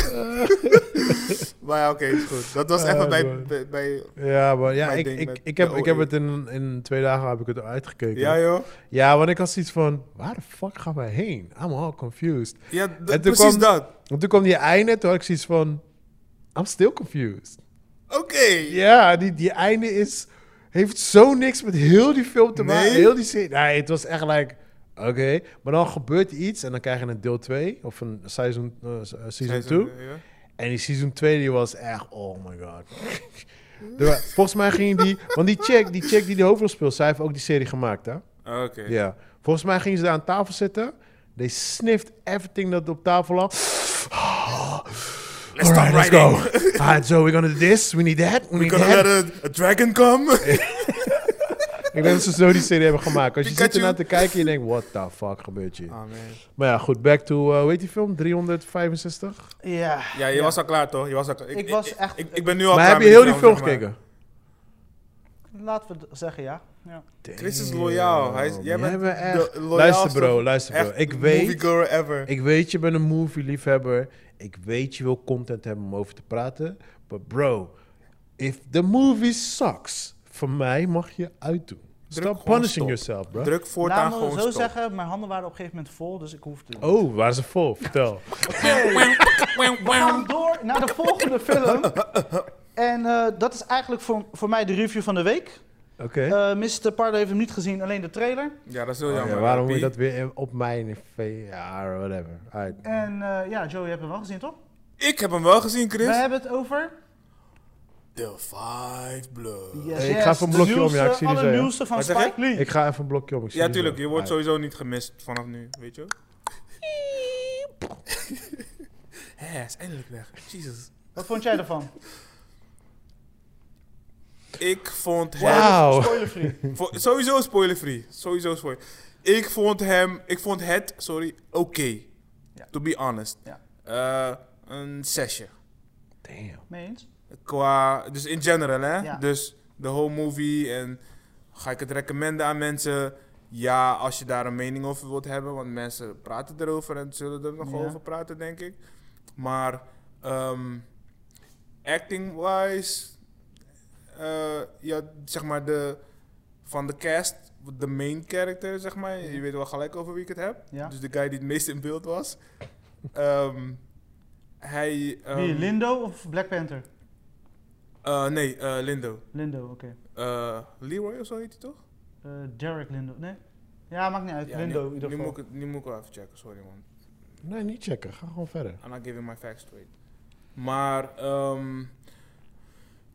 Speaker 4: maar ja, oké, is goed. Dat was
Speaker 3: Ah,
Speaker 4: even bij,
Speaker 3: man.
Speaker 4: bij, bij...
Speaker 3: Ja, maar ja,
Speaker 4: Mijn
Speaker 3: ik,
Speaker 4: ding
Speaker 3: ik,
Speaker 4: met
Speaker 3: ik, heb,
Speaker 4: de
Speaker 3: ik heb
Speaker 4: OE.
Speaker 3: het in, in twee dagen heb ik het uitgekeken.
Speaker 4: Ja, joh.
Speaker 3: Ja, want ik had zoiets van, waar de fuck gaan wij heen? I'm all confused.
Speaker 4: Ja, d-
Speaker 3: toen
Speaker 4: precies
Speaker 3: kwam-
Speaker 4: dat.
Speaker 3: En toen kwam die einde, toen had ik zoiets van, I'm still confused.
Speaker 4: Oké.
Speaker 3: Ja, die, die einde is, heeft zo niks met heel die film te maken.
Speaker 4: Nee?
Speaker 3: Heel die serie. Nee, het was echt like, oké. Maar dan gebeurt iets en dan krijg je een deel 2 of een seizoen 2. season 2.
Speaker 4: Ja.
Speaker 3: En die season 2 die was echt, oh my god. Er wa- Volgens mij ging die, want die chick, die chick die de hoofdrol speelt, zij heeft ook die serie gemaakt hè.
Speaker 4: Oké.
Speaker 3: Ja. Volgens mij gingen ze daar aan tafel zitten. They sniffed everything dat op tafel lag. Alright,
Speaker 4: Let's stop
Speaker 3: let's
Speaker 4: writing.
Speaker 3: go. Alright, so we're gonna do this, we need that, we need
Speaker 4: Gonna let
Speaker 3: that.
Speaker 4: a, a dragon come?
Speaker 3: Ik denk dat ze zo die serie hebben gemaakt. Als je zit
Speaker 4: Pikachu.
Speaker 3: ernaar te kijken, je denkt, what the fuck gebeurt hier?
Speaker 4: Ah, man.
Speaker 3: Maar ja, goed, back to, eh, hoe heet die film? 365?
Speaker 2: Ja.
Speaker 4: Ja, je was al klaar toch? Je was al klaar.
Speaker 2: Ik was echt-
Speaker 4: Ik, ik ben nu al
Speaker 3: maar
Speaker 4: klaar
Speaker 3: heb je
Speaker 4: met
Speaker 3: heel die film
Speaker 4: zeg maar.
Speaker 3: gekeken?
Speaker 2: Laten we d- zeggen, ja. ja.
Speaker 4: Chris is loyaal. Hij is- jij
Speaker 3: Damn,
Speaker 4: bent
Speaker 3: jij bent echt-
Speaker 4: de
Speaker 3: Luister
Speaker 4: loyaalste-
Speaker 3: bro, luister bro.
Speaker 4: Echt
Speaker 3: Ik
Speaker 4: Movie
Speaker 3: weet,
Speaker 4: girl ever.
Speaker 3: ik weet, je bent een movie liefhebber. Ik weet, je wil content hebben om over te praten. But bro, if the movie sucks, voor mij mag je uitdoen.
Speaker 4: gewoon
Speaker 3: Stop punishing
Speaker 4: stop.
Speaker 3: yourself, bro.
Speaker 4: Druk voortaan
Speaker 2: Laten we
Speaker 4: gewoon
Speaker 2: zo
Speaker 4: stop.
Speaker 2: zeggen, mijn handen waren op een gegeven moment vol, dus ik hoefde niet.
Speaker 3: Oh, waar ze vol? Vertel.
Speaker 2: We gaan door naar de volgende film. En eh, dat is eigenlijk voor, voor mij de review van de week.
Speaker 3: Oké.
Speaker 2: Eh Mr. Pardo heeft hem niet gezien, alleen de trailer.
Speaker 4: Ja, dat is heel
Speaker 3: Oh ja,
Speaker 4: jammer.
Speaker 3: waarom moet je
Speaker 4: Pie.
Speaker 3: dat weer op mijn VR, whatever. Alright.
Speaker 2: En eh, ja, Joey, je hebt hem wel gezien, toch?
Speaker 4: Ik heb hem wel gezien,
Speaker 2: We
Speaker 4: Chris.
Speaker 2: hebben het over...
Speaker 4: The Five Blood.
Speaker 2: Yes,
Speaker 3: ik ga even een blokje
Speaker 2: de
Speaker 3: om, ja, ik
Speaker 2: nieuwste-
Speaker 3: zie die zo, ja.
Speaker 2: allernieuwste van
Speaker 4: Wat zeg je?
Speaker 2: Spike Lee.
Speaker 3: Ik ga even een blokje om. ik zie
Speaker 4: Ja,
Speaker 3: het
Speaker 4: tuurlijk.
Speaker 3: wel.
Speaker 4: Je wordt
Speaker 3: Alright.
Speaker 4: sowieso niet gemist vanaf nu, weet je. Hé, hij is eindelijk weg. Jesus.
Speaker 2: Wat vond jij ervan?
Speaker 4: Ik vond hem...
Speaker 3: Wauw.
Speaker 2: Spoilerfree.
Speaker 4: Vo- sowieso spoilerfree. Sowieso spoiler. Ik vond hem, ik vond het, sorry, oké.
Speaker 2: Ja.
Speaker 4: To be honest.
Speaker 2: Ja.
Speaker 4: Eh, een zesje.
Speaker 3: Damn.
Speaker 2: Mee eens?
Speaker 4: Qua, dus in general hè.
Speaker 2: Ja.
Speaker 4: Dus de whole movie en ga ik het recommenden aan mensen? Ja, als je daar een mening over wilt hebben, want mensen praten erover en zullen er nog
Speaker 2: Ja.
Speaker 4: over praten, denk ik. Maar ehm, acting-wise, eh, ja, zeg maar de, van de cast, de main character, zeg maar. Je weet wel gelijk over wie ik het heb.
Speaker 2: Ja.
Speaker 4: Dus de guy die het meest in beeld was. Ehm, hij... ehm,
Speaker 2: Wie, Lindo of Black Panther?
Speaker 4: eh, nee, eh, Lindo.
Speaker 2: Lindo, oké.
Speaker 4: Eh, Leroy of zo heet hij toch?
Speaker 2: Eh Derek Lindo, nee? Ja, maakt niet uit.
Speaker 4: Ja,
Speaker 2: Lindo
Speaker 4: nu,
Speaker 2: in ieder
Speaker 4: nu
Speaker 2: geval.
Speaker 4: moet ik, het- nu moet ik wel even checken, sorry man.
Speaker 3: Nee, niet checken. Ga gewoon verder.
Speaker 4: I'm not giving my facts straight. Maar, ehm,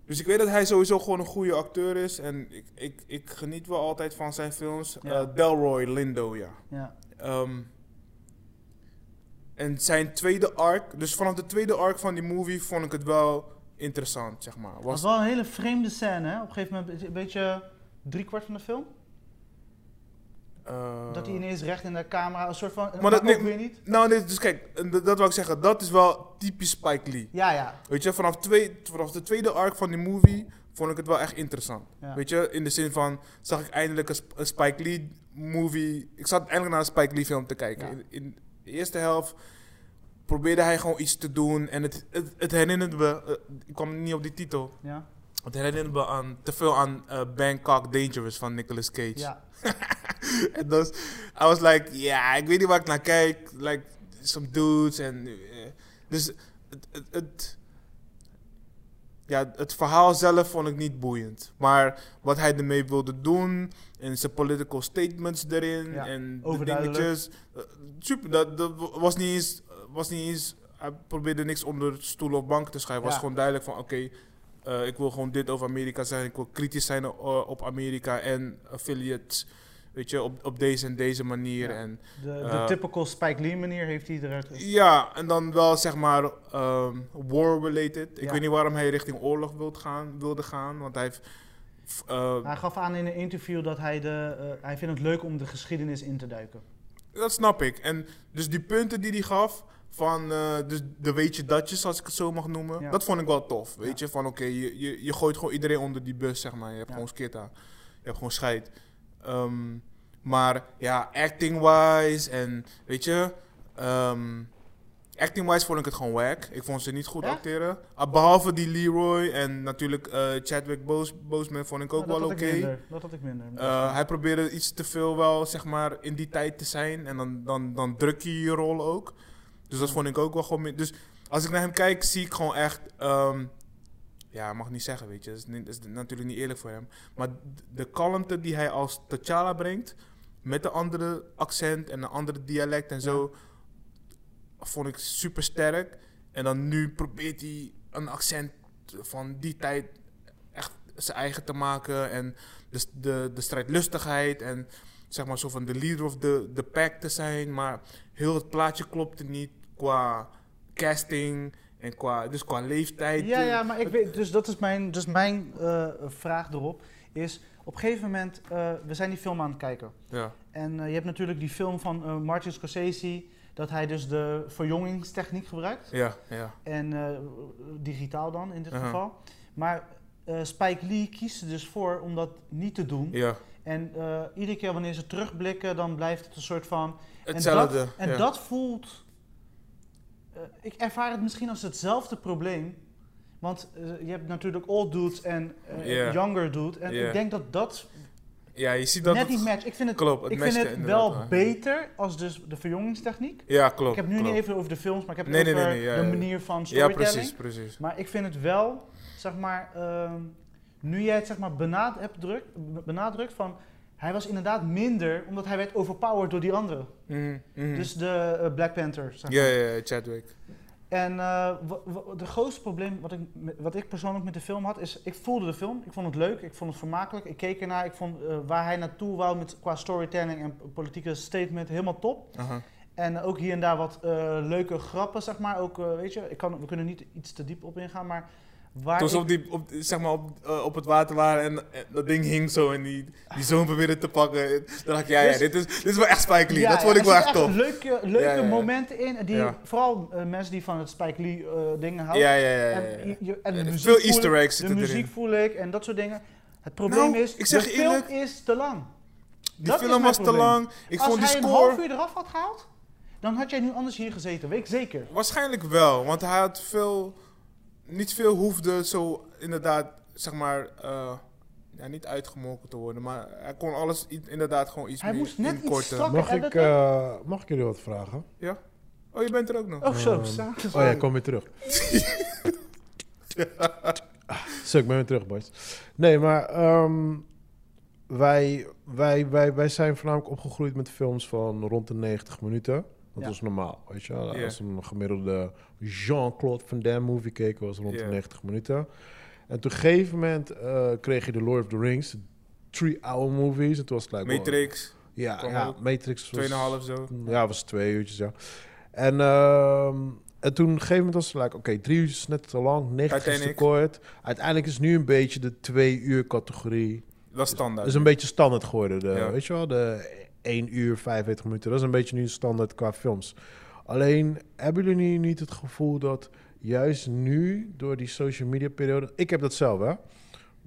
Speaker 4: dus ik weet dat hij sowieso gewoon een goede acteur is. En ik, ik, ik geniet wel altijd van zijn films.
Speaker 2: Ja.
Speaker 4: Eh, Delroy Lindo, ja.
Speaker 2: Ja.
Speaker 4: Ehm, en zijn tweede arc, dus vanaf de tweede arc van die movie vond ik het wel interessant, zeg maar.
Speaker 2: Dat was
Speaker 4: Was,
Speaker 2: wel een hele vreemde scène, hè? Op een gegeven moment, een beetje driekwart van de film.
Speaker 4: eh,
Speaker 2: Dat hij ineens recht in de camera, een soort van... Maar,
Speaker 4: dat
Speaker 2: dat ook
Speaker 4: neemt-
Speaker 2: weer niet.
Speaker 4: Nou, nee, dus kijk, en dat, dat wil ik zeggen, dat is wel typisch Spike Lee.
Speaker 2: Ja, ja.
Speaker 4: Weet je, vanaf, twee, vanaf de tweede arc van die movie vond ik het wel echt interessant.
Speaker 2: Ja.
Speaker 4: Weet je, in de zin van, zag ik eindelijk een, Sp- een Spike Lee movie. Ik zat eindelijk naar een Spike Lee film te kijken.
Speaker 2: Ja.
Speaker 4: In, in de eerste helft probeerde hij gewoon iets te doen. En het, het, het herinnerde me, eh, ik kwam niet op die titel.
Speaker 2: Ja.
Speaker 4: Het herinnerde me aan, te veel aan eh, Bangkok Dangerous van Nicolas Cage.
Speaker 2: ja.
Speaker 4: En dus, I was like, ja, ik weet niet waar ik naar kijk. Like, some dudes en... eh, dus, het, het, het- Ja, het verhaal zelf vond ik niet boeiend. Maar wat hij ermee wilde doen... En zijn political statements erin
Speaker 2: Ja,
Speaker 4: en de
Speaker 2: overduidelijk.
Speaker 4: dingetjes... eh, super, dat, dat was niet eens... Was niet eens hij probeerde niks onder stoel of bank te schuiven. was
Speaker 2: Ja.
Speaker 4: gewoon duidelijk van, oké... eh, ik wil gewoon dit over Amerika zijn. Ik wil kritisch zijn o- op Amerika en affiliates. Weet je, op, op deze en deze manier.
Speaker 2: Ja.
Speaker 4: En,
Speaker 2: De, de
Speaker 4: Eh,
Speaker 2: typical Spike Lee manier heeft hij eruit.
Speaker 4: ja, en dan wel zeg maar ehm, war-related. Ik
Speaker 2: Ja.
Speaker 4: weet niet waarom hij richting oorlog wilt gaan, wilde gaan. Want hij heeft. f- eh,
Speaker 2: Hij gaf aan in een interview dat hij de... eh, hij vindt het leuk om de geschiedenis in te duiken.
Speaker 4: Dat snap ik. En dus die punten die hij gaf. Van eh, dus de weet je datjes, als ik het zo mag noemen.
Speaker 2: Ja.
Speaker 4: Dat vond ik wel tof. Weet je, van oké, je, je, je gooit gewoon iedereen onder die bus, zeg maar. Je hebt
Speaker 2: Ja.
Speaker 4: gewoon skit aan. Je hebt gewoon scheid. Ehm, maar ja, acting-wise en weet je. ehm, acting-wise vond ik het gewoon wack. Ik vond ze niet goed
Speaker 2: Ja?
Speaker 4: acteren. Ah, behalve die Leroy en natuurlijk eh, Chadwick Bos Boseman vond ik ook
Speaker 2: Nou, dat had
Speaker 4: wel oké.
Speaker 2: ik minder. Dat had ik minder.
Speaker 4: Eh, hij probeerde iets te veel wel, zeg maar, in die tijd te zijn. En dan, dan, dan druk je je rol ook. Dus dat vond ik ook wel gewoon... min- Dus als ik naar hem kijk, zie ik gewoon echt... ehm, ja, mag niet zeggen, weet je. Dat is, niet- dat is natuurlijk niet eerlijk voor hem. Maar d- de kalmte die hij als T'Challa brengt... met een andere accent en een andere dialect en zo... vond ik super sterk. En dan nu probeert hij een accent van die tijd echt zijn eigen te maken. En de, de, de strijdlustigheid en zeg maar zo van de leader of the, the pack te zijn. Maar heel het plaatje klopte niet qua casting en qua, dus qua leeftijd.
Speaker 2: Ja, ja, maar ik weet, dus dat is mijn, dus mijn eh, vraag erop. Is op een gegeven moment, eh, we zijn die film aan het kijken.
Speaker 4: Ja,
Speaker 2: En eh, je hebt natuurlijk die film van eh, Martin Scorsese, dat hij dus de verjongingstechniek gebruikt.
Speaker 4: ja, ja.
Speaker 2: En eh, digitaal dan in dit
Speaker 4: Aha.
Speaker 2: geval. Maar eh, Spike Lee kiest er dus voor om dat niet te doen.
Speaker 4: ja.
Speaker 2: En eh, iedere keer wanneer ze terugblikken, dan blijft het een soort van.
Speaker 4: Hetzelfde.
Speaker 2: En dat, en
Speaker 4: ja.
Speaker 2: dat voelt. eh, ik ervaar het misschien als hetzelfde probleem. Want eh, je hebt natuurlijk old dudes en eh,
Speaker 4: Ja.
Speaker 2: younger dude. En
Speaker 4: Ja.
Speaker 2: ik denk dat dat,
Speaker 4: ja, je ziet dat.
Speaker 2: net
Speaker 4: het-
Speaker 2: die match. Ik vind het,
Speaker 4: klopt, het
Speaker 2: ik vind
Speaker 4: matchte
Speaker 2: het
Speaker 4: inderdaad
Speaker 2: wel
Speaker 4: wel.
Speaker 2: beter als dus de verjongingstechniek.
Speaker 4: Ja, klopt.
Speaker 2: ik heb nu
Speaker 4: klopt.
Speaker 2: niet even over de films, maar ik heb het
Speaker 4: Nee, nee,
Speaker 2: over
Speaker 4: nee, nee, ja,
Speaker 2: de
Speaker 4: ja, ja.
Speaker 2: manier van
Speaker 4: Ja,
Speaker 2: storytelling.
Speaker 4: precies, precies.
Speaker 2: Maar ik vind het wel, zeg maar, ehm, nu jij het zeg maar benad hebt druk, benadrukt van... Hij was inderdaad minder, omdat hij werd overpowered door die anderen.
Speaker 4: Mhm, mhm.
Speaker 2: Dus de eh, Black Panther, zeg
Speaker 4: ja,
Speaker 2: maar.
Speaker 4: ja, ja, Chadwick.
Speaker 2: En eh, wa- wa- de grootste probleem wat ik, met- wat ik persoonlijk met de film had, is ik voelde de film. Ik vond het leuk, ik vond het vermakelijk. Ik keek ernaar, ik vond eh, waar hij naartoe wou met, qua storytelling en politieke statement helemaal top.
Speaker 4: Aha.
Speaker 2: En ook hier en daar wat eh, leuke grappen, zeg maar. Ook, eh, weet je, ik kan, we kunnen niet iets te diep op ingaan, maar... Waar
Speaker 4: Toen ze
Speaker 2: ik-
Speaker 4: op, die, op, zeg maar op, eh, op het water waren en, en dat ding hing zo en die, die zoon probeerde te pakken. Dan dacht ik, ja, ja
Speaker 2: Dus-
Speaker 4: dit, is, dit is wel echt Spike Lee.
Speaker 2: Ja,
Speaker 4: dat
Speaker 2: ja,
Speaker 4: vond ik
Speaker 2: er
Speaker 4: wel echt
Speaker 2: zitten
Speaker 4: tof.
Speaker 2: Leuke, leuke
Speaker 4: Ja, ja, ja.
Speaker 2: momenten in. Die,
Speaker 4: Ja.
Speaker 2: Vooral eh, mensen die van het Spike Lee eh, dingen houden.
Speaker 4: Ja, ja, ja. ja, ja.
Speaker 2: En, je- je- en de
Speaker 4: Eh,
Speaker 2: muziek
Speaker 4: veel
Speaker 2: voel
Speaker 4: easter
Speaker 2: ik,
Speaker 4: eggs
Speaker 2: De
Speaker 4: zitten
Speaker 2: muziek
Speaker 4: erin.
Speaker 2: voel ik en dat soort dingen. Het probleem
Speaker 4: Nou,
Speaker 2: is,
Speaker 4: ik zeg
Speaker 2: de
Speaker 4: je
Speaker 2: film
Speaker 4: eerlijk,
Speaker 2: is te lang.
Speaker 4: Die
Speaker 2: dat is
Speaker 4: film
Speaker 2: mijn
Speaker 4: was te
Speaker 2: probleem.
Speaker 4: lang. Ik
Speaker 2: Als
Speaker 4: vond die
Speaker 2: hij een half
Speaker 4: score
Speaker 2: uur eraf had gehaald, dan had jij nu anders hier gezeten. Weet ik zeker.
Speaker 4: waarschijnlijk wel, want hij had veel, niet veel hoefde zo inderdaad, zeg maar, eh, ja, niet uitgemolken te worden. Maar hij kon alles i- inderdaad gewoon iets
Speaker 2: Hij
Speaker 4: meer
Speaker 2: moest net iets
Speaker 4: inkorten.
Speaker 2: strakker-
Speaker 3: Mag
Speaker 2: en
Speaker 3: ik,
Speaker 2: dat-
Speaker 3: eh, mag ik jullie wat vragen?
Speaker 4: Ja? Oh, je bent er ook nog.
Speaker 2: Oh zo,
Speaker 3: Ehm,
Speaker 2: sa-
Speaker 3: Oh ja, ik kom weer terug. Ah, Zo, ik ben weer terug, boys. Nee, maar ehm, wij, wij, wij, wij zijn voornamelijk opgegroeid met films van rond de 90 minuten. Dat
Speaker 2: Ja.
Speaker 3: was normaal, weet je wel.
Speaker 4: Ja.
Speaker 3: Als een gemiddelde Jean-Claude Van Damme movie keken, was rond
Speaker 4: Ja.
Speaker 3: de 90 minuten. En toen een gegeven moment eh, kreeg je de Lord of the Rings, three-hour movies. En toen was het like, wow.
Speaker 4: Matrix,
Speaker 3: Ja,
Speaker 4: kwam
Speaker 3: ja
Speaker 4: ook.
Speaker 3: Matrix was...
Speaker 4: 2,5 zo.
Speaker 3: Ja, was twee uurtjes, ja. En, ehm, en toen op een gegeven moment was het like, oké, drie uurtjes is net te lang, 90 is te
Speaker 4: Titanic.
Speaker 3: kort. Uiteindelijk is nu een beetje de twee uur categorie.
Speaker 4: Dat is standaard.
Speaker 3: Dat is een beetje standaard geworden. De,
Speaker 4: Ja.
Speaker 3: Weet je wel, de 1 uur 45 minuten. Dat is een beetje nu standaard qua films. Alleen, hebben jullie nu niet het gevoel dat juist nu, door die social media periode... Ik heb dat zelf, hè.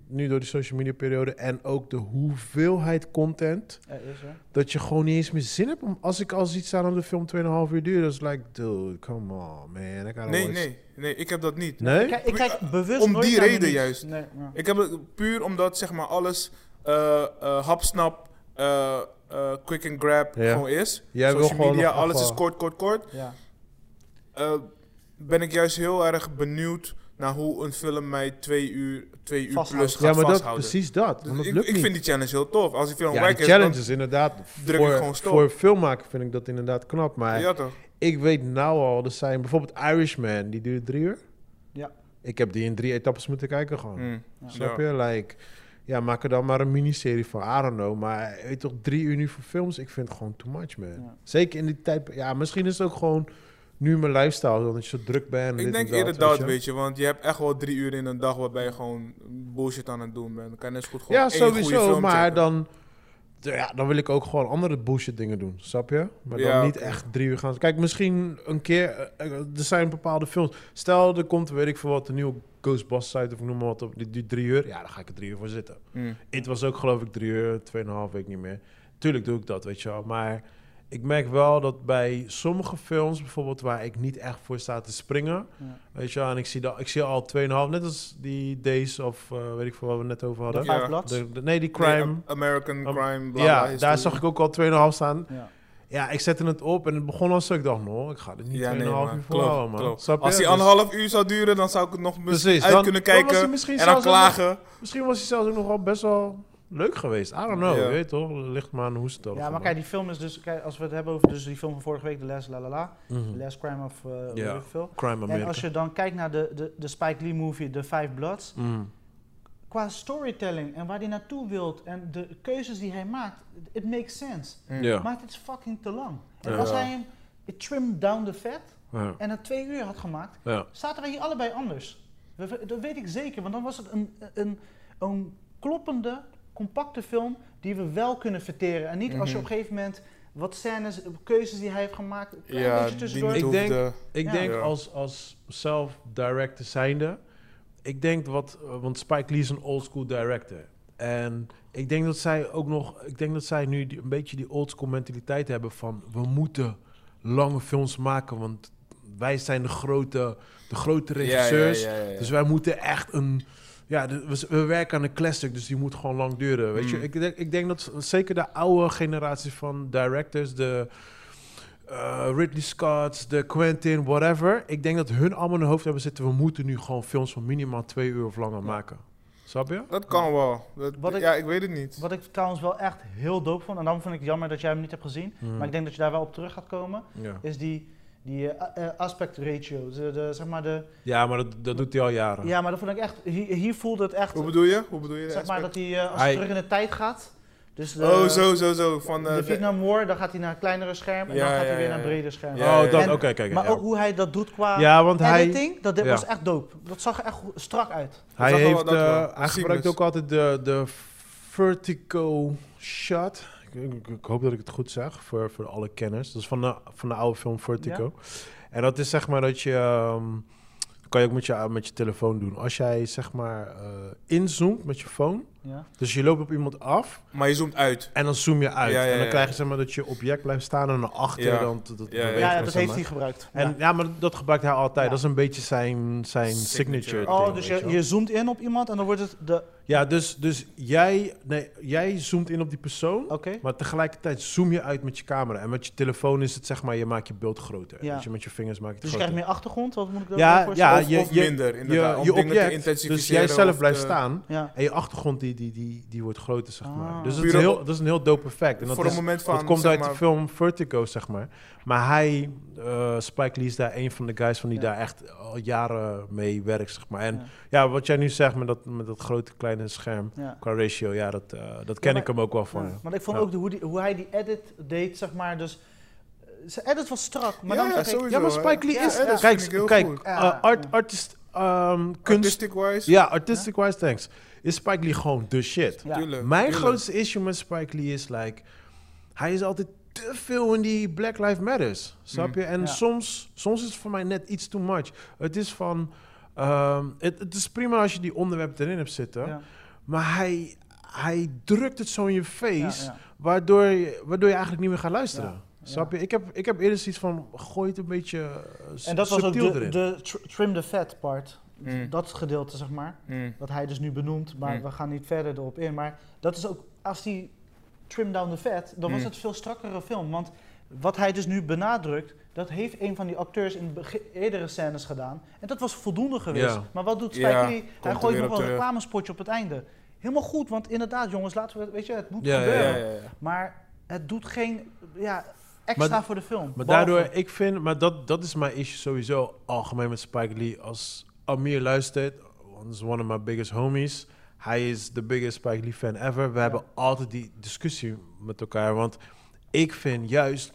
Speaker 3: Nu door die social media periode en ook de hoeveelheid content
Speaker 2: Er is er.
Speaker 3: dat je gewoon niet eens meer zin hebt. Om, als ik al iets aan de film 2,5 uur duurt, dan is het like, dude, come on, man. I gotta
Speaker 4: Nee,
Speaker 3: watch-
Speaker 4: nee, nee, ik heb dat niet.
Speaker 3: Nee?
Speaker 2: Ik kijk, ik kijk bewust
Speaker 4: Eh, Om
Speaker 2: nooit
Speaker 4: die
Speaker 2: naar de
Speaker 4: reden
Speaker 2: nieuws.
Speaker 4: juist.
Speaker 2: Nee, ja.
Speaker 4: Ik heb het puur omdat zeg maar alles eh, eh, hapsnap, eh, eh, quick and grab
Speaker 3: Ja.
Speaker 4: gewoon is.
Speaker 3: Jij wil
Speaker 4: Social
Speaker 3: gewoon
Speaker 4: media,
Speaker 3: nog
Speaker 4: alles
Speaker 3: even-
Speaker 4: is kort, kort, kort.
Speaker 2: Ja.
Speaker 4: Eh, ben ik juist heel erg benieuwd naar hoe een film mij twee uur, twee uur
Speaker 2: Vasthoudt.
Speaker 4: plus gaat
Speaker 3: Ja, maar dat,
Speaker 4: vasthouden. Dus
Speaker 3: precies dat. Want dat
Speaker 4: ik,
Speaker 3: lukt
Speaker 4: ik
Speaker 3: niet.
Speaker 4: vind die challenge heel tof. Als die film
Speaker 3: ja,
Speaker 4: wijk
Speaker 3: die
Speaker 4: is, dan-
Speaker 3: challenge is inderdaad...
Speaker 4: druk ik
Speaker 3: Voor,
Speaker 4: gewoon stop.
Speaker 3: voor filmmaker vind ik dat inderdaad knap. Maar
Speaker 4: Ja toch?
Speaker 3: ik weet nou al, er zijn bijvoorbeeld Irishman, die duurt drie uur.
Speaker 2: Ja.
Speaker 3: Ik heb die in drie etappes moeten kijken gewoon.
Speaker 4: Hmm.
Speaker 2: Ja.
Speaker 3: Snap je? Like, ja, maak er dan maar een miniserie van. I don't know. Maar weet je toch, drie uur nu voor films, ik vind het gewoon too much, man.
Speaker 2: Ja.
Speaker 3: Zeker in die tijd. Ja, misschien is het ook gewoon nu mijn lifestyle, omdat je zo druk bent. en dit
Speaker 4: Ik denk
Speaker 3: en dat,
Speaker 4: eerder dat,
Speaker 3: je.
Speaker 4: weet je, want je hebt echt wel drie uur in een dag waarbij je gewoon bullshit aan het doen bent. Dan kan je net zo goed gewoon
Speaker 3: Ja,
Speaker 4: één goede
Speaker 3: sowieso.
Speaker 4: film
Speaker 3: Maar
Speaker 4: checken.
Speaker 3: dan, ja, dan wil ik ook gewoon andere bullshit dingen doen, snap je? Maar dan
Speaker 4: Ja,
Speaker 3: niet
Speaker 4: oké.
Speaker 3: echt drie uur gaan. Kijk, misschien een keer. eh, eh, Er zijn bepaalde films. Stel, er komt, weet ik veel wat, een nieuwe Ghostbusters uit of noem maar wat. op, Die duurt drie uur. Ja, daar ga ik er drie uur voor zitten.
Speaker 4: Hmm.
Speaker 3: Het was ook geloof ik drie uur, tweeënhalf week niet meer. Tuurlijk doe ik dat, weet je wel. Maar ik merk wel dat bij sommige films, bijvoorbeeld waar ik niet echt voor sta te springen,
Speaker 2: Ja.
Speaker 3: weet je wel, en ik zie, dat, ik zie al tweeënhalf, net als die Days of eh, weet ik veel waar we het net over hadden.
Speaker 2: De Five
Speaker 4: Ja.
Speaker 2: Bloods.
Speaker 3: De- de- nee, die
Speaker 4: Nee,
Speaker 3: Crime.
Speaker 4: A- American
Speaker 3: Am-
Speaker 4: Crime, bla bla,
Speaker 3: ja,
Speaker 4: is
Speaker 3: daar
Speaker 4: die-
Speaker 3: zag ik ook al 2,5 staan.
Speaker 2: Ja.
Speaker 3: Ja, ik zette het op en het begon al zo. Ik dacht, no, ik ga dit niet
Speaker 4: Ja,
Speaker 3: 2,5
Speaker 4: nee, maar
Speaker 3: uur
Speaker 4: klopt,
Speaker 3: volhouden, man.
Speaker 4: klopt.
Speaker 3: Snap je?
Speaker 4: Als die
Speaker 3: Dus-
Speaker 4: anderhalf uur zou duren, dan zou ik het nog misschien
Speaker 3: Precies,
Speaker 4: uit
Speaker 3: dan-
Speaker 4: kunnen
Speaker 3: dan was die
Speaker 4: kijken
Speaker 3: misschien
Speaker 4: en dan
Speaker 3: zelfs nog-
Speaker 4: klagen.
Speaker 3: Misschien was hij zelfs ook nog wel best wel leuk geweest. I don't know,
Speaker 4: Ja.
Speaker 3: je weet toch? Ligt maar aan hoe ze het
Speaker 2: Ja, maar kijk, die film is dus, kijk, als we het hebben over dus die film van vorige week, The Last La La La, The Last Crime of eh weet
Speaker 3: Ja.
Speaker 2: ik veel.
Speaker 3: Mhm. Crime America.
Speaker 2: En als je dan kijkt naar de, de, de Spike Lee movie, The Five Bloods,
Speaker 3: Mm.
Speaker 2: qua storytelling en waar hij naartoe wilt en de keuzes die hij maakt, it makes sense.
Speaker 3: Ja.
Speaker 2: Maar het is fucking te lang. En
Speaker 3: Ja.
Speaker 2: als hij hem trimmed down the fat
Speaker 3: Ja.
Speaker 2: en het twee uur had gemaakt,
Speaker 3: Ja.
Speaker 2: zaten wij hier allebei anders. We- we- Dat weet ik zeker, want dan was het een, een, een kloppende, compacte film die we wel kunnen verteren. En niet als
Speaker 4: Mhm.
Speaker 2: je op een gegeven moment wat scènes, keuzes die hij heeft gemaakt, een klein
Speaker 4: Ja,
Speaker 2: beetje
Speaker 4: die
Speaker 2: tussendoor.
Speaker 4: niet
Speaker 3: Ik
Speaker 4: hoefde.
Speaker 3: denk- Ik
Speaker 2: Ja.
Speaker 3: denk
Speaker 4: Ja.
Speaker 3: als, als zelf-director zijnde, ik denk wat, eh, want Spike Lee is een oldschool director. En ik denk dat zij ook nog, ik denk dat zij nu die- een beetje die oldschool mentaliteit hebben van we moeten lange films maken, want wij zijn de grote, de grote
Speaker 4: Ja, ja,
Speaker 3: regisseurs.
Speaker 4: ja, ja, ja.
Speaker 3: Dus wij moeten echt een. Ja, de- we, we werken aan een classic, dus die moet gewoon lang duren. Weet je,
Speaker 4: Mm.
Speaker 3: ik denk, ik denk dat zeker de oude generatie van directors, de eh, Ridley Scott, de Quentin, whatever. Ik denk dat hun allemaal in hun hoofd hebben zitten. We moeten nu gewoon films van minimaal twee uur of langer maken. Snap je?
Speaker 4: Dat kan wel. Dat-
Speaker 2: Wat ik-
Speaker 4: ja, ik weet het niet.
Speaker 2: Wat ik trouwens wel echt heel dope vond, en daarom vind ik het jammer dat jij hem niet hebt gezien,
Speaker 4: Mhm.
Speaker 3: Hmm.
Speaker 2: maar ik denk dat je daar wel op terug gaat komen,
Speaker 3: Ja,
Speaker 2: is die, die eh, a- eh, aspect ratio. De, de, zeg maar de,
Speaker 3: ja maar dat, dat doet hij al jaren.
Speaker 2: ja, maar dat vond ik echt, hier, hier voelde het echt,
Speaker 4: Hoe bedoel je? Hoe bedoel je? de
Speaker 2: zeg maar dat
Speaker 4: aspect?
Speaker 2: hij, eh, als
Speaker 3: Hij-
Speaker 2: hij terug in de tijd gaat, dus de,
Speaker 4: Oh, zo, zo, zo. Van, eh,
Speaker 2: de
Speaker 4: de-
Speaker 2: Vietnam War, dan gaat hij naar een kleinere scherm en
Speaker 4: Ja,
Speaker 2: dan gaat
Speaker 4: ja,
Speaker 2: hij weer
Speaker 4: ja,
Speaker 2: naar een
Speaker 4: ja.
Speaker 2: breder scherm.
Speaker 4: Ja,
Speaker 3: oh, dat,
Speaker 2: en-
Speaker 3: oké, kijk.
Speaker 2: maar
Speaker 3: ja.
Speaker 2: ook hoe hij dat doet qua
Speaker 3: ja, want hij,
Speaker 2: editing, dat dit
Speaker 3: ja.
Speaker 2: was echt dope. Dat zag er echt go- strak uit.
Speaker 3: Hij,
Speaker 4: zag wel
Speaker 3: heeft,
Speaker 4: dat wel.
Speaker 3: eh, hij gebruikt
Speaker 4: Seamless.
Speaker 3: ook altijd de, de vertical shot. Ik, ik- ik hoop dat ik het goed zeg voor, voor alle kenners. Dat is van de, van de oude film Vertigo. En dat is zeg maar dat je... ehm, kan je ook met je, met je telefoon doen. Als jij zeg maar eh, inzoomt met je phone.
Speaker 2: Ja.
Speaker 3: Dus je loopt op iemand af
Speaker 4: Maar je zoomt uit.
Speaker 3: en dan zoom je uit.
Speaker 4: Ja, ja,
Speaker 3: En dan
Speaker 4: ja.
Speaker 3: krijg je zeg maar dat je object blijft staan en naar achter.
Speaker 4: Ja.
Speaker 3: Dan, dat, dat
Speaker 4: Ja, ja.
Speaker 3: beweegt
Speaker 2: Ja, ja,
Speaker 3: en
Speaker 2: dat
Speaker 3: zo,
Speaker 2: heeft
Speaker 3: maar.
Speaker 2: hij gebruikt.
Speaker 3: En ja.
Speaker 2: Ja.
Speaker 3: maar dat gebruikt hij altijd.
Speaker 2: Ja.
Speaker 3: Dat is een beetje zijn, zijn signature.
Speaker 4: Signature.
Speaker 3: ding,
Speaker 2: Oh, dus
Speaker 3: weet
Speaker 2: je,
Speaker 3: wel.
Speaker 2: je zoomt in op iemand en dan wordt het de...
Speaker 3: Ja, dus, dus jij, nee, jij zoomt in op die persoon,
Speaker 2: Oké. Dus
Speaker 3: maar tegelijkertijd zoom je uit met je camera. En met je telefoon is het zeg maar, je maakt je beeld groter.
Speaker 2: Ja.
Speaker 3: Weet je, met je vingers maak je het
Speaker 2: Dus je
Speaker 3: groter.
Speaker 2: krijgt meer achtergrond, wat moet ik dat
Speaker 3: Ja,
Speaker 2: voorstellen?
Speaker 3: ja,
Speaker 4: of,
Speaker 3: je-
Speaker 4: of
Speaker 3: je-
Speaker 4: minder,
Speaker 3: Je-
Speaker 4: inderdaad. om
Speaker 3: je
Speaker 4: dingen te
Speaker 3: object, dus
Speaker 4: intensificeren
Speaker 3: jij zelf
Speaker 4: of
Speaker 3: blijft
Speaker 4: te-
Speaker 3: staan
Speaker 2: Ja.
Speaker 3: en je achtergrond die die, die, die wordt groter, zeg maar.
Speaker 2: Ah.
Speaker 3: Dus dat is,
Speaker 4: Puur
Speaker 3: een
Speaker 4: op-
Speaker 3: heel, dat is een heel dope effect. En dat,
Speaker 4: voor
Speaker 3: is,
Speaker 4: een moment van.
Speaker 3: dat komt
Speaker 4: zeg
Speaker 3: uit
Speaker 4: maar,
Speaker 3: de film Vertigo, zeg maar. Maar hij, eh, Spike Lee, is daar een van de guys van die
Speaker 2: Ja.
Speaker 3: daar echt al jaren mee werkt, zeg maar. En
Speaker 2: Ja.
Speaker 3: ja, wat jij nu zegt met dat, met dat grote kleine scherm
Speaker 2: Ja.
Speaker 3: qua ratio, ja, dat, eh, dat ken
Speaker 2: maar-
Speaker 3: ik hem ook wel van.
Speaker 2: Ja,
Speaker 3: ja.
Speaker 2: Maar ik vond
Speaker 3: Ja.
Speaker 2: ook de, hoe, die- hoe hij die edit deed, zeg maar. Dus eh, zijn edit was strak, maar
Speaker 4: ja,
Speaker 2: dan
Speaker 4: ja,
Speaker 2: dacht ik,
Speaker 4: sowieso,
Speaker 3: Ja, maar Spike Lee
Speaker 2: Ja,
Speaker 3: is...
Speaker 2: ja, dat
Speaker 3: kijk,
Speaker 4: vind ik heel
Speaker 3: kijk
Speaker 4: goed.
Speaker 3: eh,
Speaker 2: Ja.
Speaker 3: art, artist, ehm, kunst...
Speaker 4: Artistic wise.
Speaker 3: Ja, artistic wise, thanks. Is Spike Lee gewoon de shit.
Speaker 2: Ja.
Speaker 4: tuurlijk,
Speaker 3: Mijn
Speaker 4: tuurlijk.
Speaker 3: grootste issue met Spike Lee is, like... Hij is altijd te veel in die Black Lives Matters, snap je? En
Speaker 2: Ja.
Speaker 3: soms, soms is het voor mij net iets too much. Het is van... ehm, het, het is prima als je die onderwerpen erin hebt zitten.
Speaker 2: Ja.
Speaker 3: Maar hij, hij drukt het zo in je face...
Speaker 2: Ja, ja.
Speaker 3: Waardoor, je, waardoor je eigenlijk niet meer gaat luisteren.
Speaker 2: Ja,
Speaker 3: Snap je? Ik heb, ik heb eerder zoiets van, gooi het een beetje eh, s-
Speaker 2: En dat was ook
Speaker 3: subtiel
Speaker 2: de,
Speaker 3: erin.
Speaker 2: de tr- trim the fat part.
Speaker 4: Mm,
Speaker 2: Dat gedeelte, zeg maar.
Speaker 4: mm.
Speaker 2: Wat hij dus nu benoemt, maar
Speaker 3: Hmm.
Speaker 4: Mm.
Speaker 2: we gaan niet verder erop in. Maar dat is ook, als die trim down the fat, dan was
Speaker 4: Mm.
Speaker 3: Hmm.
Speaker 2: het een veel strakkere film. Want wat hij dus nu benadrukt, dat heeft een van die acteurs in bege- eerdere scènes gedaan. En dat was voldoende geweest.
Speaker 3: Ja.
Speaker 2: Maar wat doet
Speaker 4: Ja,
Speaker 2: Spike Lee? Hij
Speaker 4: er
Speaker 2: gooit
Speaker 4: weer
Speaker 2: nog
Speaker 4: op
Speaker 2: wel een
Speaker 4: terug.
Speaker 2: reclamespotje op het einde. Helemaal goed, want inderdaad jongens, laten we, weet je, het moet
Speaker 3: Ja, ja,
Speaker 4: Ja,
Speaker 2: gebeuren.
Speaker 4: ja, ja, ja.
Speaker 2: Maar het doet geen ja, extra
Speaker 3: Maar-
Speaker 2: voor de film.
Speaker 3: Maar
Speaker 2: Behalve-
Speaker 3: daardoor, ik vind, maar dat, dat is mijn issue sowieso algemeen met Spike Lee. Als Amir luistert, want is one of my biggest homies. Hij is de biggest Spike Lee fan ever. We hebben altijd die discussie met elkaar. Want ik vind juist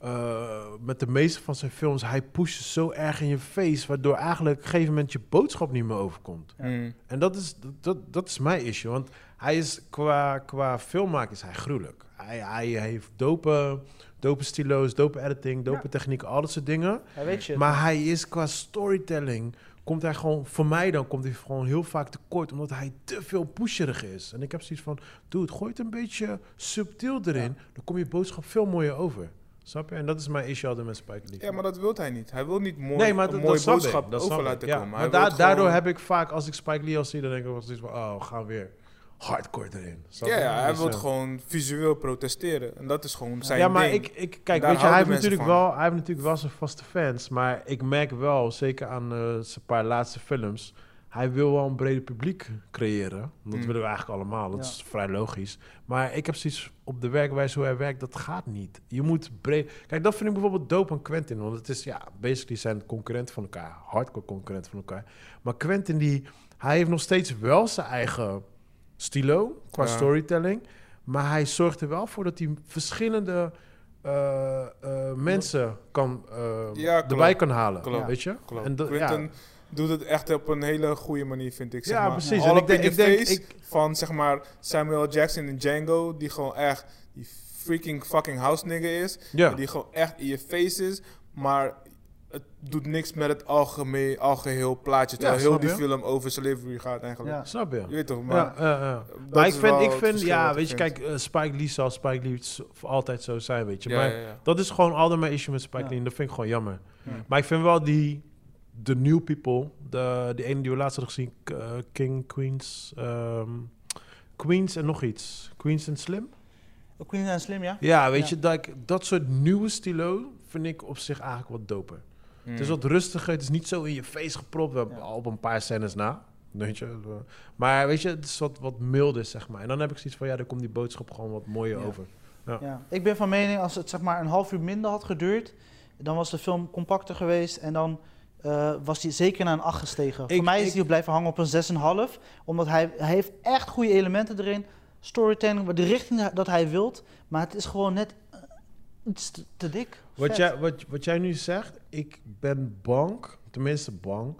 Speaker 3: eh, met de meeste van zijn films, hij pusht zo erg in je face, waardoor eigenlijk op een gegeven moment je boodschap niet meer overkomt.
Speaker 4: Mm.
Speaker 3: En dat is, dat, dat is mijn issue. Want hij is qua, qua filmmaken is hij gruwelijk. Hij, hij heeft dope, dope stilo's, dope editing, dope techniek, al dat soort dingen.
Speaker 2: Ja, weet je,
Speaker 3: Maar hij is qua storytelling, komt hij gewoon, voor mij dan, komt hij gewoon heel vaak tekort. Omdat hij te veel pusherig is. En ik heb zoiets van, dude, gooi het een beetje subtiel erin. Dan kom je boodschap veel mooier over. Snap je? En dat is mijn issue altijd met Spike Lee.
Speaker 4: Ja, maar dat wil hij niet. Hij wil niet mooi,
Speaker 3: Nee, maar
Speaker 4: een
Speaker 3: dat,
Speaker 4: mooie
Speaker 3: dat snap ik,
Speaker 4: boodschap
Speaker 3: dat
Speaker 4: over
Speaker 3: snap ik,
Speaker 4: laten
Speaker 3: ja.
Speaker 4: komen.
Speaker 3: Maar
Speaker 4: Hij
Speaker 3: da-
Speaker 4: wil gewoon-
Speaker 3: daardoor heb ik vaak, als ik Spike Lee al zie, dan denk ik wel zoiets van, oh, we gaan weer hardcore erin. Snap
Speaker 4: Ja,
Speaker 3: je?
Speaker 4: ja hij
Speaker 3: Dus,
Speaker 4: wil
Speaker 3: eh,
Speaker 4: gewoon visueel protesteren. En dat is gewoon zijn
Speaker 3: Ja, maar
Speaker 4: ding.
Speaker 3: ik, ik kijk,
Speaker 4: Daar
Speaker 3: weet je, hij heeft,
Speaker 4: houden
Speaker 3: natuurlijk
Speaker 4: mensen
Speaker 3: wel, hij heeft natuurlijk wel zijn vaste fans, maar ik merk wel, zeker aan eh, zijn paar laatste films, hij wil wel een breder publiek creëren. Dat
Speaker 4: Mm.
Speaker 3: willen we eigenlijk allemaal, dat
Speaker 2: Ja.
Speaker 3: is vrij logisch. Maar ik heb zoiets op de werkwijze hoe hij werkt, dat gaat niet. Je moet breed... Kijk, dat vind ik bijvoorbeeld dope aan Quentin, want het is, ja, basically zijn concurrenten van elkaar, hardcore concurrenten van elkaar. Maar Quentin, die, hij heeft nog steeds wel zijn eigen stilo qua
Speaker 4: Ja.
Speaker 3: storytelling. Maar hij zorgt er wel voor dat hij verschillende eh, eh, mensen kan, eh,
Speaker 4: Ja, klopt.
Speaker 3: erbij kan halen.
Speaker 4: Klopt.
Speaker 3: Weet je?
Speaker 4: Klopt.
Speaker 3: En dat-
Speaker 4: Quentin
Speaker 3: ja.
Speaker 4: doet het echt op een hele goede manier, vind ik. Zeg
Speaker 3: Ja,
Speaker 4: maar.
Speaker 3: precies. En
Speaker 4: All
Speaker 3: ik
Speaker 4: up
Speaker 3: denk- ik
Speaker 4: in the
Speaker 3: denk-
Speaker 4: face
Speaker 3: ik-
Speaker 4: van zeg maar Samuel Jackson en Django, die gewoon echt die freaking fucking house nigger is.
Speaker 3: Ja.
Speaker 4: Die gewoon echt in je face is, maar het doet niks met het algemeen, algeheel plaatje. Terwijl heel
Speaker 3: snap
Speaker 4: die
Speaker 3: je?
Speaker 4: film over slavery gaat eigenlijk.
Speaker 2: Ja.
Speaker 3: Snap je?
Speaker 4: Je weet toch, maar...
Speaker 3: Ja, ja, ja.
Speaker 4: dat
Speaker 3: Maar ik
Speaker 4: is wel
Speaker 3: vind, ik
Speaker 4: het
Speaker 3: vind
Speaker 4: verschil
Speaker 3: ja,
Speaker 4: wat ik
Speaker 3: weet je,
Speaker 4: vind.
Speaker 3: kijk, eh, Spike Lee zal Spike Lee z- voor altijd zo zijn, weet je.
Speaker 4: Ja,
Speaker 3: maar
Speaker 4: ja, ja.
Speaker 3: dat is gewoon altijd mijn issue met Spike
Speaker 2: Ja.
Speaker 3: Lee en dat vind ik gewoon jammer.
Speaker 4: Ja.
Speaker 3: Maar ik vind wel die, de new people, de, die ene die we laatst hadden gezien, K- eh, King, Queens, ehm, Queens en nog iets. Queens en Slim?
Speaker 2: Queen zijn slim, ja?
Speaker 3: Ja, weet
Speaker 2: Ja.
Speaker 3: je, dat, ik- dat soort nieuwe stilo vind ik op zich eigenlijk wat doper.
Speaker 4: Mm.
Speaker 3: Het is wat rustiger, het is niet zo in je face gepropt, we hebben
Speaker 2: Ja.
Speaker 3: al op een paar scènes na. Weet je, maar weet je, het is wat, wat milder, zeg maar. En dan heb ik zoiets van, ja, daar komt die boodschap gewoon wat mooier
Speaker 2: Ja.
Speaker 3: over.
Speaker 2: Ja, ik ben van mening als het zeg maar een half uur minder had geduurd, dan was de film compacter geweest en dan eh, was hij zeker naar een 8 gestegen.
Speaker 3: Ik-
Speaker 2: Voor mij is
Speaker 3: ik-
Speaker 2: hij blijven hangen op een 6,5, omdat hij, hij heeft echt goede elementen erin, storytelling, maar de richting dat hij wilt, maar het is gewoon net eh, iets te, te dik.
Speaker 3: Wat
Speaker 2: Vet.
Speaker 3: jij, wat, wat jij nu zegt, ik ben bang, tenminste bang.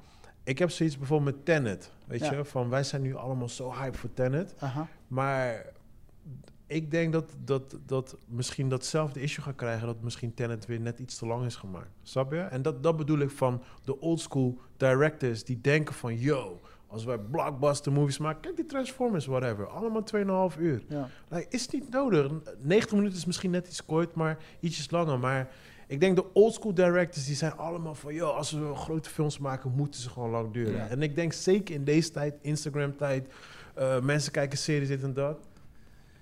Speaker 3: Ik heb zoiets bijvoorbeeld met Tenet, weet
Speaker 2: Ja.
Speaker 3: je. Van, wij zijn nu allemaal zo hype voor Tenet.
Speaker 2: Aha.
Speaker 3: Maar ik denk dat, dat, dat misschien datzelfde issue gaat krijgen... dat misschien Tenet weer net iets te lang is gemaakt. Snap je? En dat, dat bedoel ik van de oldschool directors die denken van... yo, als wij blockbuster movies maken... kijk die Transformers, whatever. Allemaal 2,5 uur.
Speaker 2: Ja.
Speaker 3: Nou, is niet nodig. 90 minuten is misschien net iets kort, maar ietsjes langer. Maar ik denk de oldschool directors, die zijn allemaal van... joh, als we grote films maken, moeten ze gewoon lang duren.
Speaker 2: Ja.
Speaker 3: En ik denk zeker in deze tijd, Instagram-tijd... eh, mensen kijken series, dit en dat.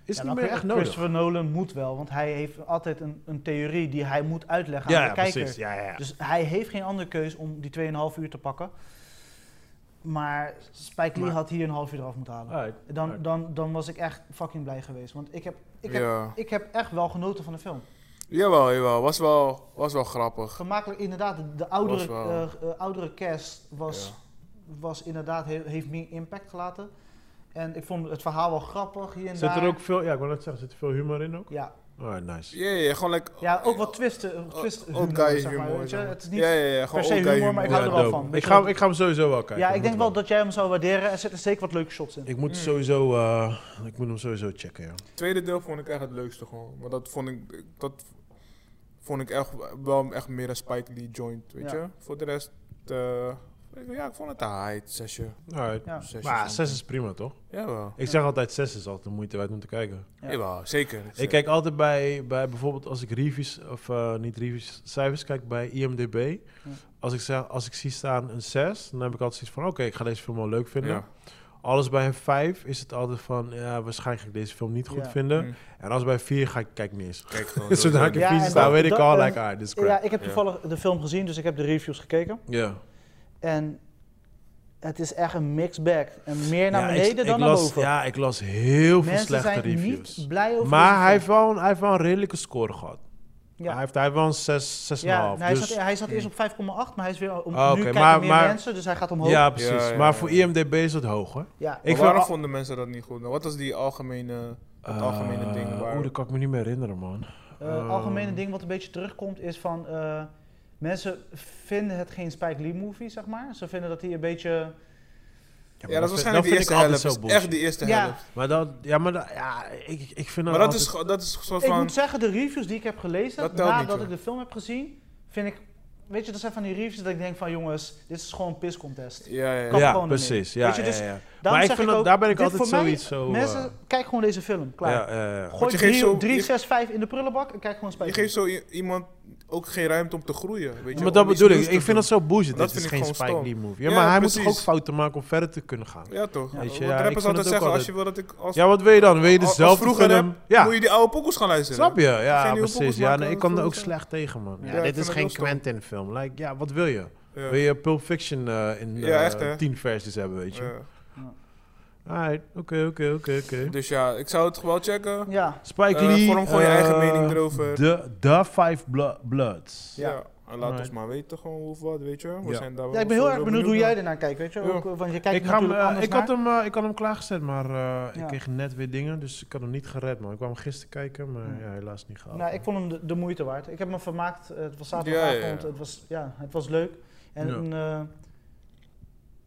Speaker 3: Is niet
Speaker 2: Ja, dan
Speaker 3: meer
Speaker 2: vind
Speaker 3: echt
Speaker 2: ik
Speaker 3: nodig.
Speaker 2: Christopher Nolan moet wel, want hij heeft altijd een, een theorie die hij moet uitleggen aan de kijker.
Speaker 3: Ja, ja.
Speaker 2: Dus hij heeft geen andere keus om die 2,5 uur te pakken. Maar Spike Lee
Speaker 4: Maar-
Speaker 2: had hier een half uur eraf moeten halen.
Speaker 3: Alright.
Speaker 2: Dan, dan, dan was ik echt fucking blij geweest. Want ik heb, ik heb,
Speaker 4: Ja.
Speaker 2: ik heb echt wel genoten van de film.
Speaker 4: Jawel, jawel. Was wel, was wel grappig.
Speaker 2: Gemakkelijk, inderdaad, de, de oudere,
Speaker 4: Was wel-
Speaker 2: eh, eh, oudere cast was,
Speaker 4: Ja.
Speaker 2: was inderdaad, he- heeft meer impact gelaten. En ik vond het verhaal wel grappig hier en
Speaker 3: Zit
Speaker 2: daar.
Speaker 3: er ook veel, ja, ik wil net zeggen, zit er veel humor in ook?
Speaker 2: Ja,
Speaker 3: Alright, nice.
Speaker 4: Ja, ja, ja, gewoon lekker...
Speaker 2: ja ook wat twisten.
Speaker 4: Oh,
Speaker 2: twist
Speaker 4: old
Speaker 2: humor,
Speaker 4: guy
Speaker 2: zeg maar,
Speaker 4: humor,
Speaker 2: weet je.
Speaker 4: zeg maar.
Speaker 2: Het is niet
Speaker 4: ja, ja, ja, gewoon
Speaker 2: se
Speaker 4: old guy
Speaker 2: humor, maar ik hou
Speaker 3: Ja,
Speaker 2: er wel
Speaker 3: dope.
Speaker 2: van.
Speaker 3: Ik ga, ik ga hem sowieso wel kijken.
Speaker 2: Ja, ik denk
Speaker 3: moet
Speaker 2: wel Mm. dat jij hem zou waarderen. Er zitten zeker wat leuke shots in.
Speaker 3: Ik moet, sowieso, eh, ik moet hem sowieso checken, ja.
Speaker 4: tweede deel vond ik echt het leukste gewoon. Maar dat vond ik, dat vond ik echt wel echt meer een Spike Lee joint, weet
Speaker 2: Ja.
Speaker 4: je. Voor de rest, eh, ik- ja, ik vond het een high zesje.
Speaker 3: Alright.
Speaker 2: Ja.
Speaker 4: zesje
Speaker 3: Maar
Speaker 4: van-
Speaker 3: 6 is prima, toch?
Speaker 4: Jawel.
Speaker 3: Ik zeg altijd 6 is altijd de moeite waard om te kijken.
Speaker 2: Ja.
Speaker 4: Jawel, zeker.
Speaker 3: Ik kijk altijd bij, bij bijvoorbeeld als ik reviews, of eh, niet reviews, cijfers kijk bij IMDB. Als, ik zeg, als ik zie staan een 6, dan heb ik altijd zoiets van, oké, ik ga deze film wel leuk vinden.
Speaker 4: Ja.
Speaker 3: Alles bij een 5 is het altijd van, ja, waarschijnlijk ga ik deze film niet goed
Speaker 2: Ja.
Speaker 3: vinden.
Speaker 4: Mm.
Speaker 3: En als bij 4 ga ik, kijk niet eens.
Speaker 4: Kijk gewoon
Speaker 3: Dus zodra ik
Speaker 4: door.
Speaker 3: in
Speaker 2: Ja,
Speaker 3: vier
Speaker 2: en
Speaker 3: sta,
Speaker 2: dat-
Speaker 3: weet ik
Speaker 2: dat-
Speaker 3: al,
Speaker 2: en-
Speaker 3: like, ah, dit is
Speaker 2: Ja,
Speaker 3: crap.
Speaker 2: ik heb
Speaker 4: Ja.
Speaker 2: toevallig de film gezien, dus ik heb de reviews gekeken.
Speaker 3: Ja.
Speaker 2: En het is echt een mixed bag. En meer naar
Speaker 3: Ja, ik-
Speaker 2: beneden
Speaker 3: ik
Speaker 2: dan naar
Speaker 3: las-
Speaker 2: boven.
Speaker 3: Ja, ik las heel veel
Speaker 2: Mensen
Speaker 3: slechte
Speaker 2: zijn
Speaker 3: reviews.
Speaker 2: niet blij over deze
Speaker 3: Maar hij
Speaker 2: film.
Speaker 3: heeft, wel een, hij heeft wel een redelijke score gehad.
Speaker 2: Ja.
Speaker 3: Hij, heeft, hij heeft wel een 6, 6,5.
Speaker 2: Ja, nou, hij,
Speaker 3: dus,
Speaker 2: zat, hij zat eerst op 5,8, maar hij is weer om,
Speaker 3: Ah, oké,
Speaker 2: nu kijken
Speaker 3: maar-
Speaker 2: meer
Speaker 3: maar-
Speaker 2: mensen, dus hij gaat omhoog.
Speaker 3: ja,
Speaker 2: Ja,
Speaker 3: precies.
Speaker 4: Ja, ja,
Speaker 3: maar
Speaker 4: ja.
Speaker 3: voor IMDB is het hoog, hè?
Speaker 4: Maar
Speaker 3: Ik
Speaker 4: waarom
Speaker 3: vind-
Speaker 4: vonden mensen dat niet goed? Nou, wat was die algemene... Het algemene ding
Speaker 3: Eh,
Speaker 4: waar-
Speaker 3: Oeh, dat kan ik me niet meer herinneren, man.
Speaker 2: Eh,
Speaker 3: Ehm.
Speaker 2: algemene ding wat een beetje terugkomt is van eh, mensen vinden het geen Spike Lee movie, zeg maar. Ze vinden dat hij een beetje.
Speaker 3: maar
Speaker 4: Ja, dat is
Speaker 3: vind-
Speaker 4: waarschijnlijk de
Speaker 3: vind ik
Speaker 4: eerste
Speaker 3: altijd
Speaker 4: helft.
Speaker 3: zo
Speaker 4: Dat is Echt
Speaker 3: bullshit.
Speaker 4: de eerste
Speaker 2: Ja.
Speaker 4: helft.
Speaker 3: Maar dat, ja, maar dat, ja, ik, ik vind
Speaker 4: Maar dat is, gewoon- dat is zo
Speaker 2: Ik
Speaker 4: van...
Speaker 2: moet zeggen, de reviews die ik heb gelezen
Speaker 4: Dat telt
Speaker 2: nadat
Speaker 4: niet,
Speaker 2: ik de film heb gezien, vind ik. Weet je, dat zijn van die reviews dat ik denk van jongens, dit is gewoon een piscontest.
Speaker 4: Ja, ja, ja.
Speaker 2: Kap
Speaker 3: Ja,
Speaker 2: gewoon ermee.
Speaker 3: precies. Ja,
Speaker 2: Weet je, dus
Speaker 3: ja, ja.
Speaker 2: daarom
Speaker 3: Maar ik
Speaker 2: zeg
Speaker 3: vind
Speaker 2: ik
Speaker 3: dat,
Speaker 2: ook,
Speaker 3: daar ben ik
Speaker 2: dit
Speaker 3: altijd
Speaker 2: voor mij-
Speaker 3: zoiets zo... eh,
Speaker 2: Mensen, kijk gewoon deze film, klaar.
Speaker 3: ja, ja, ja.
Speaker 4: Want
Speaker 2: Gooi
Speaker 4: je geeft zo-
Speaker 2: 3,
Speaker 4: je-
Speaker 2: 6, 5 in de prullenbak en kijk gewoon Spike
Speaker 4: Je
Speaker 2: Lee.
Speaker 4: geeft zo i- iemand ook geen ruimte om te groeien, weet je.
Speaker 3: Maar
Speaker 4: om
Speaker 3: dat
Speaker 4: iets
Speaker 3: bedoel ik.
Speaker 4: nieuws te
Speaker 3: Ik vind
Speaker 4: doen.
Speaker 3: dat zo bullshit.
Speaker 4: Dat
Speaker 3: Dit
Speaker 4: vind
Speaker 3: is
Speaker 4: ik
Speaker 3: geen
Speaker 4: gewoon
Speaker 3: Spike
Speaker 4: stom.
Speaker 3: Lee movie. Ja,
Speaker 4: Ja,
Speaker 3: maar hij moet toch
Speaker 4: precies.
Speaker 3: ook fouten maken om verder te kunnen gaan.
Speaker 4: Ja,
Speaker 3: Weet
Speaker 4: toch?
Speaker 3: je, ja,
Speaker 4: Wat
Speaker 3: ik vind
Speaker 4: rappers
Speaker 3: het
Speaker 4: altijd
Speaker 3: ook
Speaker 4: zeggen,
Speaker 3: altijd-
Speaker 4: als je wil dat ik... Als,
Speaker 3: Ja, wat wil je dan? Wil je
Speaker 4: als- als
Speaker 3: dezelfde
Speaker 4: vroeger
Speaker 3: film?
Speaker 4: rap,
Speaker 3: Ja,
Speaker 4: moet je die oude pokkels gaan luisteren.
Speaker 3: snap je? Ja,
Speaker 4: Geen nieuwe
Speaker 3: precies.
Speaker 4: poppels
Speaker 3: Ja,
Speaker 4: maken,
Speaker 3: nee, ik kan er ook
Speaker 4: vroeger.
Speaker 3: slecht tegen, man.
Speaker 4: Ja,
Speaker 3: Ja,
Speaker 4: ik
Speaker 3: dit
Speaker 4: vind
Speaker 3: is
Speaker 4: het
Speaker 3: geen
Speaker 4: heel stom.
Speaker 3: Quentin film. Like, ja, wat wil je?
Speaker 4: Ja.
Speaker 3: Wil je Pulp Fiction eh, in
Speaker 4: Ja, echt,
Speaker 3: eh,
Speaker 4: hè?
Speaker 3: tien versies hebben, weet je?
Speaker 4: Ja.
Speaker 3: Alright, oké, oké, oké, oké.
Speaker 4: Dus ja, ik zou het gewoon checken.
Speaker 2: Ja,
Speaker 3: Spike
Speaker 4: Eh,
Speaker 3: Lee.
Speaker 4: vorm gewoon je eigen
Speaker 3: eh,
Speaker 4: mening erover.
Speaker 3: De, de Five Blo- Bloods.
Speaker 4: Ja. En laat
Speaker 3: Alright.
Speaker 4: ons maar weten gewoon hoe of wat, weet je. We
Speaker 3: Ja.
Speaker 4: zijn daar
Speaker 2: ja
Speaker 4: wel
Speaker 2: ik ben heel erg
Speaker 4: sowieso
Speaker 2: benieuwd hoe jij
Speaker 4: naar.
Speaker 2: ernaar kijkt, weet je.
Speaker 4: Ja.
Speaker 2: Ook, eh, want je
Speaker 3: Ik,
Speaker 2: kijkt
Speaker 3: ga hem,
Speaker 2: natuurlijk
Speaker 3: eh,
Speaker 2: anders
Speaker 3: ik,
Speaker 2: naar.
Speaker 3: had hem, eh, ik had hem klaargezet, maar eh,
Speaker 2: Ja.
Speaker 3: ik kreeg net weer dingen, dus ik had hem niet gered, man. Ik kwam gisteren kijken, maar
Speaker 2: Ja.
Speaker 3: ja, helaas niet gehaald.
Speaker 2: Nou, ik vond hem de, de moeite waard. Ik heb me vermaakt. Eh, Het was
Speaker 4: Ja, ja,
Speaker 2: zaterdagavond.
Speaker 4: ja.
Speaker 2: Het, was, ja, het was leuk. En eh,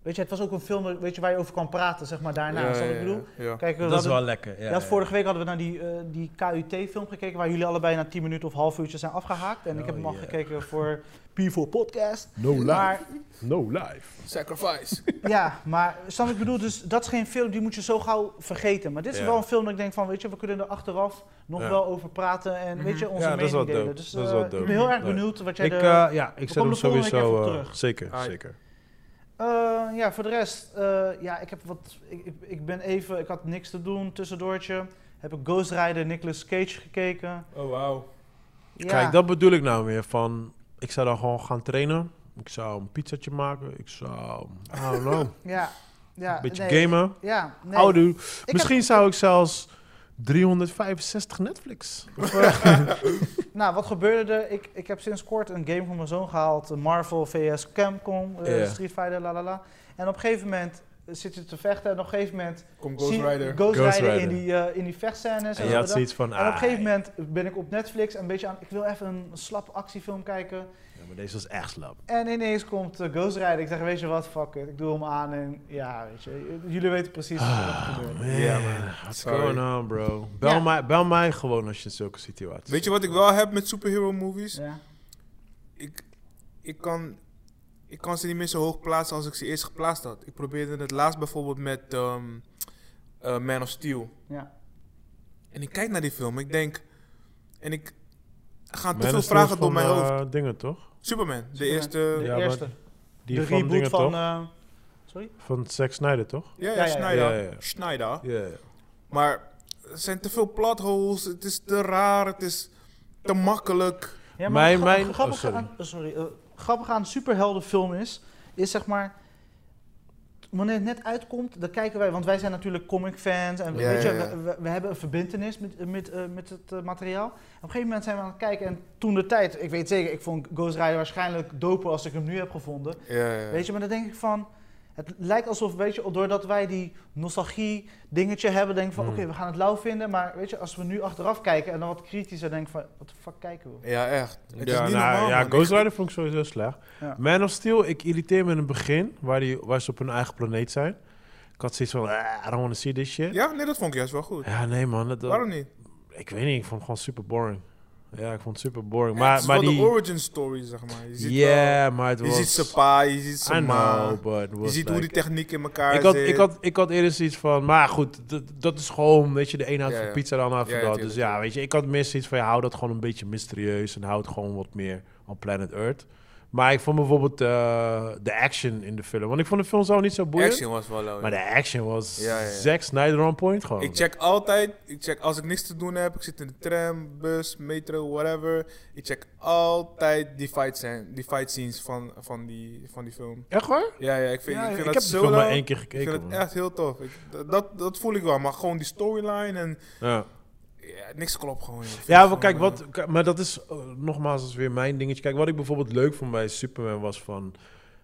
Speaker 2: weet je, het was ook een film weet je, waar je over kan praten, zeg maar, daarna.
Speaker 4: Ja,
Speaker 2: Snap je
Speaker 4: ja,
Speaker 2: wat ik bedoel?
Speaker 4: ja.
Speaker 2: Kijk, we
Speaker 3: dat is
Speaker 2: hadden-
Speaker 3: wel lekker. Ja,
Speaker 2: ja, vorige week hadden we naar die, eh, die KUT-film gekeken, waar jullie allebei na 10 minuten of half uurtje zijn afgehaakt. En ik
Speaker 3: Oh,
Speaker 2: heb hem al
Speaker 3: yeah.
Speaker 2: gekeken voor P4 Podcast.
Speaker 1: No life.
Speaker 2: Maar
Speaker 3: No life.
Speaker 4: Sacrifice.
Speaker 2: ja, maar snap je wat ik bedoel, dus dat is geen film die moet je zo gauw vergeten. Maar dit is
Speaker 3: Ja.
Speaker 2: wel een film dat ik denk van, weet je, we kunnen er achteraf nog
Speaker 3: Ja.
Speaker 2: wel over praten en weet je,
Speaker 4: Mhm.
Speaker 2: onze
Speaker 3: Ja, dat is
Speaker 2: mening
Speaker 3: wel dope.
Speaker 2: delen. Dus
Speaker 3: Dat is
Speaker 2: eh,
Speaker 3: wel
Speaker 2: ik
Speaker 3: dope.
Speaker 2: ben heel erg
Speaker 3: Nee.
Speaker 2: benieuwd wat jij
Speaker 3: Ik,
Speaker 2: er...
Speaker 3: eh, ja, ik zet
Speaker 2: komen
Speaker 3: hem
Speaker 2: er volgende week even
Speaker 3: sowieso.
Speaker 2: op
Speaker 3: eh,
Speaker 2: terug.
Speaker 3: zeker,
Speaker 4: Alright.
Speaker 3: zeker.
Speaker 2: Eh, ja, voor de rest, eh, ja, ik heb wat, ik, ik, ik ben even, ik had niks te doen, tussendoortje. Heb ik Ghost Rider, Nicolas Cage gekeken.
Speaker 4: Oh, wauw.
Speaker 2: Ja.
Speaker 3: Kijk, dat bedoel ik nou weer. Van, ik zou dan gewoon gaan trainen. Ik zou een pizzatje maken. Ik zou, I don't know,
Speaker 2: Ja, ja.
Speaker 3: een beetje
Speaker 2: nee.
Speaker 3: gamen.
Speaker 2: Ja, nee.
Speaker 3: Oudoe.
Speaker 2: heb-
Speaker 3: Misschien zou ik zelfs 365 Netflix.
Speaker 2: Nou, wat gebeurde er? Ik, ik heb sinds kort een game van mijn zoon gehaald. een Marvel vs. Capcom, eh,
Speaker 3: Ja.
Speaker 2: Street Fighter, la la la. En op een gegeven moment eh, zit je te vechten en op een gegeven moment...
Speaker 4: Kom Ghost
Speaker 2: zie-
Speaker 4: Rider.
Speaker 2: Ghost,
Speaker 3: Ghost
Speaker 2: Rider,
Speaker 3: Rider.
Speaker 2: in die, eh, in die vechtscènes.
Speaker 3: En
Speaker 2: zo
Speaker 3: je had
Speaker 2: dat.
Speaker 3: zoiets van,
Speaker 2: En op een
Speaker 3: ah,
Speaker 2: gegeven moment ben ik op Netflix een beetje aan... Ik wil even een slappe actiefilm kijken.
Speaker 3: ja, maar deze was echt slap.
Speaker 2: En ineens komt eh, Ghost Rider. Ik zeg, weet je wat, fuck it. Ik doe hem aan en ja, weet je. Jullie weten precies wat er gebeurt.
Speaker 3: Ja, Ah, man. What's
Speaker 4: Sorry.
Speaker 3: going on, bro? Bel,
Speaker 2: Ja.
Speaker 3: mij, bel mij gewoon als je in zulke situaties
Speaker 4: Weet je wat ik wel heb met superhero movies?
Speaker 2: Ja.
Speaker 4: ik, ik, kan, ik kan ze niet meer zo hoog plaatsen als ik ze eerst geplaatst had. Ik probeerde het laatst bijvoorbeeld met ehm, eh, Man of Steel.
Speaker 2: Ja.
Speaker 4: En ik kijk naar die film, ik denk... En ik er gaan
Speaker 3: Man
Speaker 4: te veel
Speaker 3: is
Speaker 4: vragen
Speaker 3: van,
Speaker 4: door mijn hoofd.
Speaker 3: eh, dingen, toch?
Speaker 4: Superman, de
Speaker 2: Superman.
Speaker 4: eerste...
Speaker 2: De
Speaker 3: Ja, maar
Speaker 2: eerste.
Speaker 3: Die
Speaker 2: de
Speaker 3: van
Speaker 2: reboot
Speaker 3: dingen,
Speaker 2: van...
Speaker 3: toch?
Speaker 2: eh, sorry?
Speaker 3: Van Zack Snyder, toch?
Speaker 4: Ja,
Speaker 2: Ja, ja,
Speaker 4: ja,
Speaker 2: ja.
Speaker 4: Schneider.
Speaker 3: Ja, ja.
Speaker 4: Schneider.
Speaker 3: Ja, ja.
Speaker 4: Maar er zijn te veel plot holes, het is te raar, het is te makkelijk.
Speaker 2: Ja, maar
Speaker 3: Mijn-
Speaker 2: gra-
Speaker 3: mijn-
Speaker 2: grappig
Speaker 3: oh, sorry.
Speaker 2: aan, sorry, eh, grappig aan superheldenfilm is, is zeg maar wanneer het net uitkomt, dan kijken wij, want wij zijn natuurlijk comic fans en we-
Speaker 4: Ja,
Speaker 2: weet je,
Speaker 4: ja, ja.
Speaker 2: We, we- we hebben een verbindenis met, met, eh, met het eh, materiaal. Op een gegeven moment zijn we aan het kijken en toen de tijd, ik weet zeker, ik vond Ghost Rider waarschijnlijk doper als ik hem nu heb gevonden.
Speaker 4: Ja, ja.
Speaker 2: Weet je, maar dan denk ik van. Het lijkt alsof, weet je, doordat wij die nostalgie dingetje hebben, denk ik van,
Speaker 3: Hmm.
Speaker 2: oké, we gaan het lauw vinden. Maar weet je, als we nu achteraf kijken en dan wat kritischer, denk ik van, wat de fuck kijken we?
Speaker 4: Ja, echt. Het
Speaker 3: ja,
Speaker 4: is niet
Speaker 3: nou,
Speaker 4: normaal,
Speaker 3: ja
Speaker 4: man. Ik-
Speaker 3: Ghost Rider vond ik sowieso slecht.
Speaker 2: Ja.
Speaker 3: Man of Steel, ik irriteer me in het begin, waar, die, waar ze op hun eigen planeet zijn. Ik had zoiets van, "Ah, I don't want to see this shit. Ja,
Speaker 4: Ja, nee, dat vond ik juist wel goed.
Speaker 3: nee man, dat, dat-
Speaker 4: Waarom niet?
Speaker 3: ik weet niet, ik vond het gewoon super boring. Ja, ik vond het super boring.
Speaker 4: Ja,
Speaker 3: Maar,
Speaker 4: het is
Speaker 3: maar
Speaker 4: wel
Speaker 3: die...
Speaker 4: de origin story, zeg maar. Je ziet,
Speaker 3: yeah, maar het
Speaker 4: wel-
Speaker 3: was...
Speaker 4: je ziet zijn pa, je ziet
Speaker 3: I
Speaker 4: zijn ma.
Speaker 3: know, but it
Speaker 4: Je
Speaker 3: was
Speaker 4: ziet hoe die
Speaker 3: like-
Speaker 4: techniek in elkaar
Speaker 3: ik had,
Speaker 4: zit.
Speaker 3: ik, had, ik had eerder zoiets van, maar goed, dat, dat is gewoon, weet je, de een houdt
Speaker 4: Ja,
Speaker 3: van
Speaker 4: ja.
Speaker 3: pizza, de ander houdt
Speaker 4: Ja,
Speaker 3: van
Speaker 4: ja,
Speaker 3: dat.
Speaker 4: tuurlijk,
Speaker 3: dus ja,
Speaker 4: tuurlijk.
Speaker 3: weet je, ik had meer zoiets van, ja, hou dat gewoon een beetje mysterieus en houd gewoon wat meer op planet Earth. Maar ik vond bijvoorbeeld eh, de action in de film, want ik vond de film zo niet zo boeiend.
Speaker 4: Action was wel leuk.
Speaker 3: Maar de action was
Speaker 4: Ja, ja, ja.
Speaker 3: Zack Snyder on point gewoon.
Speaker 4: Ik check altijd, ik check als ik niks te doen heb, ik zit in de tram, bus, metro, whatever. Ik check altijd die fight, scene, die fight scenes van, van, die, van die film.
Speaker 3: Echt waar?
Speaker 4: Ja, ja, ik vind,
Speaker 3: Ja,
Speaker 4: ik vind
Speaker 3: ik
Speaker 4: dat
Speaker 3: heb de
Speaker 4: zo
Speaker 3: film maar
Speaker 4: leuk.
Speaker 3: één keer
Speaker 4: Ik
Speaker 3: gekeken.
Speaker 4: vind het
Speaker 3: man.
Speaker 4: echt heel tof. Ik, dat, dat voel ik wel, maar gewoon die storyline en
Speaker 3: Ja.
Speaker 4: ja, niks klopt gewoon. joh. Ik vind
Speaker 3: Ja,
Speaker 4: het
Speaker 3: maar kijk,
Speaker 4: gewoon,
Speaker 3: wat, k- maar dat is eh, nogmaals dat is weer mijn dingetje. Kijk, wat ik bijvoorbeeld leuk vond bij Superman was van...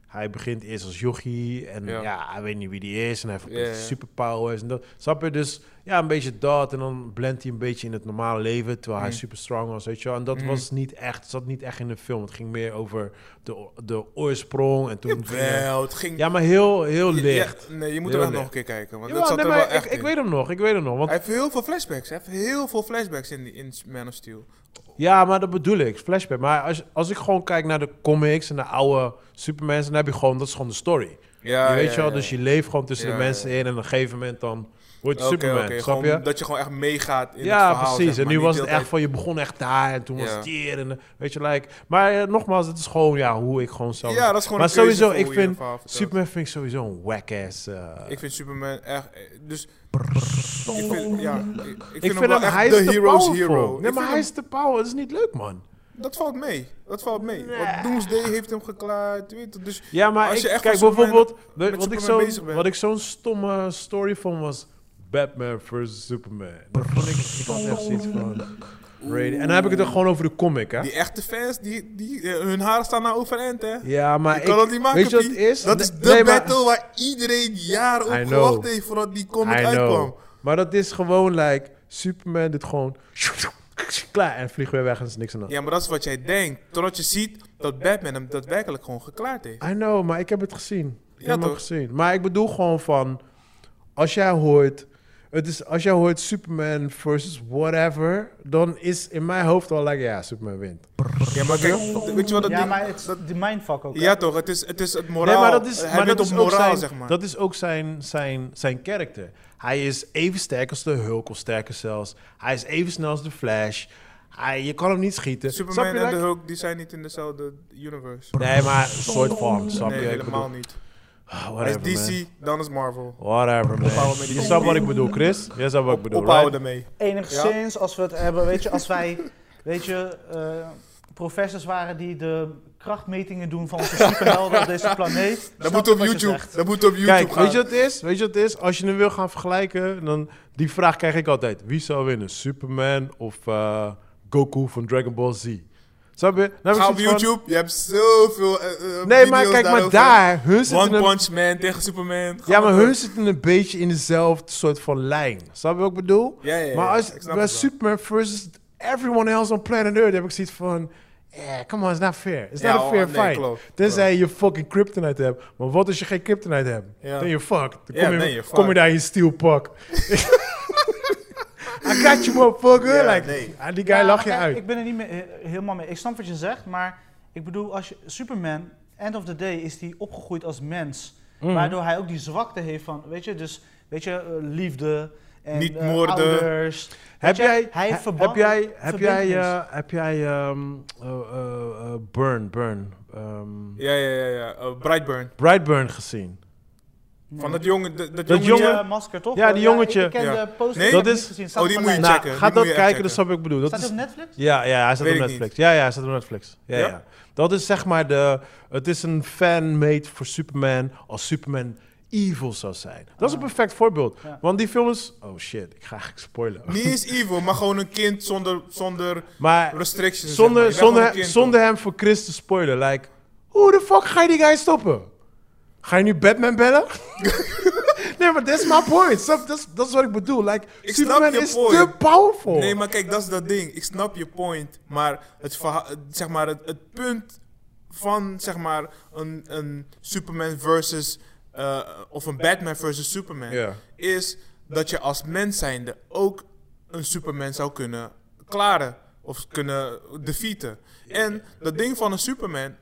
Speaker 3: Hij begint eerst als jochie en ja.
Speaker 4: Ja.
Speaker 3: hij weet niet wie die is. En hij heeft
Speaker 4: Ja, ja.
Speaker 3: superpowers en dat. Snap je? Dus ja, een beetje dat. En dan blendt hij een beetje in het normale leven, terwijl hij
Speaker 4: Mm.
Speaker 3: super strong was, weet je wel. En dat
Speaker 4: Mm.
Speaker 3: was niet echt, zat niet echt in de film. Het ging meer over de, o- de oorsprong en toen...
Speaker 4: eh, Jawel, het ging...
Speaker 3: Ja, maar heel, heel
Speaker 4: Ja,
Speaker 3: licht.
Speaker 4: ja, nee, je moet
Speaker 3: Heel
Speaker 4: er echt
Speaker 3: licht.
Speaker 4: nog een keer kijken, want dat
Speaker 3: Jawel,
Speaker 4: zat
Speaker 3: nee,
Speaker 4: er wel
Speaker 3: maar ik,
Speaker 4: echt
Speaker 3: ik
Speaker 4: in.
Speaker 3: weet hem nog, ik weet hem nog. Want
Speaker 4: Hij heeft heel veel flashbacks. Hij heeft heel veel flashbacks in, die- in Man of Steel.
Speaker 3: Ja, maar dat bedoel ik, flashback. Maar als, als ik gewoon kijk naar de comics en de oude Supermans, dan heb je gewoon, dat is gewoon de story.
Speaker 4: Ja,
Speaker 3: je weet
Speaker 4: ja,
Speaker 3: je wel,
Speaker 4: ja.
Speaker 3: dus je leeft gewoon tussen de
Speaker 4: Ja,
Speaker 3: mensen
Speaker 4: ja.
Speaker 3: in en op een gegeven moment dan word je
Speaker 4: Oké,
Speaker 3: Superman,
Speaker 4: oké,
Speaker 3: snap
Speaker 4: gewoon
Speaker 3: je?
Speaker 4: Dat je gewoon echt meegaat in
Speaker 3: ja,
Speaker 4: het verhaal.
Speaker 3: precies. En
Speaker 4: zeg maar,
Speaker 3: nu
Speaker 4: niet
Speaker 3: was
Speaker 4: de
Speaker 3: het
Speaker 4: hele
Speaker 3: echt van, je begon echt daar en toen was
Speaker 4: Ja.
Speaker 3: het hier en eh, weet je, like. Maar eh, nogmaals, het is gewoon ja, hoe ik gewoon
Speaker 4: tijd-
Speaker 3: zelf...
Speaker 4: Ja, dat is gewoon
Speaker 3: maar
Speaker 4: een keuze
Speaker 3: sowieso,
Speaker 4: voor
Speaker 3: ik
Speaker 4: hoe je een
Speaker 3: vind
Speaker 4: verhaal vertelt.
Speaker 3: Superman vind ik sowieso een whack-ass... eh,
Speaker 4: Ik vind Superman echt... eh, Dus
Speaker 3: persoon.
Speaker 4: ik vind, ja, ik, ik vind
Speaker 3: Ik
Speaker 4: hem wel echt
Speaker 3: hij
Speaker 4: de
Speaker 3: is te
Speaker 4: hero's
Speaker 3: powerful.
Speaker 4: hero. Ik
Speaker 3: Nee,
Speaker 4: vind
Speaker 3: maar hij
Speaker 4: hem-
Speaker 3: is te power. Dat is niet leuk, man.
Speaker 4: Dat valt mee. Dat valt mee. Want Doomsday heeft hem geklaard. Weet je, dus
Speaker 3: Ja, maar
Speaker 4: Als
Speaker 3: ik,
Speaker 4: je echt
Speaker 3: kijk
Speaker 4: als Superman-
Speaker 3: bijvoorbeeld, de-
Speaker 4: met
Speaker 3: wat ik,
Speaker 4: Superman
Speaker 3: zo'n,
Speaker 4: bezig bent.
Speaker 3: wat ik zo'n stomme story vond was Batman vs Superman. Dat vond ik, ik had echt zoiets van... Brady. En dan heb ik het dan gewoon over de comic, hè?
Speaker 4: die echte fans, die, die, eh, hun haren staan nou overeind, hè.
Speaker 3: Ja, maar
Speaker 4: je kan dat niet maken,
Speaker 3: weet je wat
Speaker 4: Piet.
Speaker 3: het is?
Speaker 4: Dat is
Speaker 3: Nee,
Speaker 4: de
Speaker 3: nee, maar-
Speaker 4: battle waar iedereen jaren
Speaker 3: I
Speaker 4: op
Speaker 3: know.
Speaker 4: gewacht heeft voordat die comic
Speaker 3: I know.
Speaker 4: uitkwam.
Speaker 3: Maar dat is gewoon, like, Superman dit gewoon... Klaar, en vliegt weer weg en is niks aan de hand.
Speaker 4: Ja, maar dat is wat jij denkt. Totdat je ziet dat Batman hem daadwerkelijk gewoon geklaard heeft.
Speaker 3: I know, maar ik heb het gezien. Ik
Speaker 4: Ja,
Speaker 3: heb het
Speaker 4: toch?
Speaker 3: gezien. Maar ik bedoel gewoon van... Als jij hoort... Het is, als jij hoort Superman versus whatever... Dan is in mijn hoofd al like... Ja, Superman wint.
Speaker 4: Ja, maar kijk, weet je wat dat
Speaker 2: ja,
Speaker 4: ding-
Speaker 2: maar het is
Speaker 4: dat-
Speaker 2: die mindfuck ook. hè?
Speaker 4: ja, toch, het is het, is het
Speaker 3: Nee,
Speaker 4: moraal.
Speaker 3: maar dat is,
Speaker 4: Hij
Speaker 3: maar
Speaker 4: wint
Speaker 3: dat
Speaker 4: op
Speaker 3: is ook,
Speaker 4: moraal,
Speaker 3: zijn,
Speaker 4: zeg maar.
Speaker 3: dat is ook zijn, zijn, zijn karakter. Hij is even sterk als de Hulk of sterker zelfs. Hij is even snel als de Flash. Hij, je kan hem niet schieten. Snap
Speaker 4: Superman en
Speaker 3: je,
Speaker 4: de
Speaker 3: like-
Speaker 4: Hulk, die zijn niet in dezelfde universe.
Speaker 3: Nee, maar een soort van. Snap
Speaker 4: Nee,
Speaker 3: je? Ik
Speaker 4: helemaal niet.
Speaker 3: bedoel,
Speaker 4: Hij
Speaker 3: whatever,
Speaker 4: is
Speaker 3: man.
Speaker 4: DC, dan is Marvel.
Speaker 3: Whatever, man.
Speaker 4: Ophouden met die
Speaker 3: Je snapt wat ik bedoel, Chris? Jij snapt wat ik bedoel,
Speaker 4: Ophouden
Speaker 3: right?
Speaker 4: daarmee.
Speaker 2: Enigszins, als we het hebben, weet je, als wij, weet je, eh, professors waren die de krachtmetingen doen van onze superhelden op deze planeet.
Speaker 4: Dat
Speaker 2: Snap
Speaker 4: moet
Speaker 2: je
Speaker 4: op
Speaker 2: wat je
Speaker 4: YouTube.
Speaker 2: zegt?
Speaker 4: Dat moet op YouTube
Speaker 3: Kijk,
Speaker 4: gaan.
Speaker 3: weet je wat het is? Weet je wat het is? Als je hem wil gaan vergelijken, dan die vraag krijg ik altijd. Wie zou winnen? Superman of eh, Goku van Dragon Ball Z? nou, Snap je? Dan heb ik
Speaker 4: Ga op
Speaker 3: zoiets van-
Speaker 4: YouTube. Je hebt zoveel eh, eh,
Speaker 3: Nee, maar
Speaker 4: video's
Speaker 3: kijk, maar
Speaker 4: daarover.
Speaker 3: daar, hun zitten
Speaker 4: One
Speaker 3: een,
Speaker 4: Punch Man tegen Superman. Ga
Speaker 3: ja, maar
Speaker 4: door.
Speaker 3: hun zitten een beetje in dezelfde soort van lijn. Snap je wat ik bedoel?
Speaker 4: Ja, ja, ja,
Speaker 3: maar als,
Speaker 4: ik snap
Speaker 3: bij
Speaker 4: het wel.
Speaker 3: Superman versus everyone else on planet Earth heb ik zoiets van... Eh, come on, it's not fair. It's
Speaker 4: Ja,
Speaker 3: not a
Speaker 4: oh,
Speaker 3: fair
Speaker 4: nee,
Speaker 3: fight.
Speaker 4: klopt,
Speaker 3: Tenzij je fucking kryptonite hebt. Maar wat als je geen kryptonite hebt?
Speaker 4: Ja.
Speaker 3: Dan je fucked. Dan
Speaker 4: Ja,
Speaker 3: kom, je,
Speaker 4: dan je
Speaker 3: kom je
Speaker 4: fucked.
Speaker 3: daar in je steel pak. I got you, motherfucker.
Speaker 4: Ja,
Speaker 3: like,
Speaker 4: nee.
Speaker 3: ah, die guy
Speaker 2: Ja,
Speaker 3: lacht je
Speaker 2: kijk,
Speaker 3: uit.
Speaker 2: Ik ben er niet mee, he- helemaal mee. Ik snap wat je zegt, maar ik bedoel, als je, Superman, end of the day, is die opgegroeid als mens.
Speaker 3: Mhm.
Speaker 2: Waardoor hij ook die zwakte heeft van, weet je, dus, weet je, eh, liefde. En,
Speaker 4: Niet
Speaker 2: eh,
Speaker 4: moorden.
Speaker 2: ouders.
Speaker 3: Heb
Speaker 2: Weet je,
Speaker 3: jij,
Speaker 2: hij
Speaker 3: he-
Speaker 2: verband-
Speaker 3: heb jij, heb jij,
Speaker 2: verbintenis.
Speaker 3: eh, heb jij, ehm, eh, eh, eh, Burn, Burn, ehm,
Speaker 4: Ja, ja, ja. ja. Eh, Brightburn.
Speaker 3: Brightburn gezien?
Speaker 2: Nee.
Speaker 4: Van dat jongen. Dat,
Speaker 3: Dat
Speaker 4: dat jongetje-
Speaker 3: jongen-
Speaker 2: Die, eh, masker, toch?
Speaker 3: Ja, die
Speaker 2: Eh,
Speaker 3: jongetje.
Speaker 2: ik, ik ken
Speaker 4: Ja.
Speaker 2: de poster,
Speaker 4: Nee,
Speaker 2: ik heb
Speaker 3: dat
Speaker 2: hem
Speaker 3: is-
Speaker 2: niet gezien. Staat
Speaker 4: Oh, die
Speaker 2: op
Speaker 4: moet je
Speaker 2: mijn
Speaker 3: Nou,
Speaker 2: lijst.
Speaker 4: checken,
Speaker 3: ga dat
Speaker 4: die moet je echt
Speaker 3: kijken, dat
Speaker 4: checken.
Speaker 3: snap ik bedoel. Dat
Speaker 2: Staat
Speaker 3: is,
Speaker 2: hij op Netflix?
Speaker 3: ja, ja, hij staat
Speaker 4: Weet
Speaker 3: op
Speaker 4: ik
Speaker 3: Netflix. Ja, ja, hij staat op Netflix. Ja, ja.
Speaker 4: Ja?
Speaker 3: ja. Dat is zeg maar de, het is een fan-made voor Superman als Superman evil zou zijn. Dat is een perfect voorbeeld.
Speaker 2: Ah. Ja.
Speaker 3: Want die film is... Oh shit, ik ga eigenlijk spoilen.
Speaker 4: Niet eens evil, maar gewoon een kind zonder, zonder
Speaker 3: Maar
Speaker 4: restrictions.
Speaker 3: zonder,
Speaker 4: zeg maar. Je bent gewoon een
Speaker 3: zonder,
Speaker 4: kind,
Speaker 3: zonder hem voor Chris te spoilen. Like, hoe de fuck ga je die guy stoppen? Ga je nu Batman bellen? nee, maar that's my point. Snap- Dat is- dat is wat ik bedoel. Like,
Speaker 4: Ik snap
Speaker 3: Superman
Speaker 4: je
Speaker 3: is
Speaker 4: point.
Speaker 3: te powerful.
Speaker 4: toch? Nee, maar kijk, dat is dat ding. Ik snap je point, maar het, verha- het- zeg maar, het, het punt van zeg maar, een, een Superman versus... eh, of een Batman versus Superman
Speaker 3: Ja.
Speaker 4: is dat je als mens zijnde ook een Superman zou kunnen klaren of kunnen defeaten. En dat ding van een Superman,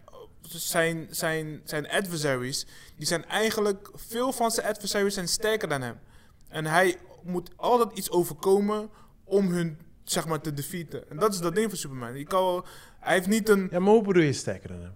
Speaker 4: zijn, zijn, zijn adversaries, die zijn eigenlijk, veel van zijn adversaries zijn sterker dan hem. En hij moet altijd iets overkomen om hun, zeg maar, te defeaten. En dat is dat ding van Superman. Je kan, wel- hij heeft niet een
Speaker 3: Ja, maar hoe bedoel je sterker dan hem?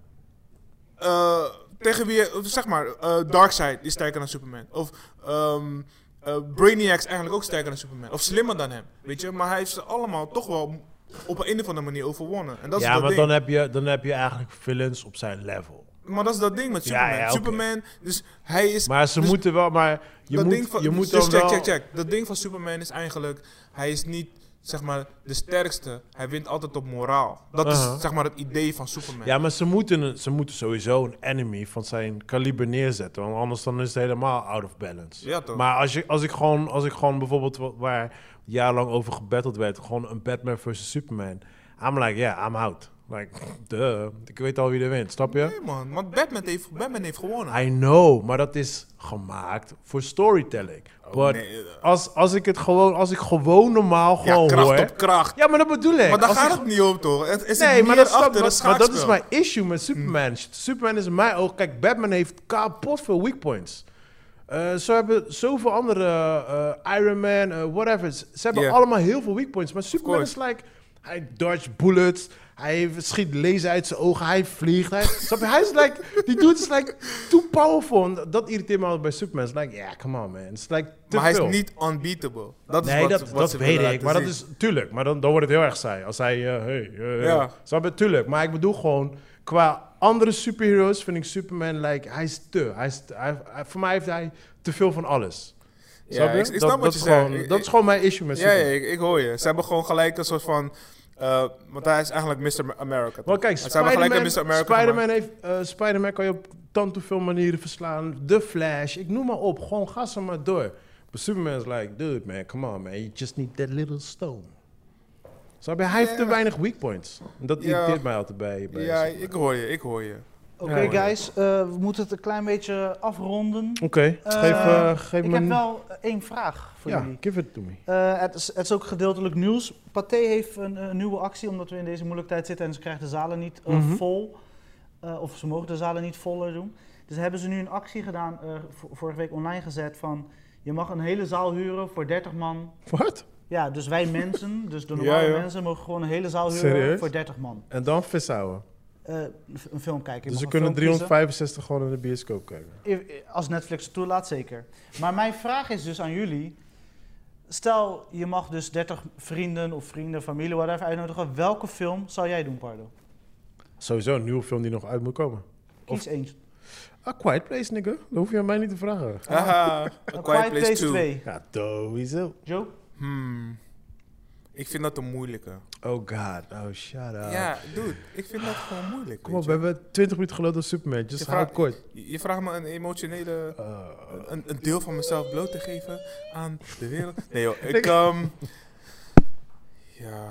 Speaker 4: eh, tegen wie, je- zeg maar, eh, Darkseid is sterker dan Superman. Of ehm, eh, Brainiac is eigenlijk ook sterker dan Superman. Of slimmer dan hem, weet je. Maar hij heeft ze allemaal toch wel op een of andere manier overwonnen. En dat is
Speaker 3: Ja,
Speaker 4: dat
Speaker 3: maar
Speaker 4: ding.
Speaker 3: dan heb, je, dan heb je eigenlijk villains op zijn level.
Speaker 4: Maar dat is dat ding met
Speaker 3: Ja,
Speaker 4: Superman.
Speaker 3: ja, oké.
Speaker 4: Superman, dus hij is...
Speaker 3: Maar ze
Speaker 4: dus
Speaker 3: moeten wel... Maar je
Speaker 4: dat
Speaker 3: moet,
Speaker 4: ding van,
Speaker 3: je moet
Speaker 4: dus
Speaker 3: dan wel...
Speaker 4: check, check, check. Dat ding van Superman is eigenlijk... Hij is niet, zeg maar, de sterkste. Hij wint altijd op moraal. Dat
Speaker 3: Uh-huh.
Speaker 4: is, zeg maar, het idee van Superman.
Speaker 3: Ja, maar ze moeten, een- ze moeten sowieso een enemy van zijn kaliber neerzetten. Want anders dan is het helemaal out of balance.
Speaker 4: Ja, toch?
Speaker 3: Maar als, je, als, ik gewoon, als ik gewoon bijvoorbeeld wa- waar jarenlang over gebatteld werd, gewoon een Batman versus Superman. I'm like, yeah, I'm out. Like, duh. Ik weet al wie er wint, snap je?
Speaker 4: Nee, man. Want Batman heeft, Batman heeft gewonnen.
Speaker 3: I know, maar dat is gemaakt voor storytelling. But
Speaker 4: nee, eh.
Speaker 3: als, als ik het gewoon, als ik gewoon normaal
Speaker 4: ja,
Speaker 3: gewoon
Speaker 4: kracht
Speaker 3: hoor.
Speaker 4: op kracht.
Speaker 3: Ja, maar dat bedoel ik.
Speaker 4: Maar daar
Speaker 3: Als
Speaker 4: gaat
Speaker 3: ik-
Speaker 4: het niet om, toch? Het is
Speaker 3: Nee, maar dat,
Speaker 4: dat
Speaker 3: is dat-
Speaker 4: achter
Speaker 3: maar-
Speaker 4: een Hmm.
Speaker 3: maar dat is
Speaker 4: schaakspel.
Speaker 3: mijn issue met Superman. Superman is in mijn oog. Kijk, Batman heeft kapot veel weak points. Eh, zo hebben zoveel andere eh, eh, Iron Man, eh, whatever. Ze ze hebben
Speaker 4: Ja.
Speaker 3: allemaal heel veel weak points. Maar Superman is
Speaker 4: course.
Speaker 3: like, hij dodge bullets, hij schiet laser uit zijn ogen, hij vliegt. Hij, snap je? Hij is like, die dude is like too powerful. En dat irriteert me altijd bij Superman. It's like, yeah, come on man. It's like te
Speaker 4: Maar hij is
Speaker 3: veel.
Speaker 4: niet unbeatable. Dat is
Speaker 3: Nee,
Speaker 4: wat,
Speaker 3: dat,
Speaker 4: wat
Speaker 3: dat
Speaker 4: ze
Speaker 3: weet
Speaker 4: willen
Speaker 3: ik.
Speaker 4: laten
Speaker 3: Maar dat
Speaker 4: zien.
Speaker 3: is tuurlijk. Maar dan, dan wordt het heel erg saai. Als hij. eh, hey, eh,
Speaker 4: Ja.
Speaker 3: Snap je? Tuurlijk. Maar ik bedoel gewoon. Qua andere superheroes vind ik Superman. Like, hij is te. Hij is te- hij- hij- voor mij heeft hij te veel van alles.
Speaker 4: Ja,
Speaker 3: Snap je?
Speaker 4: ik- ik snap
Speaker 3: dat,
Speaker 4: wat
Speaker 3: dat
Speaker 4: je
Speaker 3: is
Speaker 4: zegt.
Speaker 3: gewoon,
Speaker 4: Ik-
Speaker 3: Dat is gewoon mijn issue met
Speaker 4: Ja,
Speaker 3: Superman.
Speaker 4: ja ik, ik hoor je. Ze hebben gewoon gelijk een soort van... eh, want hij is eigenlijk Mr. America.
Speaker 3: Maar kijk,
Speaker 4: Ze hebben gelijk een
Speaker 3: Spider-Man
Speaker 4: Mr. America
Speaker 3: Spider-Man heeft, eh, Spider-Man kan je op tante veel manieren verslaan. The Flash, ik noem maar op. Gewoon ga ze maar door. Maar Superman is like, dude man, come on man. You just need that little stone. Snap je? Hij heeft te
Speaker 4: Ja.
Speaker 3: weinig weak points. En Dat
Speaker 4: Ja.
Speaker 3: irriteert mij altijd bij, bij
Speaker 4: Ja,
Speaker 3: Superman.
Speaker 4: ik hoor je, ik hoor je.
Speaker 2: Oké,
Speaker 4: Ja, hoor.
Speaker 2: guys, eh, we moeten het een klein beetje afronden.
Speaker 3: Oké, geef,
Speaker 2: Eh,
Speaker 3: eh, geef
Speaker 2: Ik
Speaker 3: me
Speaker 2: heb
Speaker 3: een-
Speaker 2: wel één vraag voor
Speaker 3: Ja,
Speaker 2: jullie.
Speaker 3: give it to me.
Speaker 2: Eh, het, is, het is ook gedeeltelijk nieuws. Pathé heeft een eh, nieuwe actie, omdat we in deze moeilijke tijd zitten en ze krijgen de zalen niet eh,
Speaker 3: Mhm.
Speaker 2: vol. Eh, of ze mogen de zalen niet vol eh, doen. Dus hebben ze nu een actie gedaan, eh, v- vorige week online gezet, van je mag een hele zaal huren voor 30 man.
Speaker 3: Wat?
Speaker 2: Ja, dus wij mensen, dus de
Speaker 4: Ja,
Speaker 2: normale
Speaker 4: ja.
Speaker 2: mensen, mogen gewoon een hele zaal huren
Speaker 3: Serieus?
Speaker 2: voor 30 man.
Speaker 3: En dan vishouwen.
Speaker 2: Eh, een f- een film kijken.
Speaker 3: Dus
Speaker 2: Ik mag
Speaker 3: we
Speaker 2: een
Speaker 3: kunnen
Speaker 2: film kiezen.
Speaker 3: 365 gewoon in de bioscoop kijken.
Speaker 2: I- Als Netflix het toelaat, zeker. Maar mijn vraag is dus aan jullie. Stel, je mag dus 30 vrienden of vrienden, familie, whatever uitnodigen. Welke film zou jij doen, Pardo?
Speaker 3: Sowieso een nieuwe film die nog uit moet komen.
Speaker 2: Kies eentje.
Speaker 3: A Quiet Place, nigga. Dat hoef je aan mij niet te vragen.
Speaker 4: Haha, A
Speaker 2: A
Speaker 4: Quiet, Place, 2.
Speaker 3: Ja, sowieso.
Speaker 2: Joe?
Speaker 4: Hmm. Ik vind dat een moeilijke.
Speaker 3: Oh god, oh shut up.
Speaker 4: ja, dude, ik vind dat gewoon moeilijk.
Speaker 3: Kom
Speaker 4: weet
Speaker 3: op, we
Speaker 4: je.
Speaker 3: hebben 20 minuten gelopen door Superman. Just
Speaker 4: Je
Speaker 3: hou het
Speaker 4: vraagt-
Speaker 3: kort.
Speaker 4: Je je vraagt me een emotionele...
Speaker 3: Eh,
Speaker 4: een, een deel van mezelf bloot te geven aan de wereld. Nee joh, ik... ehm ja...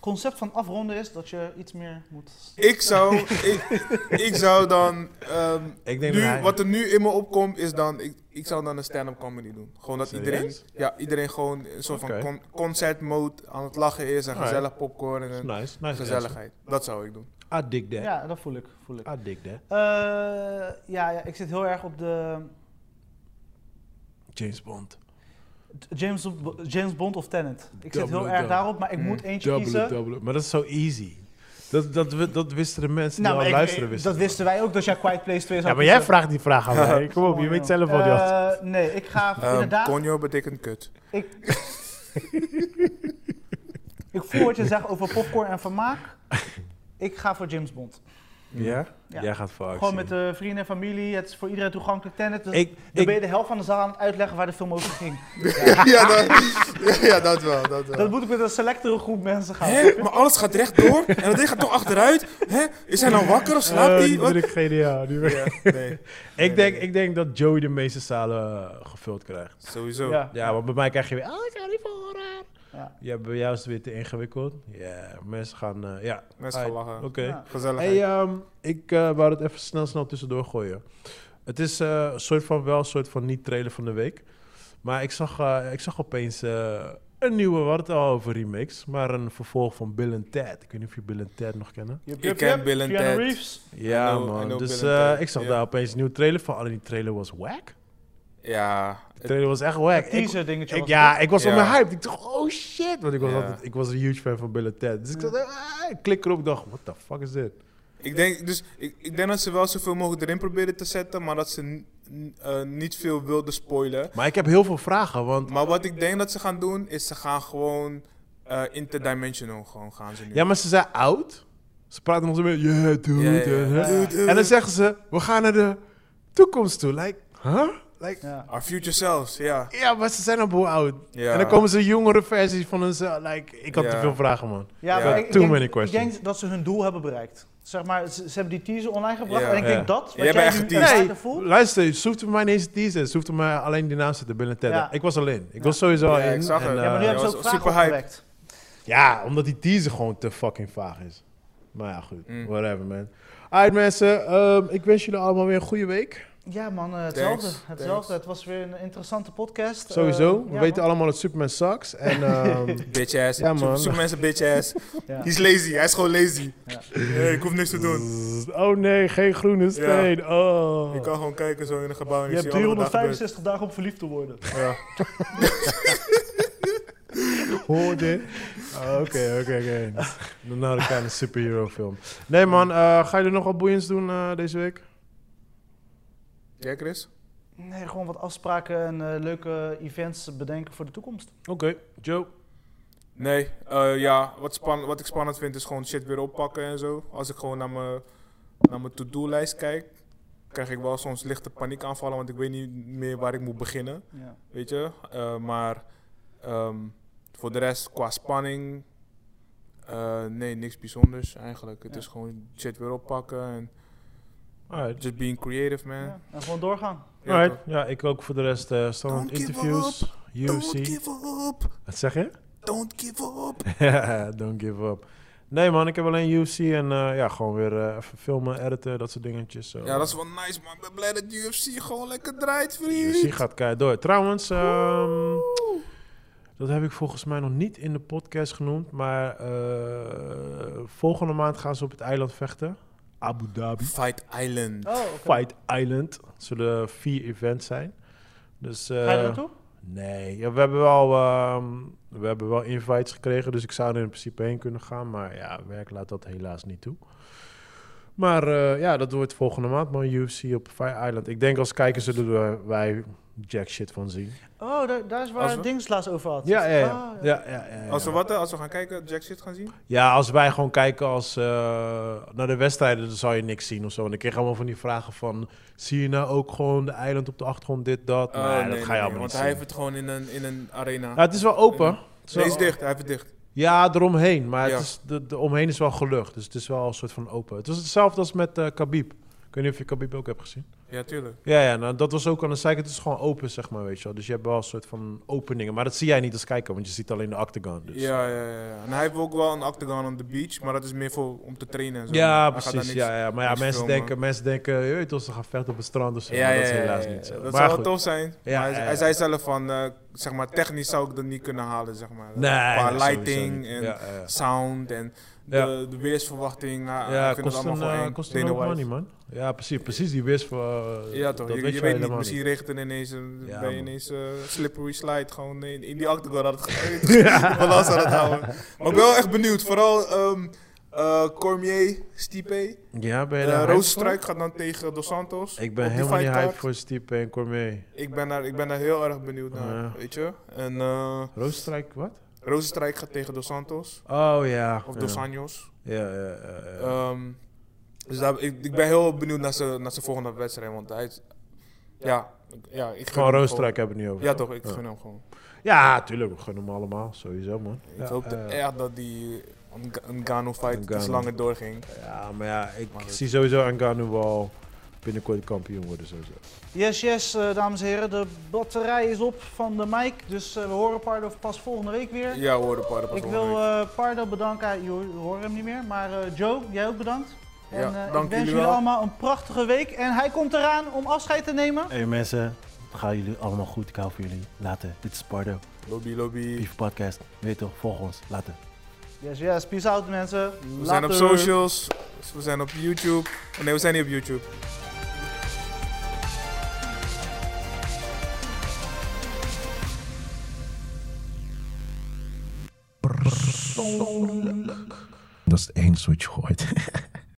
Speaker 2: Concept van afronden is dat je iets meer moet...
Speaker 4: Ik zou, ik, ik zou dan, ehm,
Speaker 3: ik denk
Speaker 4: nu,
Speaker 3: dat hij-
Speaker 4: wat er nu in me opkomt is dan, ik, ik zou dan een stand-up comedy doen. Gewoon dat iedereen,
Speaker 3: Serieus?
Speaker 4: ja, iedereen gewoon een soort
Speaker 3: Oké.
Speaker 4: van con concert mode aan het lachen is en
Speaker 3: Alright.
Speaker 4: gezellig popcorn en een
Speaker 3: Nice, nice.
Speaker 4: gezelligheid. Dat zou ik doen.
Speaker 3: answer. I dig that.
Speaker 2: Ja, dat voel ik. Voel ik.
Speaker 3: I dig that.
Speaker 2: Eh, ja, ja, ik zit heel erg op de
Speaker 3: James Bond.
Speaker 2: t- James, James Bond of Tenet. Ik zit heel
Speaker 3: Dubbele
Speaker 2: erg
Speaker 3: dub.
Speaker 2: daarop, maar ik moet eentje kiezen.
Speaker 3: double. Maar dat is zo easy. Dat, dat, wi- dat wisten de mensen
Speaker 2: maar
Speaker 3: die al
Speaker 2: Nou, ik-
Speaker 3: luisteren
Speaker 2: ik-
Speaker 3: wisten.
Speaker 2: dat wisten wij ook, dat jij Quiet Place 2 zou
Speaker 3: ja, maar jij
Speaker 2: kiezen.
Speaker 3: vraagt die vraag aan mij. Kom op, je
Speaker 2: Oh,
Speaker 3: weet
Speaker 2: joh.
Speaker 3: zelf al die antwoord.
Speaker 2: Eh, Nee, ik ga
Speaker 4: Ehm,
Speaker 2: inderdaad...
Speaker 4: Conjo betekent kut.
Speaker 2: Ik, ik voel wat je zegt over popcorn en vermaak. Ik ga voor James Bond.
Speaker 6: Ja?
Speaker 2: Ja.
Speaker 3: Jij gaat voor actie.
Speaker 2: Gewoon met de vrienden en familie, het is voor iedereen toegankelijk. Tenet, dus
Speaker 3: ik,
Speaker 2: dan
Speaker 3: ik,
Speaker 2: ben je de helft van de zaal aan het uitleggen waar de film over ging.
Speaker 4: ja, dat, ja, dat wel. Dat wel.
Speaker 2: Dat moet ik met een selectere groep mensen gaan.
Speaker 4: Hè? Maar alles gaat rechtdoor en dat ding gaat toch achteruit? Hè? Is hij nou wakker
Speaker 3: Eh,
Speaker 4: of
Speaker 2: Eh,
Speaker 4: slaapt hij?
Speaker 6: die
Speaker 4: Wat?
Speaker 6: ben ik GDA. Die ben ik-
Speaker 4: Ja, nee,
Speaker 3: ik, denk, ik denk dat Joey de meeste zalen eh, gevuld krijgt.
Speaker 4: sowieso.
Speaker 2: Ja.
Speaker 3: Ja, want bij mij krijg je weer... Oh, ik ga niet voor haar.
Speaker 2: Ja.
Speaker 3: Ja, bij jou is het weer te ingewikkeld. Ja, mensen gaan... eh, ja,
Speaker 4: Mensen gaan lachen.
Speaker 3: oké.
Speaker 2: Ja.
Speaker 4: Gezellig.
Speaker 6: Hey,
Speaker 3: Hey, ehm, ik eh, wou het even snel, snel tussendoor gooien. Het is eh, een soort van wel een soort van niet-trailer van de week. Maar ik zag, eh, ik zag opeens eh, een nieuwe, we hadden het al over remakes. Maar een vervolg van Bill and Ted. Ik weet niet of je Bill and Ted nog kennen.
Speaker 2: Jup,
Speaker 4: Ik
Speaker 2: jup,
Speaker 4: ken
Speaker 2: jup.
Speaker 4: Bill en
Speaker 2: Keanu
Speaker 4: Ted.
Speaker 2: Reeves.
Speaker 3: Ja,
Speaker 4: know- I
Speaker 3: man.
Speaker 4: know
Speaker 3: dus
Speaker 4: Bill and
Speaker 3: eh,
Speaker 4: Ted,
Speaker 3: ik zag
Speaker 4: ja.
Speaker 3: daar opeens een nieuwe trailer van. Alleen die trailer was whack.
Speaker 4: Ja.
Speaker 3: De trailer was echt whack.
Speaker 2: Dat
Speaker 3: Ik,
Speaker 2: teaser dingetje
Speaker 3: ik,
Speaker 2: was
Speaker 3: ja, ik was
Speaker 4: Ja.
Speaker 3: op mijn hype. Ik dacht, oh shit. Want ik was,
Speaker 4: Ja.
Speaker 3: altijd, ik was een huge fan van Bill and Ted. Dus ik, zat, ah, ik klik erop. Ik dacht, what the fuck is dit?
Speaker 4: Ik denk, dus, ik, ik denk dat ze wel zoveel mogelijk erin proberen te zetten, maar dat ze n- n- eh, niet veel wilden spoilen.
Speaker 3: Maar ik heb heel veel vragen. Want
Speaker 4: Maar wat ik denk dat ze gaan doen, is ze gaan gewoon eh, interdimensional gewoon gaan ze nu.
Speaker 3: Ja, maar ze zijn oud. Ze praten nog zo mee. Yeah, dude.
Speaker 4: Ja, ja, ja.
Speaker 3: eh, hè?
Speaker 4: Dude, dude.
Speaker 3: En dan zeggen ze, we gaan naar de toekomst toe. Like, huh? Like, ja.
Speaker 2: Ja.
Speaker 4: Our future selves, ja.
Speaker 3: maar ze zijn al boel oud.
Speaker 4: Ja.
Speaker 3: En dan komen ze jongere versies van hunzelf. Like, ik had
Speaker 4: Ja.
Speaker 3: te veel vragen, man.
Speaker 2: Ja,
Speaker 4: Ja.
Speaker 2: maar ik, ik
Speaker 3: Too
Speaker 2: denk,
Speaker 3: many
Speaker 2: ik
Speaker 3: questions.
Speaker 2: denk dat ze hun doel hebben bereikt. Zeg maar, ze, ze hebben die teaser online gebracht
Speaker 4: Ja.
Speaker 2: en ik
Speaker 3: Ja.
Speaker 2: denk dat... wat
Speaker 4: Jij bent echt
Speaker 2: nu
Speaker 4: geteased.
Speaker 2: ervaren voelt-
Speaker 3: Luister, ze hoefde mij niet eens te teasen. Ze hoefde mij alleen die naam te zetten, Bill en Ted.
Speaker 2: Ja.
Speaker 3: Ik was alleen. Ik was sowieso al
Speaker 4: Ja,
Speaker 3: in.
Speaker 4: ik zag
Speaker 3: en,
Speaker 4: het.
Speaker 2: Ja, maar nu
Speaker 3: eh,
Speaker 4: Ja,
Speaker 2: hebben ze
Speaker 4: was
Speaker 2: ook vragen
Speaker 4: super hype.
Speaker 2: opgewekt.
Speaker 3: Ja, omdat die teaser gewoon te fucking vaag is. Maar ja, goed.
Speaker 4: Mm.
Speaker 3: Whatever, man. Alright, mensen. ehm, ik wens jullie allemaal weer een goede week.
Speaker 2: Ja man, eh, hetzelfde.
Speaker 4: Thanks,
Speaker 2: hetzelfde.
Speaker 4: thanks.
Speaker 2: Het was weer een interessante podcast.
Speaker 3: Sowieso.
Speaker 2: Eh,
Speaker 3: we
Speaker 2: ja,
Speaker 3: weten
Speaker 2: man.
Speaker 3: allemaal dat Superman sucks. En ehm,
Speaker 4: Bitch ass.
Speaker 3: Ja,
Speaker 4: Zo-
Speaker 3: man.
Speaker 4: Zoek mensen bitch ass.
Speaker 2: Ja.
Speaker 4: Hij is lazy, hij is gewoon lazy.
Speaker 2: Ja.
Speaker 4: Eh, ik hoef niks te doen.
Speaker 3: Zzz, Oh nee, geen groene steen. Oh.
Speaker 4: Ik kan gewoon kijken zo in een gebouw en
Speaker 2: Je
Speaker 4: ik
Speaker 2: hebt
Speaker 4: zie allemaal wat daar gebeurt.
Speaker 2: 365 dagen om verliefd te worden.
Speaker 3: Hoor dit. Oh, Oké, oké, oké. Dan naar een kleine superhero film. Nee man, eh, ga je er nog wat boeiends doen eh, deze week?
Speaker 4: Jij Chris?
Speaker 2: Nee, gewoon wat afspraken en eh, leuke events bedenken voor de toekomst.
Speaker 3: Oké, Joe.
Speaker 4: Nee, eh, ja, wat, span- wat ik spannend vind is gewoon shit weer oppakken en zo. Als ik gewoon naar mijn, naar mijn to-do-lijst kijk, krijg ik wel soms lichte paniekaanvallen, want ik weet niet meer waar ik moet beginnen,
Speaker 2: Ja.
Speaker 4: weet je. Eh, maar ehm, voor de rest, qua spanning, eh, nee, niks bijzonders eigenlijk. Het
Speaker 2: Ja.
Speaker 4: is gewoon shit weer oppakken en
Speaker 3: Alright.
Speaker 4: just being creative, man.
Speaker 2: Ja. En gewoon doorgaan.
Speaker 4: Ja,
Speaker 3: Alright.
Speaker 4: toch?
Speaker 3: Ja, ik ook voor de rest eh standaard
Speaker 4: Don't give
Speaker 3: interviews.
Speaker 4: Don't
Speaker 3: UFC.
Speaker 4: give up,
Speaker 3: Wat zeg je?
Speaker 4: don't give up.
Speaker 3: Don't give up. Nee man, ik heb alleen UFC en eh, ja, gewoon weer eh, even filmen, editen, dat soort dingetjes. zo.
Speaker 4: Ja, dat is wel nice, man. Ik ben blij dat UFC gewoon lekker draait, vriend.
Speaker 3: UFC gaat keihard door. Trouwens, ehm, dat heb ik volgens mij nog niet in de podcast genoemd. Maar eh, volgende maand gaan ze op het eiland vechten. Abu Dhabi.
Speaker 4: Fight Island.
Speaker 2: Oh, oké.
Speaker 3: Fight Island. Het zullen vier events zijn. Dus, eh,
Speaker 2: Ga je er naartoe?
Speaker 3: Nee, ja, we, hebben wel, ehm, we hebben wel invites gekregen. Dus ik zou er in principe heen kunnen gaan. Maar ja, werk laat dat helaas niet toe. Maar eh, ja, dat wordt volgende maand, man. UFC op Fight Island. Ik denk als kijkers zullen wij jack shit van zien.
Speaker 2: Oh, daar, daar is
Speaker 4: Als
Speaker 2: waar
Speaker 4: we-
Speaker 2: Dings laatst over had.
Speaker 3: Ja, ja, ja.
Speaker 2: Ah,
Speaker 3: ja, ja, ja, ja.
Speaker 4: Als we wat, eh, als we gaan kijken, Jack shit gaan zien?
Speaker 3: Ja, als wij gewoon kijken als, eh, naar de wedstrijden, dan zal je niks zien of zo. En dan kreeg je allemaal van die vragen van, zie je nou ook gewoon de eiland op de achtergrond, dit, dat?
Speaker 4: Oh,
Speaker 3: nee, dat ga je allemaal
Speaker 4: Want
Speaker 3: niet
Speaker 4: hij
Speaker 3: zien.
Speaker 4: heeft het gewoon in een, in een arena.
Speaker 3: Ja, het is wel open. Het is
Speaker 4: Hij
Speaker 3: wel-
Speaker 4: is dicht, hij heeft het dicht.
Speaker 3: Ja, eromheen. Maar
Speaker 4: Ja.
Speaker 3: het is, de, de omheen is wel gelucht. Dus het is wel een soort van open. Het was hetzelfde als met eh Khabib. Ik weet niet of je Khabib ook hebt gezien.
Speaker 4: Ja, tuurlijk.
Speaker 3: Ja, ja nou, dat was ook aan de zijkant. Het is gewoon open, zeg maar, weet je wel. Dus je hebt wel een soort van openingen. Maar dat zie jij niet als kijker, want je ziet alleen de octagon. Dus.
Speaker 4: Ja, ja, ja, ja. En hij heeft ook wel een octagon on the beach, maar dat is meer voor, om te trainen en zo.
Speaker 3: Ja,
Speaker 4: Hij gaat daar
Speaker 3: precies.
Speaker 4: niks-
Speaker 3: Ja, ja. Maar ja,
Speaker 4: niks
Speaker 3: mensen
Speaker 4: filmen.
Speaker 3: denken, mensen denken, je weet toch, ze gaan vechten op het strand of zo.
Speaker 4: Ja,
Speaker 3: maar
Speaker 4: ja,
Speaker 3: dat is
Speaker 4: ja,
Speaker 3: helaas
Speaker 4: ja,
Speaker 3: niet
Speaker 4: ja.
Speaker 3: zo.
Speaker 4: Dat
Speaker 3: maar
Speaker 4: zou wel
Speaker 3: goed.
Speaker 4: tof zijn.
Speaker 3: Ja,
Speaker 4: Maar hij,
Speaker 3: ja,
Speaker 4: hij
Speaker 3: ja.
Speaker 4: zei zelf van, eh, zeg maar, technisch zou ik dat niet kunnen halen, zeg maar.
Speaker 3: Nee,
Speaker 4: Qua
Speaker 3: nee, sowieso
Speaker 4: lighting
Speaker 3: niet.
Speaker 4: en
Speaker 3: Ja, ja.
Speaker 4: sound en
Speaker 3: Ja.
Speaker 4: de, de weersverwachting. nou, Ja,
Speaker 3: Ja,
Speaker 4: ah, ik vind het
Speaker 3: kost een,
Speaker 4: allemaal
Speaker 3: eh,
Speaker 4: gewoon
Speaker 3: kost
Speaker 4: eng.
Speaker 3: een hoop
Speaker 4: Dana
Speaker 3: money,
Speaker 4: White.
Speaker 3: man. Ja, precies. Precies, die wist voor... eh,
Speaker 4: Ja, toch?
Speaker 3: dat
Speaker 4: je,
Speaker 3: weet jij
Speaker 4: je weet niet,
Speaker 3: helemaal
Speaker 4: misschien regent het ineens, een-
Speaker 3: Ja,
Speaker 4: ben je
Speaker 3: man.
Speaker 4: ineens eh, slippery slide gewoon in, in die octagon aan het ja. balans aan het houden. nou, Maar ik ben wel echt benieuwd, vooral ehm, eh, Cormier, Stipe,
Speaker 3: Ja, ben je
Speaker 4: Eh
Speaker 3: daar hyped
Speaker 4: Roosstruik gaat dan tegen Dos Santos.
Speaker 3: voor? Ik
Speaker 4: op
Speaker 3: ben
Speaker 4: die
Speaker 3: helemaal niet
Speaker 4: fightcard.
Speaker 3: hype voor Stipe en Cormier.
Speaker 4: Ik ben, daar, ik ben daar heel erg benieuwd naar,
Speaker 3: Ja.
Speaker 4: weet je. En eh
Speaker 3: Roosstrijk, wat?
Speaker 4: Roosstruik gaat tegen Dos Santos,
Speaker 3: Oh ja.
Speaker 4: of
Speaker 3: ja.
Speaker 4: Dos Anjos.
Speaker 3: Eh, Ja, ja, ja, ja.
Speaker 4: Ehm, Dus daar, ik, ik ben heel benieuwd naar zijn naar zijn volgende wedstrijd. Want hij is. Ja, ik- ja ik gun
Speaker 3: Gewoon
Speaker 4: hem
Speaker 3: Roosterijk hebben we het nu
Speaker 4: gewoon.
Speaker 3: over.
Speaker 4: Ja, toch, ik gun hem gewoon.
Speaker 3: Ja, tuurlijk. We gunnen hem allemaal. Sowieso, man.
Speaker 4: Ik
Speaker 3: Ja,
Speaker 4: hoop hoopte
Speaker 3: eh,
Speaker 4: echt dat die Nga- Ngannou-fight iets
Speaker 3: Ngannou.
Speaker 4: langer doorging.
Speaker 3: Ja, maar ja, ik
Speaker 4: Maar dat-
Speaker 3: zie sowieso Anganu wel binnenkort kampioen worden. Sowieso.
Speaker 2: Yes, yes, eh, dames en heren. De batterij is op van de mic. Dus eh, we horen Pardo pas volgende week weer.
Speaker 4: Ja, hoor de paarden pas
Speaker 2: Ik wil eh, Pardo bedanken. Je ho- je hoort hem niet meer. Maar eh, Joe, jij ook bedankt. En
Speaker 4: Ja,
Speaker 2: eh, ik
Speaker 4: dank jullie
Speaker 2: wens jullie
Speaker 4: wel.
Speaker 2: allemaal een prachtige week. En hij komt eraan om afscheid te nemen.
Speaker 7: Hey mensen, gaan jullie allemaal goed. Ik hou van jullie. Later. Dit is Pardo,
Speaker 4: Lobby, lobby.
Speaker 7: Beef Podcast. Weet toch, volg ons. Later.
Speaker 2: Yes, yes. Peace out, mensen.
Speaker 4: We zijn op socials, we zijn op YouTube. Oh, nee, we zijn niet op YouTube.
Speaker 1: Dat is het enige wat je gooit.